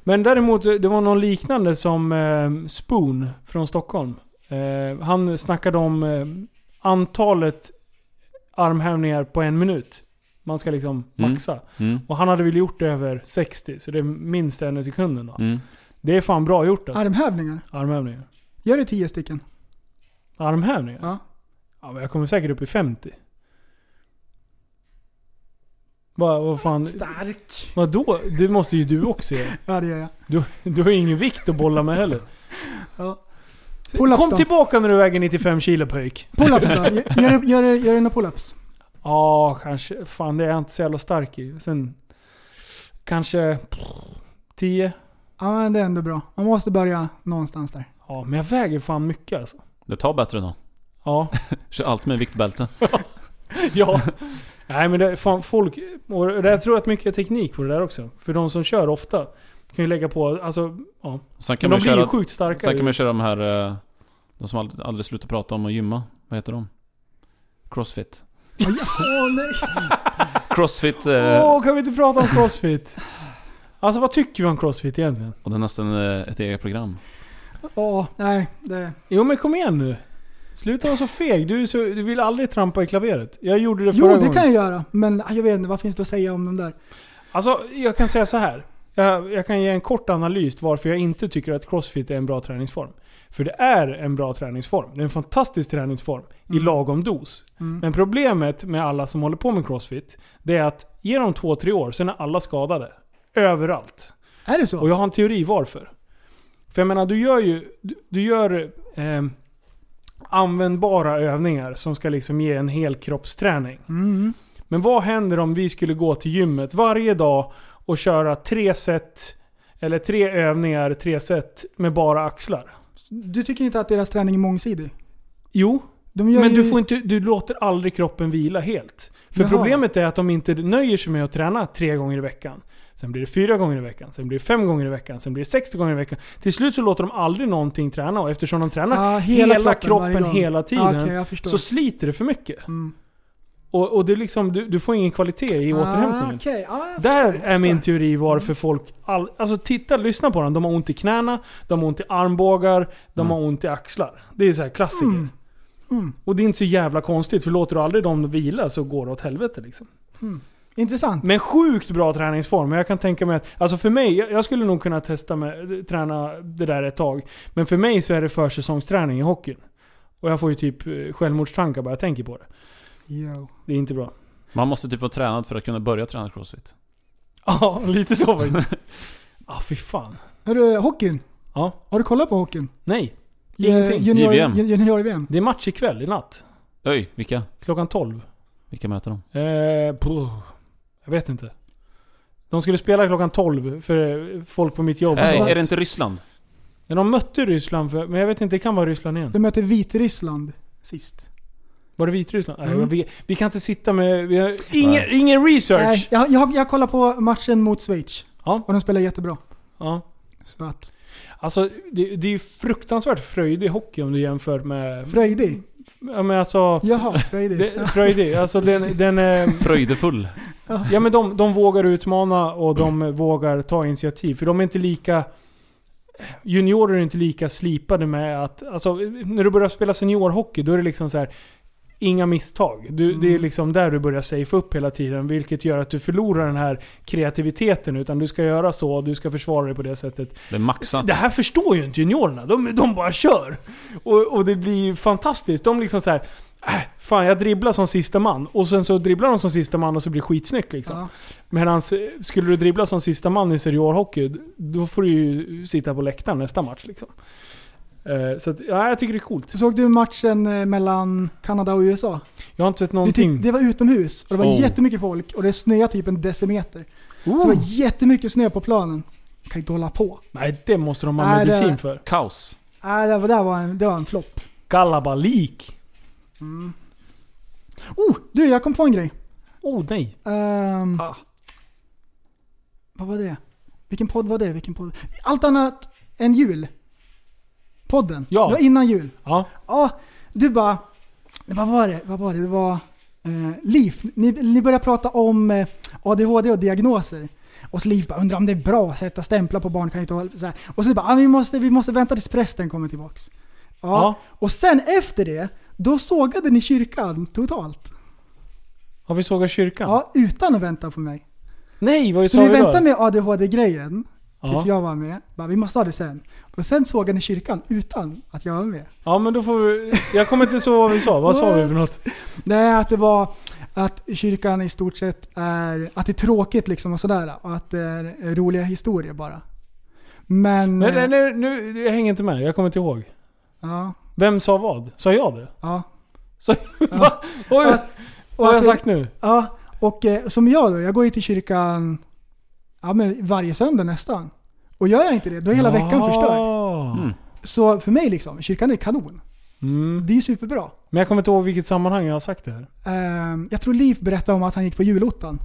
Men däremot, det var någon liknande som eh, Spoon från Stockholm. Eh, han snackade om eh, antalet armhävningar på en minut. Man ska liksom Mm. maxa. Mm. Och han hade väl gjort det över 60, så det är minst en i sekunden då. Mm. Det är fan bra gjort alltså. Armhävningar. Armhävningar. Gör det tio stycken. Armhävningar? Ja. Ja, men jag kommer säkert upp i 50. Vad vad fan? Stark. Vadå? Det måste ju du också göra. Ja, det gör jag. Du, du har ju ingen vikt att bolla med heller. Ja. Pull-ups Kom då. tillbaka när du väger 95 kilo pöjk. Pull-ups då? Gör, gör, gör, gör du några pull-ups? Ja, kanske. Fan, det är jag inte så jävla stark i. Sen kanske 10. Ja, men det är ändå bra. Man måste börja någonstans där. Ja, men jag väger fan mycket alltså. Det tar bättre då. Ja. Kör allt med viktbälte. Ja. Nej men det, fan, folk, och det, jag tror att mycket är teknik på det där också. För de som kör ofta kan ju lägga på, alltså, Sen kan kan man de blir ju ju köra, sjukt starka. sen kan man ju köra de här... eh, De som aldrig, aldrig slutar prata om att gymma. Vad heter de? Crossfit. Åh nej! Crossfit... Åh, eh, kan vi inte prata om crossfit? Alltså vad tycker vi om crossfit egentligen? Och det är nästan eh, ett eget program. Åh, nej. Det, Jo men kom igen nu. Sluta vara så feg. Du, är så, du vill aldrig trampa i klaveret. Jag gjorde det jo, förra det gången. kan jag göra. Men ah, jag vet inte, vad finns det att säga om de där? Alltså jag kan säga så här. Jag, jag kan ge en kort analys varför jag inte tycker att crossfit är en bra träningsform. För det är en bra träningsform. Det är en fantastisk träningsform i Mm. lagom dos. Mm. Men problemet med alla som håller på med crossfit, det är att ge dem två, tre år, sen är alla skadade. Överallt. Är det så? Och jag har en teori varför. För jag menar, du gör ju du, du gör, eh, användbara övningar som ska liksom ge en helkroppsträning. Mm. Men vad händer om vi skulle gå till gymmet varje dag och köra tre set, eller tre övningar, tre set med bara axlar? Du tycker inte att deras träning är mångsidig? Jo, De gör men ju... du, får inte, du låter aldrig kroppen vila helt. För Jaha. problemet är att de inte nöjer sig med att träna tre gånger i veckan. Sen blir det fyra gånger i veckan, sen blir det fem gånger i veckan, sen blir det 60 gånger i veckan. Till slut så låter de aldrig någonting träna och eftersom de tränar Ja, hela, varje kroppen gång. hela tiden Ah, Okej, jag Ah, förstår. så sliter det för mycket. Mm. Och, och det är liksom, du, du får ingen kvalitet i Ah, återhämtningen. okej. Ah, jag Där förstår, är min förstår. teori varför folk... All, alltså titta, lyssna på dem. De har ont i knäna, de har ont i armbågar, de Mm. har ont i axlar. Det är så här klassiker. Mm. Mm. Och det är inte så jävla konstigt, för låter du aldrig dem vila så går det åt helvete liksom. Intressant. Men sjukt bra träningsform. Jag kan tänka mig att, alltså för mig, jag jag skulle nog kunna testa med, träna det där ett tag. Men för mig så är det försäsongsträning i hockeyn. Och jag får ju typ eh, självmordstankar bara jag tänker på det. Yo. Det är inte bra. Man måste typ vara tränad för att kunna börja träna crossfit. Ja, lite så faktiskt. Ah, fy fan. Hörru, hockeyn. Ja. Har du kollat på hockeyn? Nej. Ju- Ingenting. Junior, JVM. junior, junior-VM. Det är match ikväll, i natt. Öj, vilka? Klockan 12. Vilka möter de? Eh, puh. jag vet inte. De skulle spela klockan 12 för folk på mitt jobb. Nej, sa att- är det inte Ryssland? Men de mötte Ryssland för, men jag vet inte, det kan vara Ryssland igen. De möter Vitryssland sist. Var det Vitryssland? Nej, Mm. vi, vi kan inte sitta med... Vi har, ingen, ingen Nej, research! Eh, jag, jag, jag kollar på matchen mot Schweiz. Ja. Och de spelar jättebra. Ja. Så att, Alltså, det, det är ju fruktansvärt fröjdig hockey om du jämför med... fröjdig. ja, men alltså... Jaha, fröjdig. Det, fröjdig. Alltså den... den eh, Fröjdefull. Ja men de, de vågar utmana och de vågar ta initiativ. För de är inte lika... Juniorer är inte lika slipade med att... Alltså, när du börjar spela seniorhockey då är det liksom så här. Inga misstag. Du, Det är liksom där du börjar safea upp hela tiden. Vilket gör att du förlorar den här kreativiteten. Utan du ska göra så, du ska försvara dig på det sättet. Det är maxat. Det här förstår ju inte juniorerna. De, de bara kör. Och, och det blir ju fantastiskt. De liksom så här. Äh, fan jag dribblar som sista man. Och sen så dribblar de som sista man och så blir det skitsnyggt liksom. Ja. Medan eh, skulle du dribbla som sista man i seniorhockey, då får du ju sitta på läktaren nästa match. Liksom. Eh, Så att, ja, jag tycker det är coolt. Såg du matchen eh, mellan Kanada och USA? Jag har inte sett Det, någonting. typ, det var utomhus och det var Oh. jättemycket folk och det snöade typ en decimeter. Så det oh. var jättemycket snö på planen. Kan ju inte hålla på. Nej, det måste de ha Nej, det- medicin för. Kaos. Nej, det var, det var en, det var en flopp. Kalabalik. Oh, du jag kom på en grej. Oh nej. Ehm, Ah. Vad var det? Vilken podd var det? Vilken podd? Allt annat än jul. Podden. Ja. Det var innan jul. Ja. Ja, du bara... Vad var det? Vad var det? Det var... Eh, Liv, ni, ni börjar prata om eh, ADHD och diagnoser. Och så Liv bara, undrar om det är bra att sätta stämplar på barn, kan jag inte hålla, så här. Och så bara, ah, vi, måste, vi måste vänta tills prästen kommer tillbaks. Ja. Ja. Och sen efter det, då sågade ni kyrkan totalt. Har vi sågat kyrkan? Ja, utan att vänta på mig. Nej, vad Så sa ni vi då? väntade med ADHD-grejen tills ja. jag var med. Bara, vi måste ha det sen. Och sen sågade ni kyrkan utan att jag var med. ja, men då får vi... Jag kommer inte så vad vi sa. Vad sa vi för något? Nej, att det var att kyrkan i stort sett är, att det är tråkigt liksom och sådär. Och att det är roliga historier bara. Men... Nej, nej, nej, nu, jag hänger inte med. Jag kommer inte ihåg. Ja, Vem sa vad? Sa jag det? ja. Va? Oj, Och att- vad har jag att det- sagt nu? Ja, och eh, som jag då. Jag går ju till kyrkan ja, men varje söndag nästan. Och gör jag inte det, då är hela veckan förstörd. Mm. Så för mig liksom, kyrkan är kanon. Mm. Det är ju superbra. Men jag kommer inte ihåg vilket sammanhang jag har sagt det här. Ehm, jag tror Liv berättade om att han gick på julottan.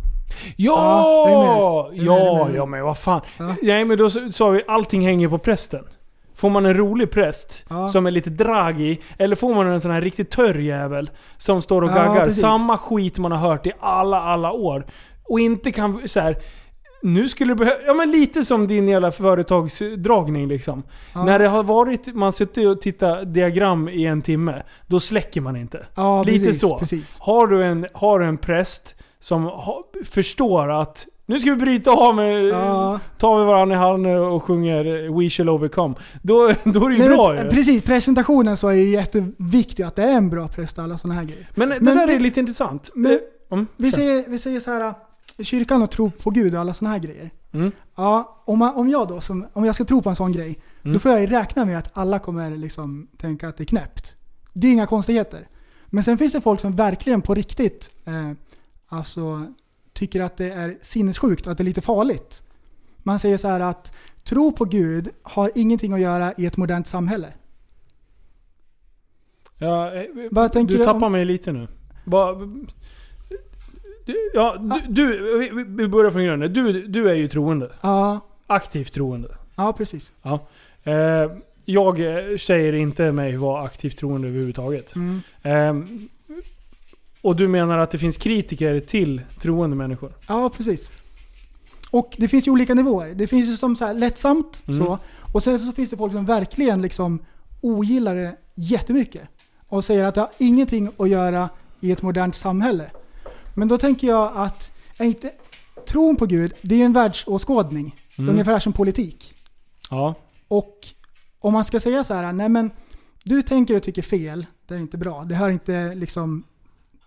Ja! är du med? Ja, Är du med? Är du ja, med? men vad fan. Ja. Nej men då så- sa vi allting hänger på prästen. Får man en rolig präst Ja. som är lite dragig, eller får man en sån här riktigt törr jävel som står och Ja, gaggar. precis. Samma skit man har hört i alla, alla år. Och inte kan så här. Nu skulle det behöva... Ja men lite som din jävla företagsdragning liksom. Ja. När det har varit, man sitter och tittar diagram i en timme, då släcker man inte. Ja, Lite precis, så. Precis. Har du en, har du en präst som ha, förstår att nu ska vi bryta av med... Ja. Tar vi varandra i handen och sjunger eh, We shall overcome. Då, då är det ju Nej, bra men, ju. Precis, presentationen så är ju jätteviktig att det är en bra präst och alla sådana här grejer. Men det men där vi- är lite intressant. men- Mm, Vi kör. säger, vi säger så här, äh, kyrkan och tro på Gud och alla sådana här grejer. Mm. Ja, om, man, om jag då, som, om jag ska tro på en sån grej, Mm. då får jag ju räkna med att alla kommer liksom tänka att det är knäppt. Det är inga konstigheter. Men sen finns det folk som verkligen på riktigt eh, alltså, tycker att det är sinnessjukt och att det är lite farligt. Man säger så här att tro på Gud har ingenting att göra i ett modernt samhälle. Ja, eh, Vad tänker du du tappar om- mig lite nu. Va, du, ja, Ah. du, du, vi- vi- vi börjar från grunden. Du, du är ju troende. Ja, Aktivt troende. ja precis. Eh, jag eh, säger inte mig vara aktivt troende överhuvudtaget. Mm. Ehm, och du menar att det finns kritiker till troende människor? Ja, precis. Och det finns ju olika nivåer. Det finns ju som så här lättsamt Mm. så. Och sen så finns det folk som verkligen liksom ogillar det jättemycket. Och säger att det har ingenting att göra i ett modernt samhälle. Men då tänker jag att är inte, tron på Gud, det är ju en världsåskådning. Mm. Ungefär som politik. Ja. Och om man ska säga så här, nej men du tänker och tycker fel, det är inte bra. Det hör inte liksom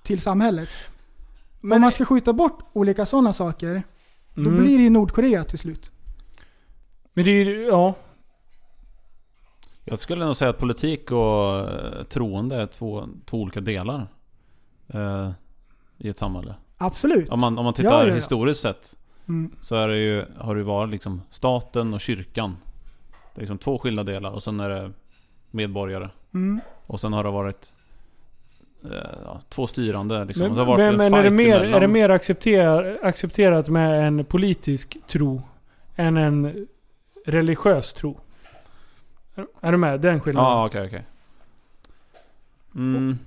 till samhället. Men om man ska skjuta bort olika sådana saker, då Mm. blir det ju Nordkorea till slut. Men det är ju, ja. Jag skulle nog säga att politik och eh, troende är två, två olika delar. Eh, I ett samhälle. Absolut. Om man, om man tittar Ja, ja, ja. historiskt sett. Mm. Så är det ju, har det ju varit liksom staten och kyrkan. Det är liksom två skilda delar och sen är det medborgare. Mm. Och sen har det varit eh, ja, två styrande. Liksom. Men, det har varit men, en men är det fight mer, emellan. är det mer accepter, accepterat med en politisk tro än en religiös tro? Är- Är du med? Den Ja, skillnaden? ah, okej, okej. Mm,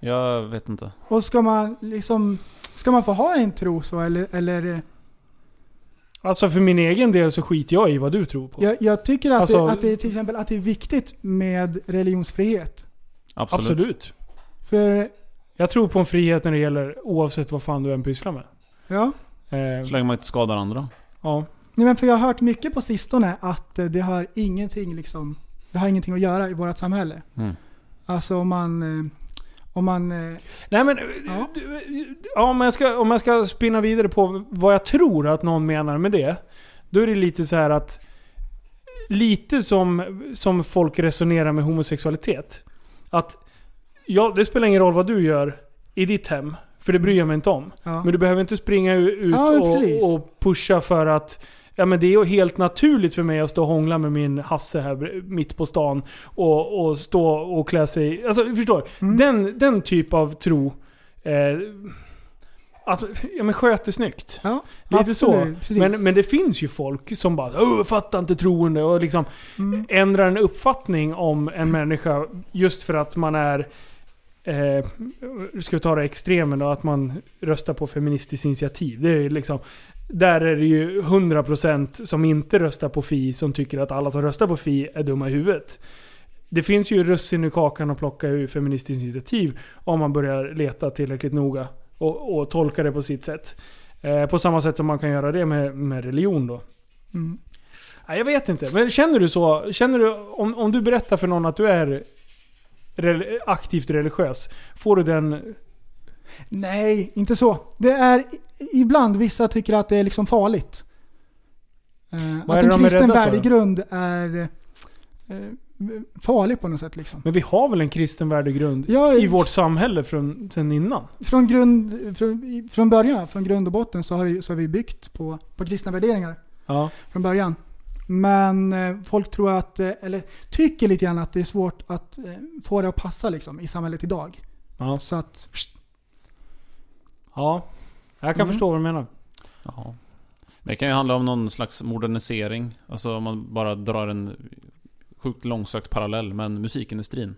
jag vet inte. Och ska man liksom, ska man få ha en tro så eller? eller Alltså för min egen del så skiter jag i vad du tror på. jag, jag tycker att, Alltså- det, att det är till exempel att det är viktigt med religionsfrihet. Absolut. Absolut. För, Jag tror på en frihet när det gäller oavsett vad fan du än pysslar med. ja. Eh, Så länge man inte skadar andra. ja. Nej, men för jag har hört mycket på sistone att eh, det har ingenting, liksom, det har ingenting att göra i vårt samhälle. Mm. Alltså om man... eh, Om man eh, Nej men, Ja. ja, om, jag ska, om jag ska spinna vidare på vad jag tror att någon menar med det. Då är det lite så här att, lite som, som folk resonerar med homosexualitet. Att, ja det spelar ingen roll vad du gör i ditt hem, för det bryr jag mig inte om. ja. Men du behöver inte springa u- ut Ja, men precis. och, och pusha för att Ja men det är ju helt naturligt för mig att stå och hångla med min Hasse här br- mitt på stan och, och stå och klä sig... Alltså förstår du? Mm. Den, den typ av tro... Eh, att, ja men sköt det snyggt. ja, Lite absolut, så. precis. Men, men det finns ju folk som bara "Åh, fattar inte troende och liksom Mm. ändrar en uppfattning om en människa just för att man är Eh, ska vi ta det extremen då, att man röstar på Feministiskt initiativ. Det är ju liksom, där är det ju 100% som inte röstar på Fi som tycker att alla som röstar på Fi är dumma i huvudet. Det finns ju russin i kakan att plocka ur Feministiskt initiativ om man börjar leta tillräckligt noga och, och tolka det på sitt sätt. Eh, på samma sätt som man kan göra det med, med religion då. Mm. Nej, jag vet inte. Men känner du så? Känner du, om, om du berättar för någon att du är rel- aktivt religiös, får du den... Nej, inte så. Det är i- ibland vissa tycker att det är liksom farligt. Eh, Vad att är det en de är kristen rädda för? värdegrund är eh, farlig på något sätt liksom. Men vi har väl en kristen värdegrund Ja, i vårt samhälle från, sen innan? Från, grund, från, i- från början, från grund och botten så har, det- så har vi byggt på, på kristna värderingar Ja. från början. Men eh, folk tror att, eh, eller tycker lite grann att det är svårt att eh, få det att passa liksom, i samhället idag. Ja. Så att, ja. Jag kan Mm. förstå vad du menar. Ja. Det kan ju handla om någon slags modernisering. Alltså om man bara drar en sjukt långsökt parallell. Men musikindustrin.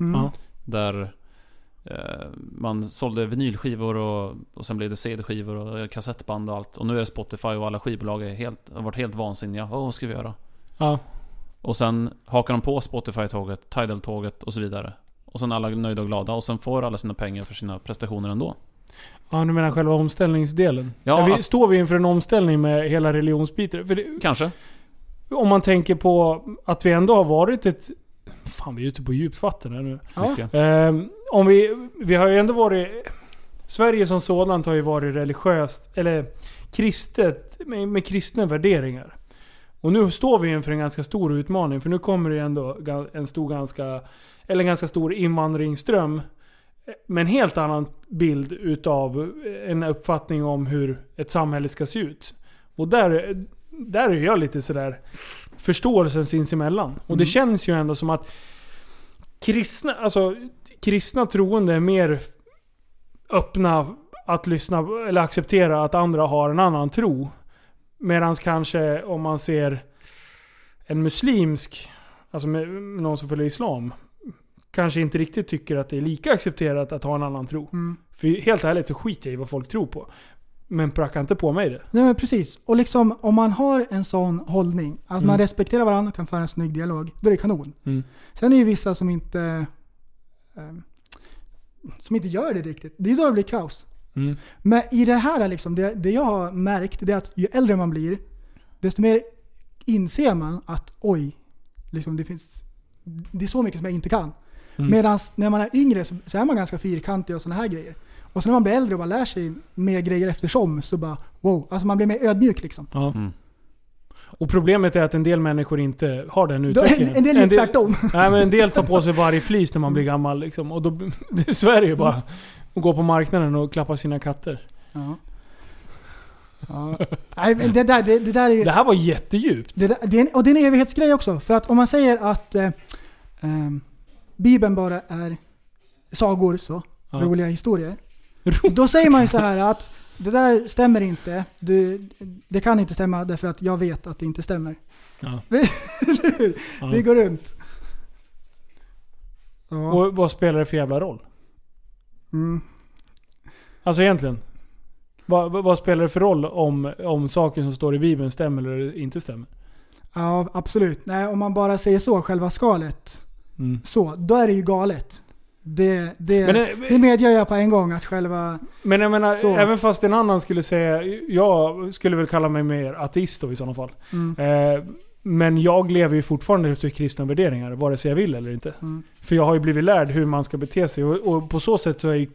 mm, Ja. Där eh, man sålde vinylskivor och, och sen blev det CD-skivor och kassettband och allt. Och nu är det Spotify och alla skivbolag är helt, har varit helt vansinniga. Åh, vad ska vi göra? Ja. Och sen hakar de på Spotify-tåget, Tidal-tåget och så vidare. Och sen är alla nöjda och glada och sen får alla sina pengar för sina prestationer ändå. Ja, du menar själva omställningsdelen? Ja, Ja, vi, att- Står vi inför en omställning med hela religionsbiten? För det, Kanske. om man tänker på att vi ändå har varit ett... Fan, vi är ute på djupt vatten här nu. Ja. Mycket. Ehm, om vi, vi har ju ändå varit... Sverige som sådant har ju varit religiöst, eller kristet, med, med kristna värderingar. Och nu står vi inför en ganska stor utmaning, för nu kommer det ju ändå ga- en stor, ganska, eller en ganska stor invandringsström. eh, Med en helt annan bild utav eh, en uppfattning om hur ett samhälle ska se ut. Och där, där är jag lite sådär förståelsen sinsemellan. Och det känns ju ändå som att kristna, alltså kristna troende är mer öppna att lyssna eller acceptera att andra har en annan tro. Medan kanske om man ser en muslimsk, alltså med, någon som följer islam, kanske inte riktigt tycker att det är lika accepterat att ha en annan tro. mm. För helt ärligt så skiter jag i vad folk tror på. Men pracka inte på mig det. Nej men precis. Och liksom om man har en sån hållning, att Mm. man respekterar varandra och kan föra en snygg dialog, då är det kanon. Mm. Sen är det ju vissa som inte, eh, som inte gör det riktigt. Det är då det blir kaos. Mm. Men i det här, liksom, det, det jag har märkt det är att ju äldre man blir, desto mer inser man att oj, liksom, det, finns, det är så mycket som jag inte kan. Mm. Medan när man är yngre så, så är man ganska fyrkantig och sådana här grejer. Och sen när man blir äldre och bara lär sig mer grejer eftersom så bara wow, alltså man blir mer ödmjuk liksom. Ja. Mm. Och problemet är att en del människor inte har den Då, en, utvecklingen. en del är ju tvärtom. Nej men en del tar på sig varje flis när man blir gammal liksom. Och då, så är det ju bara. Och går på marknaden och klappar sina katter. Ja. Ja. Nej, men det, där, det, det där är ju... Det här var jättedjupt. Det, där- det är en, och det är en evighetsgrej också. För att om man säger att eh, ehm, Bibeln bara är sagor, så, Ja. roliga historier. Då säger man ju så här att det där stämmer inte. Du, det kan inte stämma därför att jag vet att det inte stämmer. Ja. Eller hur? Ja. Det går runt. Ja. Och vad spelar det för jävla roll? Mm. Alltså egentligen. Vad, vad vad spelar det för roll om, om saker som står i Bibeln stämmer eller inte stämmer? ja, absolut. Nej, om man bara säger så, själva skalet, Mm. så, då är det ju galet. Det, det, Men, det, eh, medger jag på en gång att själva... men jag menar, Så. även fast en annan skulle säga... Jag skulle väl kalla mig mer ateist då i sådana fall. Mm, Eh, men jag lever ju fortfarande efter kristna värderingar, vare sig jag vill eller inte. mm. För jag har ju blivit lärd hur man ska bete sig. Och, och på så sätt så är ju...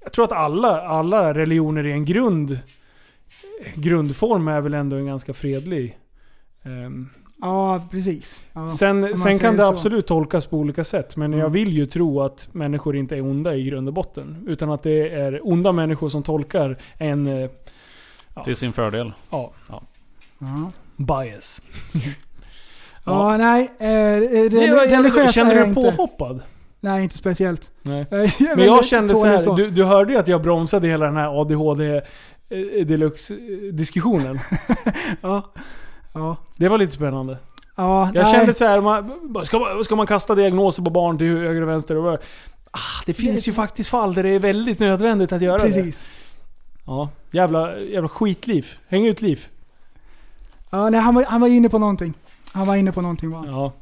Jag tror att alla, alla religioner i en grund... Grundform är väl ändå en ganska fredlig. ehm. Ja, precis. Ja. sen sen säger kan det så. absolut tolkas på olika sätt. Men jag Mm. vill ju tro att människor inte är onda i grund och botten. Utan att det är onda människor som tolkar en eh, Till sin fördel. ja, Ja, bias. ja nej. Eh, Det re, var jävligt religiös skönt. Kände är du jag dig inte. påhoppad? Nej, inte speciellt. Nej. Eh, jag är Men jag väldigt kände så tålig här, du, du hörde ju att jag bromsade hela den här ADHD eh, deluxe eh, diskussionen. Ja. Ja. Det var lite spännande. ja Jag nej. kände så här, man, ska, man, ska man kasta diagnoser på barn till höger och vänster? Och, Det finns ju faktiskt fall där det är väldigt nödvändigt att göra det. Precis. Ja. Jävla, jävla skitliv. Häng ut liv. Ja, nej, han, var, han var inne på någonting. Han var inne på någonting va? Ja,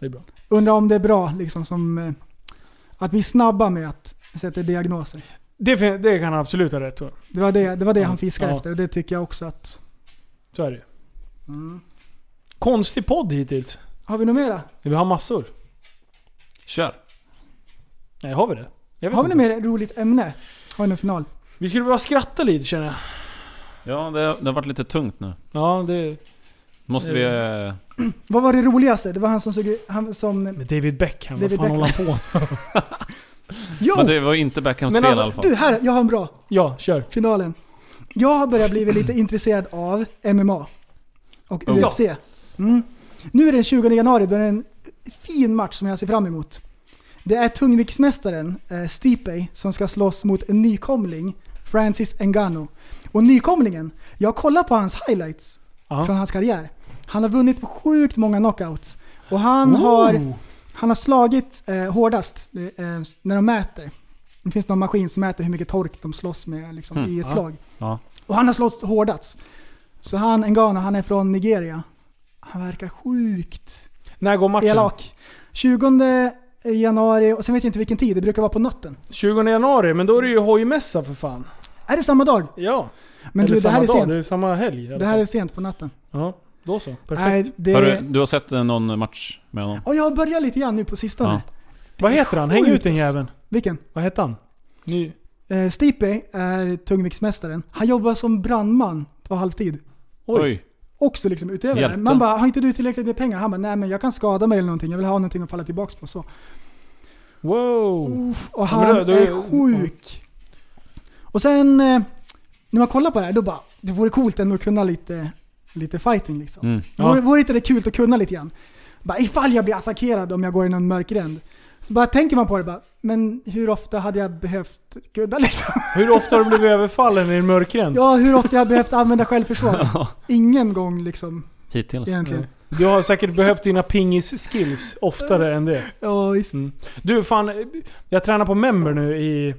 det är bra. Undrar om det är bra liksom som... eh, Att vi är snabba med att sätta diagnoser. Det, fin- det kan han absolut ha rätt för. Det var det, det, var det han fiskade Ja. efter och det tycker jag också att... Så är det ju. Mm. Konstig podd hittills. Har vi något mera? Vi har massor. Kör! Nej, har vi det? Jag vet Har vi något inte. mer roligt ämne? Har vi någon final? Vi skulle bara skratta lite känner jag. Ja, det, det har varit lite tungt nu. Ja, det... Måste vi... eh, Vad var det roligaste? Det var han som såg han som... Med David Beckham, David vad fan håller han på Jo! Men det var inte Beckhams Men fel alltså, i alla fall. Du, här! Jag har en bra. Ja, kör. Finalen. Jag har börjat bli lite intresserad av MMA och Oh. UFC. Mm. Nu är det den 20 januari, då är det en fin match som jag ser fram emot. Det är tungviktsmästaren eh, Stipe som ska slåss mot en nykomling, Francis Ngannou. Och nykomlingen, jag kollar på hans highlights Ja. från hans karriär. Han har vunnit på sjukt många knockouts. Och han har Oh. han har slagit eh, hårdast eh, eh, när de mäter. Det finns någon maskin som mäter hur mycket tork de slåss med liksom, Mm, i ett ja. slag. Ja. Och han har slått hårdast. Så han, Ngano, han är från Nigeria. Han verkar sjukt När går matchen? elak. 20 januari, och sen vet jag inte vilken tid, det brukar vara på natten. 20 januari, men då är det ju hojmässa för fan. Är det samma dag? Ja. Men Eller du, det samma här är dag, Det är sent. samma helg. i alla Det här är fall. sent på natten. Ja, då så. Perfekt. Nej, det... Har du, du har sett eh, någon match med honom? Och jag har börjat lite grann nu på sistone. Ja. vad heter han? Häng sjukt ut den alltså. jäveln. Vilken? Vad heter han? Ny. Eh, Stipe är tungviktsmästaren. Han jobbar som brandman på halvtid. Oj. Oj. också liksom utöver Hjälte. det. Man bara, har inte du tillräckligt med pengar? Han bara, nej men jag kan skada mig eller någonting. Jag vill ha någonting att falla tillbaks på. Så. Wow. Uff, och Ja, men han då- då är, är- sjuk. Och sen, eh, när man kollar på det här, då bara, det vore coolt ändå att kunna lite, lite fighting liksom. Mm. Vore, Ja. vore inte det kul att kunna lite grann? Bara, ifall jag blir attackerad om jag går i någon mörk gränd. Så bara tänker man på det bara, men hur ofta hade jag behövt kunna liksom? Hur ofta har du blivit överfallen i en mörkgränd? Ja, hur ofta jag har behövt använda självförsvar? Ingen gång liksom, Alltså, Hittills. egentligen. Du har säkert behövt dina pingis-skills oftare än det. Ja, visst. Mm. Du fan, jag tränar på Member nu i,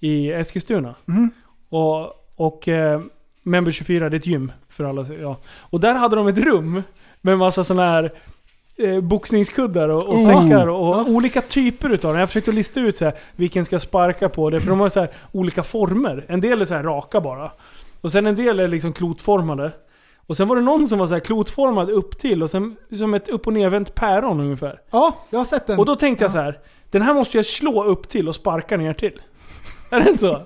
i Eskilstuna. Mhm. Och, och eh, Member 24, det är ett gym för alla. Ja. Och där hade de ett rum med en massa sådana här eh, boxningskuddar och, och säckar och olika typer utav dem. Jag försökte lista ut så här, vilken ska jag sparka på. Det, för de har så här, olika former. En del är så här raka bara. Och sen en del är liksom klotformade. Och sen var det någon som var så här klotformad upp till och sen som ett upp och nervänt päron ungefär. Ja, jag har sett den. Och då tänkte jag så här. Den här måste jag slå upp till och sparka ner till. Är det inte så?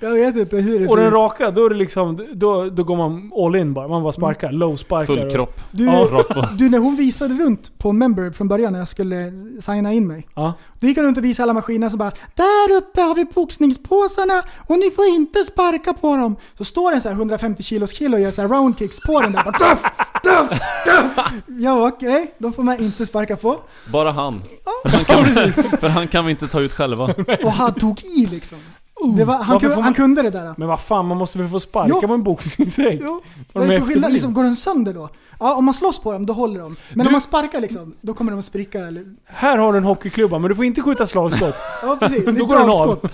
Jag vet inte hur det Och ser den ut. raka, då är det liksom, då, då går man all in bara. Man bara sparkar. Low sparkar. Full kropp. Du, Ja, rakt på. du, när hon visade runt på Member från början när jag skulle signa in mig. Ja. Då gick hon runt och visade alla maskiner som bara Där uppe har vi boxningspåsarna och ni får inte sparka på dem. Så står det en så här 150 kilos kille och gör så här roundkicks på den där. Bara, duff, duff, duff. Ja okej, de får man inte sparka på. Bara han. För han, kan, för han kan vi inte ta ut själva. Och han tog i liksom. Det var, han, Oh, Varför kunde, får man- han kunde det där. Men vad fan, man måste väl få sparka Jo. på en boxningssäng? Jo. Var Vad är de det för skillnad? efterblivna? Liksom, går de sönder då? Ja, om man slåss på dem då håller de. Men Du- om man sparkar liksom, då kommer de att spricka. Eller... Här har du en hockeyklubba, men du får inte skjuta slagskott. Ja precis, det är då går den dragskott. av.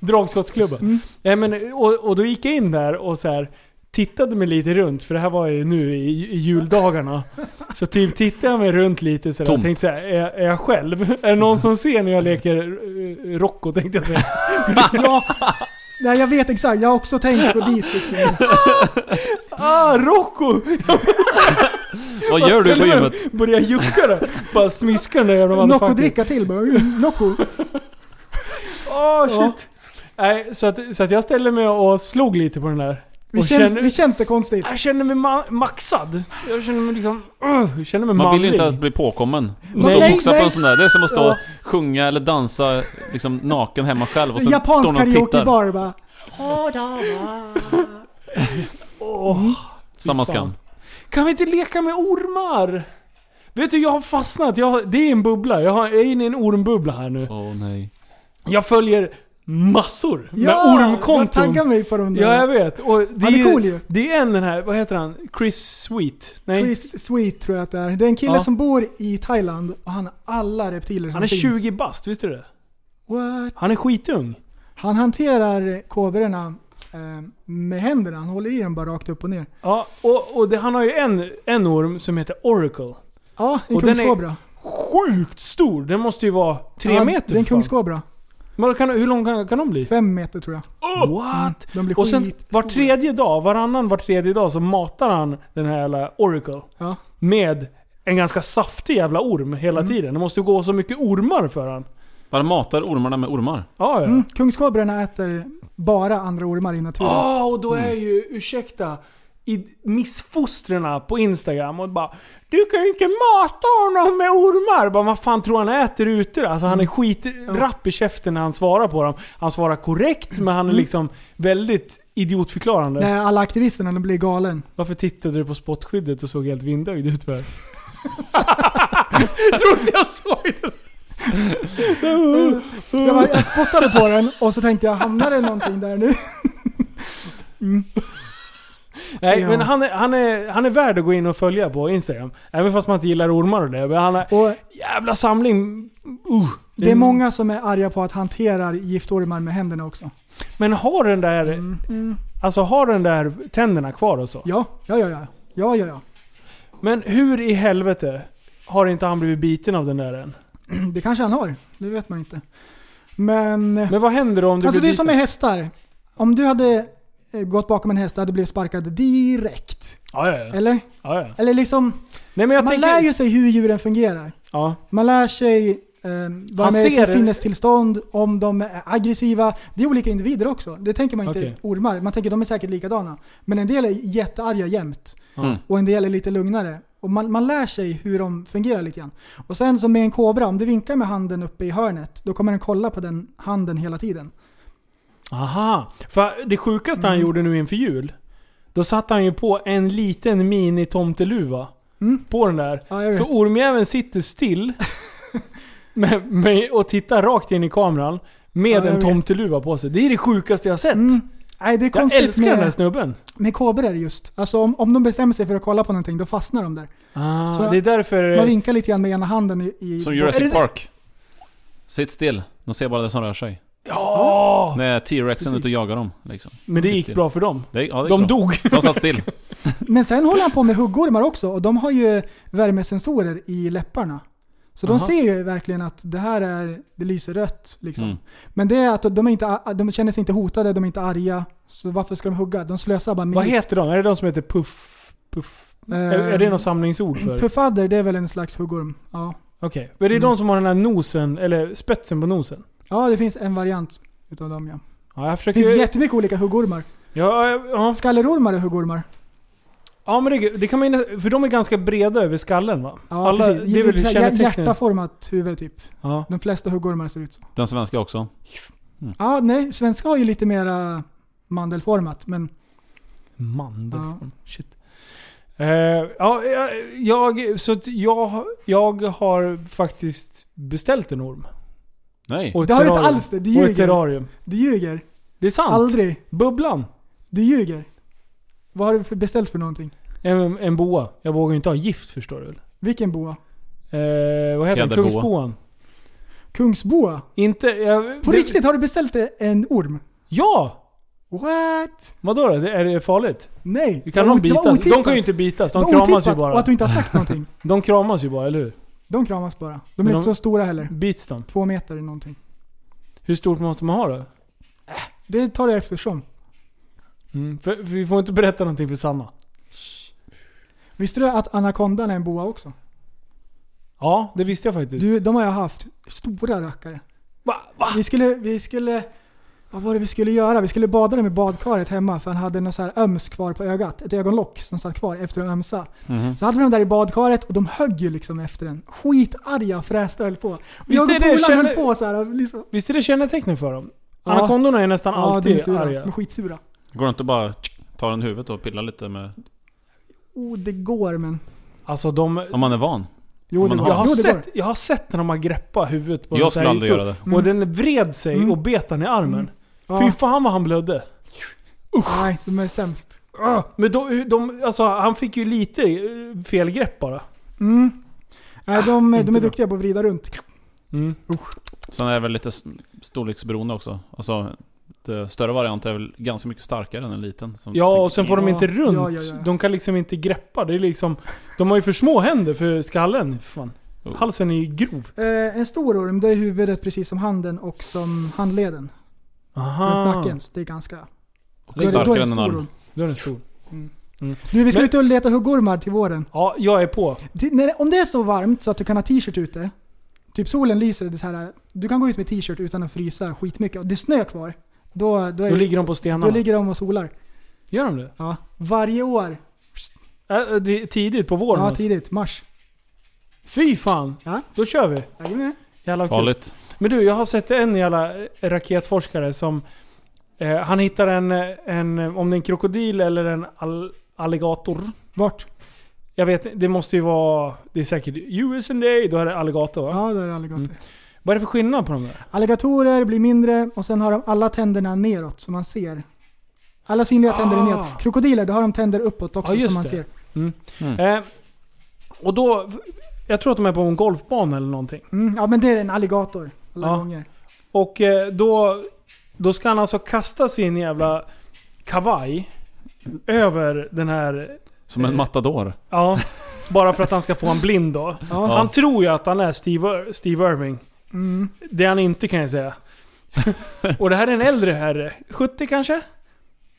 Dragskottsklubba. Nej, men, och, och då gick jag in där och så här, tittade mig lite runt, för det här var ju nu i, i juldagarna. Så typ tittade jag mig runt lite så där, Tomt. tänkte så här, är, är jag själv? Är det någon som ser när jag leker eh, Rocco tänkte jag säga. Ja, nej, jag vet exakt. Jag har också tänkt gå dit liksom. Ah, Rocco! Vad gör du på Ställer mig gymmet? upp, Börjar jucka där. Bara smiska den där jävla Nocco motherfuckern. dricka till bara. mm, Nocco. Ah, shit. Nej, så att, så att jag ställde mig och slog lite på den där. Vi Och känns, känner- vi känns det konstigt. Jag känner mig ma- maxad. Jag känner mig liksom... Uh, jag känner mig Man vill ju manlig. inte att bli påkommen. Och stå Nej, och boxa på nej. en sån där. Det är som att stå Ja. och sjunga eller dansa liksom naken hemma själv och sen Japansk står någon och tittar. karaokebar bara. Åh, Samma Fy skam. fan. Kan vi inte leka med ormar? Vet du, jag har fastnat. Jag, har- det är en bubbla. Jag, har, jag är inne i en ormbubbla här nu. Åh nej. Jag följer massor med Ja, jag ormkonton. taggar mig på dem där. Ja, jag vet. Och det Han är ju- cool ju. Det är en den här, vad heter han? Chris Sweet? Nej. Chris Sweet tror jag att det är. Det är en kille Ja. som bor i Thailand och han har alla reptiler som han är finns. 20 bast, visste du det? What? Han är skitung. Han hanterar kobrorna eh, med händerna. Han håller i dem bara rakt upp och ner. Ja, och, och det, han har ju en, en orm som heter Oracle. Ja, en Och den är- kungskobra. Sjukt stor! Den måste ju vara tre ja, meter Det är en för fan. kungskobra. Men kan, Hur lång kan, kan de bli? Fem meter tror jag. What? De blir Och sen skitstora. var tredje dag, varannan var tredje dag så matar han den här jävla Oracle. Ja. Med en ganska saftig jävla orm hela Mm. tiden. Det måste ju gå så mycket ormar för han. Bara matar ormarna med ormar. Ja, ja. Mm. Kungskobrorna äter bara andra ormar i naturen. Ja, Ah, och då Mm. är ju, ursäkta, i missfostrarna på Instagram och bara Du kan ju inte mata honom med ormar! Bara, vad fan tror han äter ute? Alltså Mm. han är skitrapp i käften när han svarar på dem. Han svarar korrekt men han är Mm. liksom väldigt idiotförklarande. När alla aktivisterna de blir galen. Varför tittade du på spottskyddet och såg helt vindögd ut för? Tror inte jag såg det! Jag, bara, jag spottade på den och så tänkte jag, hamnar det någonting där nu? Nej Ja. men han är, han, är, han är värd att gå in och följa på Instagram. Även fast man inte gillar ormar och det. Men han är, Och jävla samling. Uh, det är många som är arga på att hantera giftormar med händerna också. Men har den där, alltså har den där tänderna kvar och så? Mm, Ja, ja, ja, ja. Ja, ja, ja. Men hur i helvete har inte han blivit biten av den där än? Det kanske han har. Det vet man inte. Men... Men vad händer om du alltså det blir är som med biten? hästar. Om du hade eh, gått bakom en häst, du hade blivit sparkad direkt. Ja, ja, ja. Eller? ja, ja. Eller liksom... Nej men jag man tänker... lär ju sig hur djuren fungerar. Ja. Man lär sig um, vad Han de är ser för det. sinnestillstånd, om de är aggressiva. Det är olika individer också. Det tänker man inte Okej. ormar. Man tänker de är säkert likadana. Men en del är jättearga jämt. Mm. Och en del är lite lugnare. Och man, man lär sig hur de fungerar lite grann. Och sen som med en kobra, om du vinkar med handen uppe i hörnet, då kommer den kolla på den handen hela tiden. Aha. För det sjukaste han Mm. gjorde nu inför jul. Då satte han ju på en liten mini tomteluva. Mm. På den där. Ja, jag vet. Så ormjäveln sitter still. med, med, och tittar rakt in i kameran. Ja, Med jag en vet. tomteluva på sig. Det är det sjukaste jag har sett. Mm. Nej, det är Jag konstigt älskar den där med, snubben. med kobror just. Alltså om, om de bestämmer sig för att kolla på någonting, då fastnar de där. Ah, Så- det är därför... Man vinkar lite grann med ena handen i... i Som bo- Är Jurassic det- Park. Sitt still. De ser bara det som rör sig. Ja! När T-rexen är ute och Precis. jagar dem. Liksom. Men det Sitt gick still. bra för dem. Det, ja, det är De bra. dog. De satt still. Men sen håller han på med huggormar också och de har ju värmesensorer i läpparna. Så de Aha. ser ju verkligen att det här är, det lyser rött. Liksom. Mm. Men det är att de, är inte, a- de känner sig inte hotade, de är inte arga. Så varför ska de hugga? De slösar bara med Vad gift. heter de? Är det de som heter Puff? Puff? är, Eh, är det något samlingsord för? Puffadder, Eh, det är väl en slags huggorm? Ja, Okej. Men Mm. det är de som har den här nosen, eller spetsen på nosen? ja det finns en variant utav dem ja. Ja, jag Det försöker... finns jättemycket olika huggormar. ja, ja, ja. Skallerormar är huggormar. ja, men det, det kan man ju... För de är ganska breda över skallen va? Ja, Alla- precis. det är väl Lite så här kännetecknet. Hjärtaformat huvud typ. Ja. De flesta huggormar ser ut så. Den svenska också. Ja, nej, svenska har ju lite mera mandelformat, men Mandelform. Shit. Eh, ja, jag- jag, så att jag, jag har faktiskt beställt en orm. Nej. Och ett det har du inte terrarium. alls det. Du Och ett ljuger. terrarium. Du ljuger. Det är sant. Aldrig. Bubblan. Du ljuger. Vad har du för- beställt för någonting? En, en boa. Jag vågar ju inte ha gift förstår du väl? Vilken boa? Eh, vad heter den? Fjäderboa. Kungsboan. Kungsboa? Inte... Jag, På det- riktigt, har du beställt en orm? Ja! What? Vadå då? Det- Är det farligt? Nej. Vi kan Det var de o- det var bitas? De otippat. kan ju inte bitas. Det De var kramas ju otippat Och bara. att du inte har sagt någonting. De kramas ju bara, eller hur? De kramas bara. De är Men inte de- så stora heller. Bits de? Två meter eller någonting. Hur stort måste man ha då? Det tar jag eftersom. Mm, för, för vi får inte berätta någonting för Sanna. Visste du att anakondan är en boa också? Ja, det visste jag faktiskt. Du, de har jag haft. Stora rackare. Va? Va? Vi skulle, vi skulle, vad var det vi skulle göra? Vi skulle bada dem i badkaret hemma för han hade något så här öms kvar på ögat. Ett ögonlock som satt kvar efter en ömsa. Mhm. Så hade vi dem där i badkaret och de högg ju liksom efter den. Skitarga och fräste höll på. Visst Jag och är det- polaren känner- höll på så här. och Liksom. Visst är det kännetecknet för dem? Ja. Anakondorna är nästan Ja, de är alltid sura. De arga. är skitsura. Går det inte att bara ta den i huvudet och pilla lite med... Oh, det går men. Alltså de... Om man är van. Jo, Om det går. man har- Jag har, jo, det sett, går. jag har sett när de har greppat huvudet på Jag en skulle aldrig gitarr. göra Och den vred sig Mm. och bet han i armen. Ja. Fy fan vad han blödde. Nej, de är sämst. Ah, Men de, de, alltså, han fick ju lite eh, fel grepp bara. Mm. Nej, de, de Ah, inte är bra. duktiga på att vrida runt. Mm. Sen är det väl lite s- storleksberoende också. Alltså, det större variant är väl ganska mycket starkare än en liten. Som Ja, och sen får de Ja, inte runt. ja, ja, ja. De kan liksom inte greppa. Det är liksom, de har ju för små händer för skallen. Fan. Oh. Halsen är ju grov. Eh, en stor orm, det är huvudet precis som handen och som handleden. Runt Aha. nacken. Så det är ganska... och Då är det- då är det starkare än en stor arm. orm. Då är den stor. Du, vi ska Men- ut och leta huggormar till våren. Ja, jag är på. Till- när, om det är så varmt så att du kan ha t-shirt ute, typ solen lyser, det är så här, du kan gå ut med t-shirt utan att frysa skitmycket och det är snö kvar. Då, då, är, Då då, ligger de på stenarna. ligger de och solar. Gör de det? Ja. Varje år. Äh, det är tidigt på våren Ja, alltså. tidigt. Mars. Fy fan. Ja. Då kör vi. Jajamän. Jävla kul. Farligt. Men du, jag har sett en jävla eh, raketforskare som... Eh, han hittar en, eh, en... eh, Om det är en krokodil eller en all, alligator. Vart? Jag vet det måste ju vara... Det är säkert USA, då är det alligator va? Ja, där är alligatorer. Mm. Vad är det för skillnad på de där? Alligatorer blir mindre och sen har de alla tänderna neråt som man ser. Alla synliga tänder är Ah. neråt. Krokodiler, då har de tänder uppåt Ja, också just som man det. ser. Eh, och då... Jag tror att de är på en golfbana eller någonting. Mm, ja, men det är en alligator. Alla Ja. gånger. Och eh, då, då ska han alltså kasta sin jävla kavaj över den här... Som en Eh. matador. Ja, bara för att han ska få en blind då. Ja. Han tror ju att han är Steve, Ir- Steve Irving. Mm. Det är han inte kan jag säga. Och det här är en äldre herre, 70 kanske?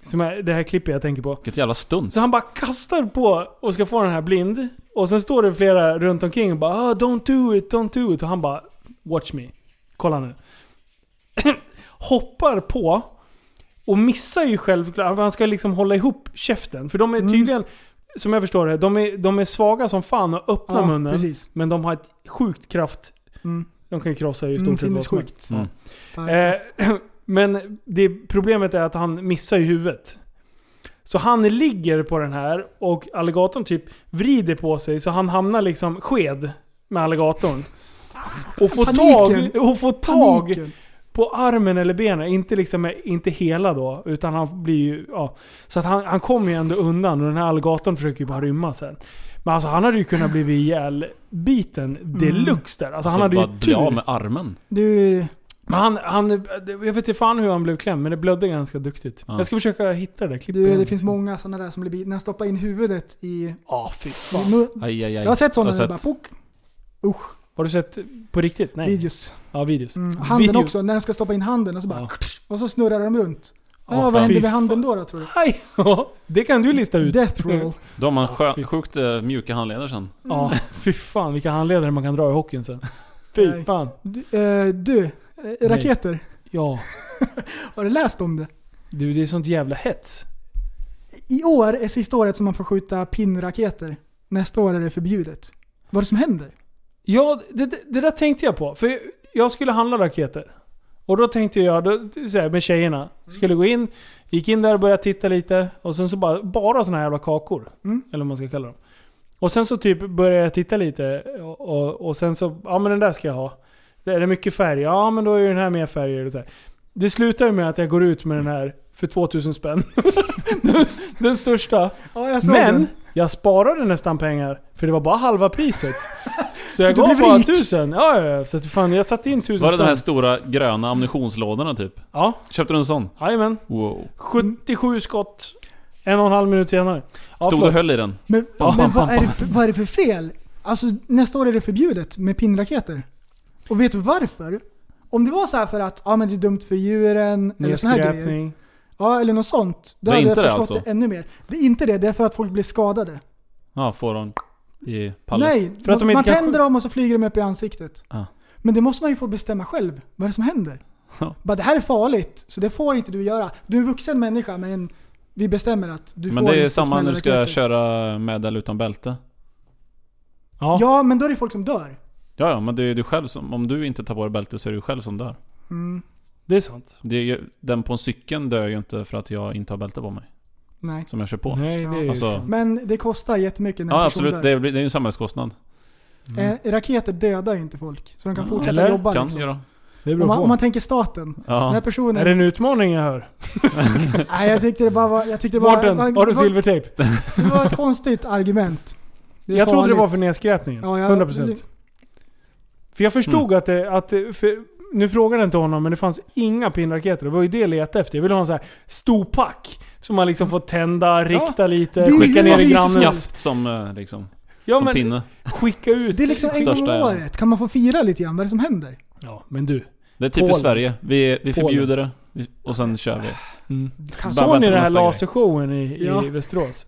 Som är det här klippet jag tänker på. Vilket jävla stunt. Så han bara kastar på och ska få den här blind. Och sen står det flera runt omkring och bara ah, “Don't do it, don't do it” och han bara “Watch me”. Kolla nu. Hoppar på och missar ju självklart, för han ska liksom hålla ihop käften. För Mm. de är tydligen, som jag förstår det, de är, de är svaga som fan och öppnar Ja, munnen. precis. Men de har ett sjukt kraft. Mm. De kan ju krossa i Mm, stort sett vad som helst. sinnessjukt. Mm. Starkt. Eh, men det, problemet är att han missar ju huvudet. Så han ligger på den här och alligatorn typ vrider på sig så han hamnar liksom sked med alligatorn. Och får Paniken. tag, och får tag Paniken. på armen eller benen. Inte, liksom, inte hela då, utan han blir ju... Ja. Så att han, han kommer ju ändå undan och den här alligatorn försöker ju bara rymma sen. Men alltså han hade ju kunnat bli ihjälbiten Mm. deluxe där. Alltså, han Så hade ju bara bli tur. av med armen. Du, Men han, han, jag vet inte fan hur han blev klämd, men det blödde ganska duktigt. Ja. Jag ska försöka hitta det där klippet. du, det finns många sådana där som blir bit. När jag stoppar in huvudet i, i Ja, fy fan. mun. Aj, aj, aj. Jag har sett sådana Jag har där bara sett. pok. Usch, Har du sett på riktigt? Nej. videos. Ja, videos. Mm. Handen videos. också, när de ska stoppa in handen och så bara Ja. och så snurrar de runt. Ja, Ja, fan. vad händer Fy med handen då, då tror du? Aj! ja, det kan du lista ut. Death roll. Då har man fy. sjö, sjukt eh, mjuka handleder sen. Ja, fy fan vilka handledare man kan dra i hockeyn sen. Fy Nej. fan. Du, eh, du eh, raketer. Ja. Har du läst om det? Du, det är sånt jävla hets. I år är sista året som man får skjuta pinnraketer. Nästa år är det förbjudet. Vad är det som händer? Ja, det, det, det där tänkte jag på. För jag- jag skulle handla raketer. Och då tänkte jag, då, så här, med tjejerna, skulle gå in, gick in där och började titta lite. Och sen så bara, bara såna här jävla kakor. Mm. Eller vad man ska kalla dem. Och sen så typ började jag titta lite och, och, och sen så, ja men den där ska jag ha. Det är det mycket färg? Ja men då är ju den här mer färger. Och så här. Det slutar ju med att jag går ut med den här för 2000 spänn. den, den största. Ja, jag Men jag sparade nästan pengar, för det var bara halva priset. Så jag du gav blev bara rik? tusen. Ja, ja, ja. Så att fan, jag satte in tusen Var det de här spänn. stora gröna ammunitionslådorna typ? Ja, Köpte du en sån? jajamän. Wow. 77 skott. En och en halv minut senare. Ja, Stod du förlåt. och höll i den? Men, Bam, men bam, vad, bam, är det bam. för, vad är det för fel? Alltså nästa år är det förbjudet med pinnraketer. Och vet du varför? Om det var så här för att ja, men det är dumt för djuren eller såna här grejer. Nedskräpning. Ja, eller något sånt. Då Det är hade inte jag det förstått alltså? det ännu mer. Det är inte det, det är för att folk blir skadade. Ja, får hon i pallet. Nej, För att de inte man kan tänder skjuta. dem och så flyger de upp i ansiktet. Ah. Men det måste man ju få bestämma själv. Vad är det som händer? Ja. Bara det här är farligt, så det får inte du göra. Du är en vuxen människa men vi bestämmer att du Men får det är inte samma smälla när du ska raketer. köra med eller utan bälte. Ja. Ja, men då är det folk som dör. Ja, ja, men det är du själv som... Om du inte tar på dig bälte så är det du själv som dör. Mm, det är sant. Det är ju, den på en cykeln dör ju inte för att jag inte har bälte på mig. nej. Som jag kör på. Nej, det är ju Alltså, sant. Men det kostar jättemycket när en Ja, person absolut. dör. Det, blir- det är ju en samhällskostnad. Eh, raketer dödar ju inte folk, så de kan Ja, fortsätta eller jobba. Kan liksom. göra. Det om, beror man, på. om man tänker staten. Den här Ja. personen... Är det en utmaning jag hör? Nej, jag tyckte det bara var... Jag tyckte det bara, Mårten, var, har du var, silvertejp? det var ett konstigt argument. Det är Jag trodde det var farligt. för nedskräpningen. Ja, jag- 100%. För jag förstod Mm. att det... Att, det- för, nu frågade jag inte honom, men det fanns inga pinraketer. Det var ju det jag letade efter. Jag ville ha en sån här stor pack. Som man liksom får tända, rikta det lite, är ju skicka ner i precis grannens... Skaft som, eh, liksom, Ja, som men, pinne. skicka ut. Det är liksom en gång om Största, ja. året. Kan man få fira lite grann? Vad är det som händer? Ja, men du. Det är typiskt Polen. Sverige. Vi, Polen. vi förbjuder det. Vi- Och sen kör vi. Mm. Kanske. Såg Bara ni vänta på den här nästa grej. lasershowen i, Ja. i Västerås?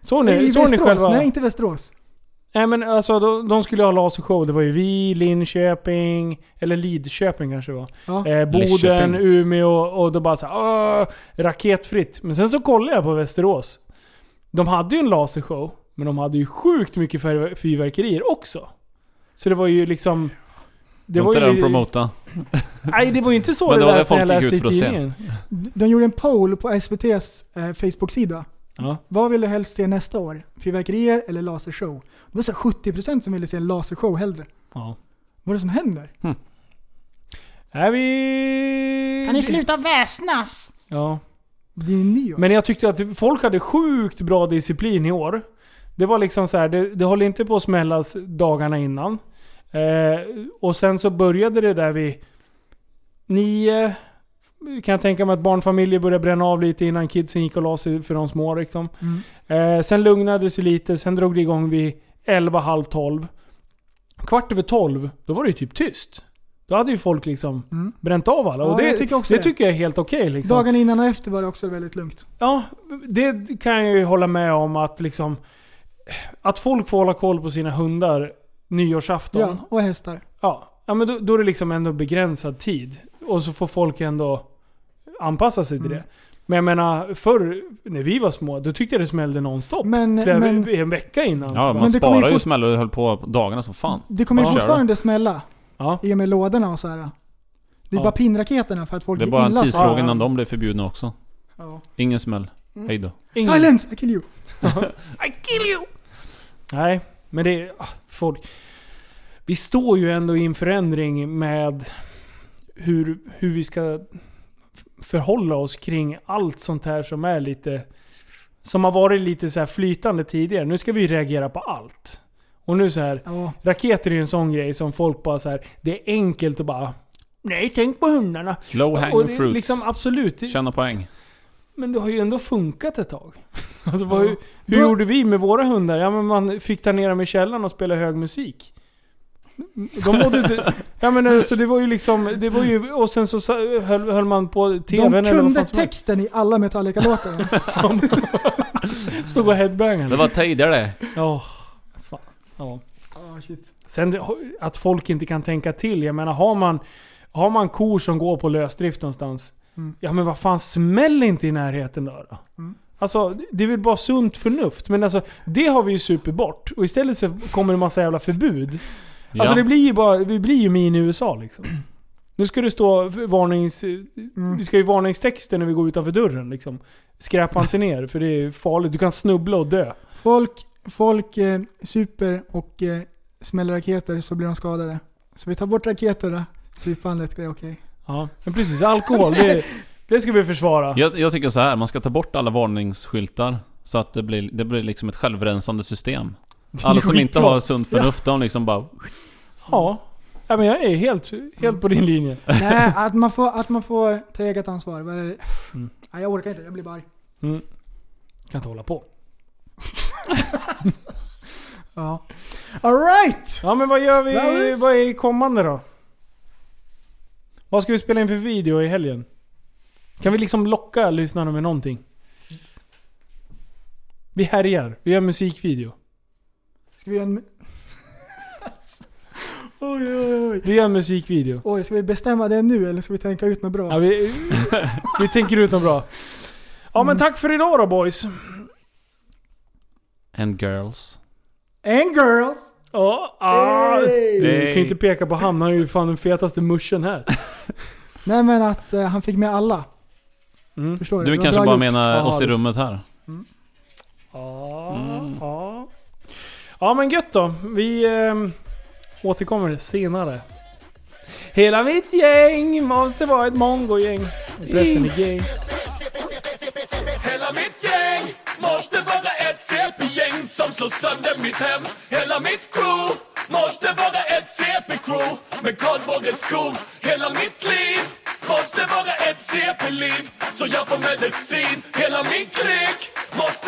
Såg Nej, ni, såg ni Västerås. själva? Nej, Nej. inte Västerås. men alltså de, de skulle ha lasershow. Det var ju vi, Linköping, eller Lidköping kanske det var. Ja. Eh, Boden, Lidköping. Umeå och då bara såhär raketfritt. Men sen så kollade jag på Västerås. De hade ju en lasershow, men de hade ju sjukt mycket fyrver- fyrverkerier också. Så det var ju liksom... Det var inte det de li- promota. Nej, det var ju inte så Men det det var lät det när jag folk gick läste i ut för att se. tidningen. De gjorde en poll på SVT's eh, Facebook-sida. Ja. Vad vill du helst se nästa år? Fyrverkerier eller lasershow? Det var så här 70% som ville se en lasershow hellre. Ja. Vad är det som händer? Är vi... Kan ni sluta väsnas? Ja. Det är nyår. Men jag tyckte att folk hade sjukt bra disciplin i år. Det var liksom så här, det, det håller inte på att smällas dagarna innan. Eh, och sen så började det där vid nio. Kan jag tänka mig att barnfamiljer började bränna av lite innan kidsen gick och la sig för de små liksom. Mm. Eh, sen lugnade det sig lite, sen drog det igång vid elva, halv tolv. Kvart över tolv, då var det ju typ tyst. Då hade ju folk liksom Mm. bränt av alla. Ja, och det, jag tycker också det det. tycker jag är helt okej liksom. Dagen innan och efter var det också väldigt lugnt. Ja, det kan jag ju hålla med om att liksom... Att folk får hålla koll på sina hundar nyårsafton. Ja. Ja, och hästar. Ja, men då, då är det liksom ändå begränsad tid. Och så får folk ändå anpassa sig till Mm. det. Men jag menar, förr när vi var små, då tyckte jag det smällde nonstop. Men, Flera- men en vecka innan. Ja, va? man det kommer ju sparar ju fort- smällar och höll på dagarna som fan. det kommer ju Ja. fortfarande smälla. Ja. I och med lådorna och så här. Det är Ja. bara pinnraketerna för att folk Det är bara en illa. tids- tidsfråga Ja. innan de blir förbjudna också. Ja. Ingen smäll. Mm. Hej då. Ingen- Silence! I kill you! I kill you! Nej, men det... ah, Folk, vi står ju ändå i en förändring med hur, hur vi ska förhålla oss kring allt sånt här som är lite... Som har varit lite så här flytande tidigare. Nu ska vi ju reagera på allt. Och nu så här, Ja. raketer är ju en sån grej som folk bara så här, det är enkelt att bara... Nej, tänk på hundarna. Low och hanging det, är fruits. liksom absolut. det- Tjäna poäng. men det har ju ändå funkat ett tag. Alltså, vad, hur hur Då- gjorde vi med våra hundar? Ja, men man fick ta ner dem i källaren och spela hög musik. De mådde inte... ja, men, alltså, det var ju liksom... Det var ju, och sen så sa- höll, höll man på TVn De eller vad kunde fan som helst. texten i alla Metallica-låtar. Stod och headbangade. Det var tidigare det. Ja, fan. Ja. Ja, shit. Sen det- att folk inte kan tänka till. Jag menar, har man, har man kor som går på lösdrift någonstans. Mm. Ja men vad fan, smäll inte i närheten då. då. Mm. Alltså, det är väl bara sunt förnuft. Men alltså, det har vi ju supit bort. Och istället så kommer det massa jävla förbud. Ja. Alltså det blir ju bara, vi blir ju mini-USA liksom. Nu ska det stå varnings... Mm. Vi ska ju varningstexter när vi går utanför dörren liksom. Skräpa inte ner, för det är farligt. Du kan snubbla och dö. Folk, folk eh, super och eh, smäller raketer så blir de skadade. Så vi tar bort raketerna. Så vi fan lätt, det är okej. Ja, men precis. Alkohol, det, det ska vi försvara. Jag, jag tycker så här, man ska ta bort alla varningsskyltar. Så att det blir, det blir liksom ett självrensande system. Alla som inte skitbra. har sunt förnuft, de liksom bara... Ja. ja men jag är helt, helt på din linje. Nej, att man, får, att man får ta eget ansvar. Vad är det? Mm. Nej, jag orkar inte, jag blir bara arg. Kan inte hålla på. Ja. Alright! Ja men vad gör vi? Flowers? Vad är kommande då? Vad ska vi spela in för video i helgen? Kan vi liksom locka lyssnarna med någonting? Vi härjar. Vi gör musikvideo. Ska vi göra en... oj, oj, oj. Vi gör musikvideo. Oj, ska vi bestämma det nu eller ska vi tänka ut något bra? Ja, vi, vi tänker ut något bra. Ja men tack för idag då boys. And girls. And girls! Ja, ah, Du Hey! kan ju Hey. inte peka på han, han är ju fan den fetaste muschen här. Nej men att eh, han fick med alla. Mm. Förstår du? Du Det var kanske bra bara gjort. menar Ja, oss i det- rummet här. Ja, ja. ja men gött då. Vi eh, återkommer senare. Hela mitt gäng måste vara ett mongogäng. Resten är gay. Hela mitt gäng måste vara ett CP-gäng som slår sönder mitt hem Hela mitt crew måste vara ett CP-crew kardborrens skog Hela mitt liv måste vara ett CP-liv Så jag får medicin Hela min klick måste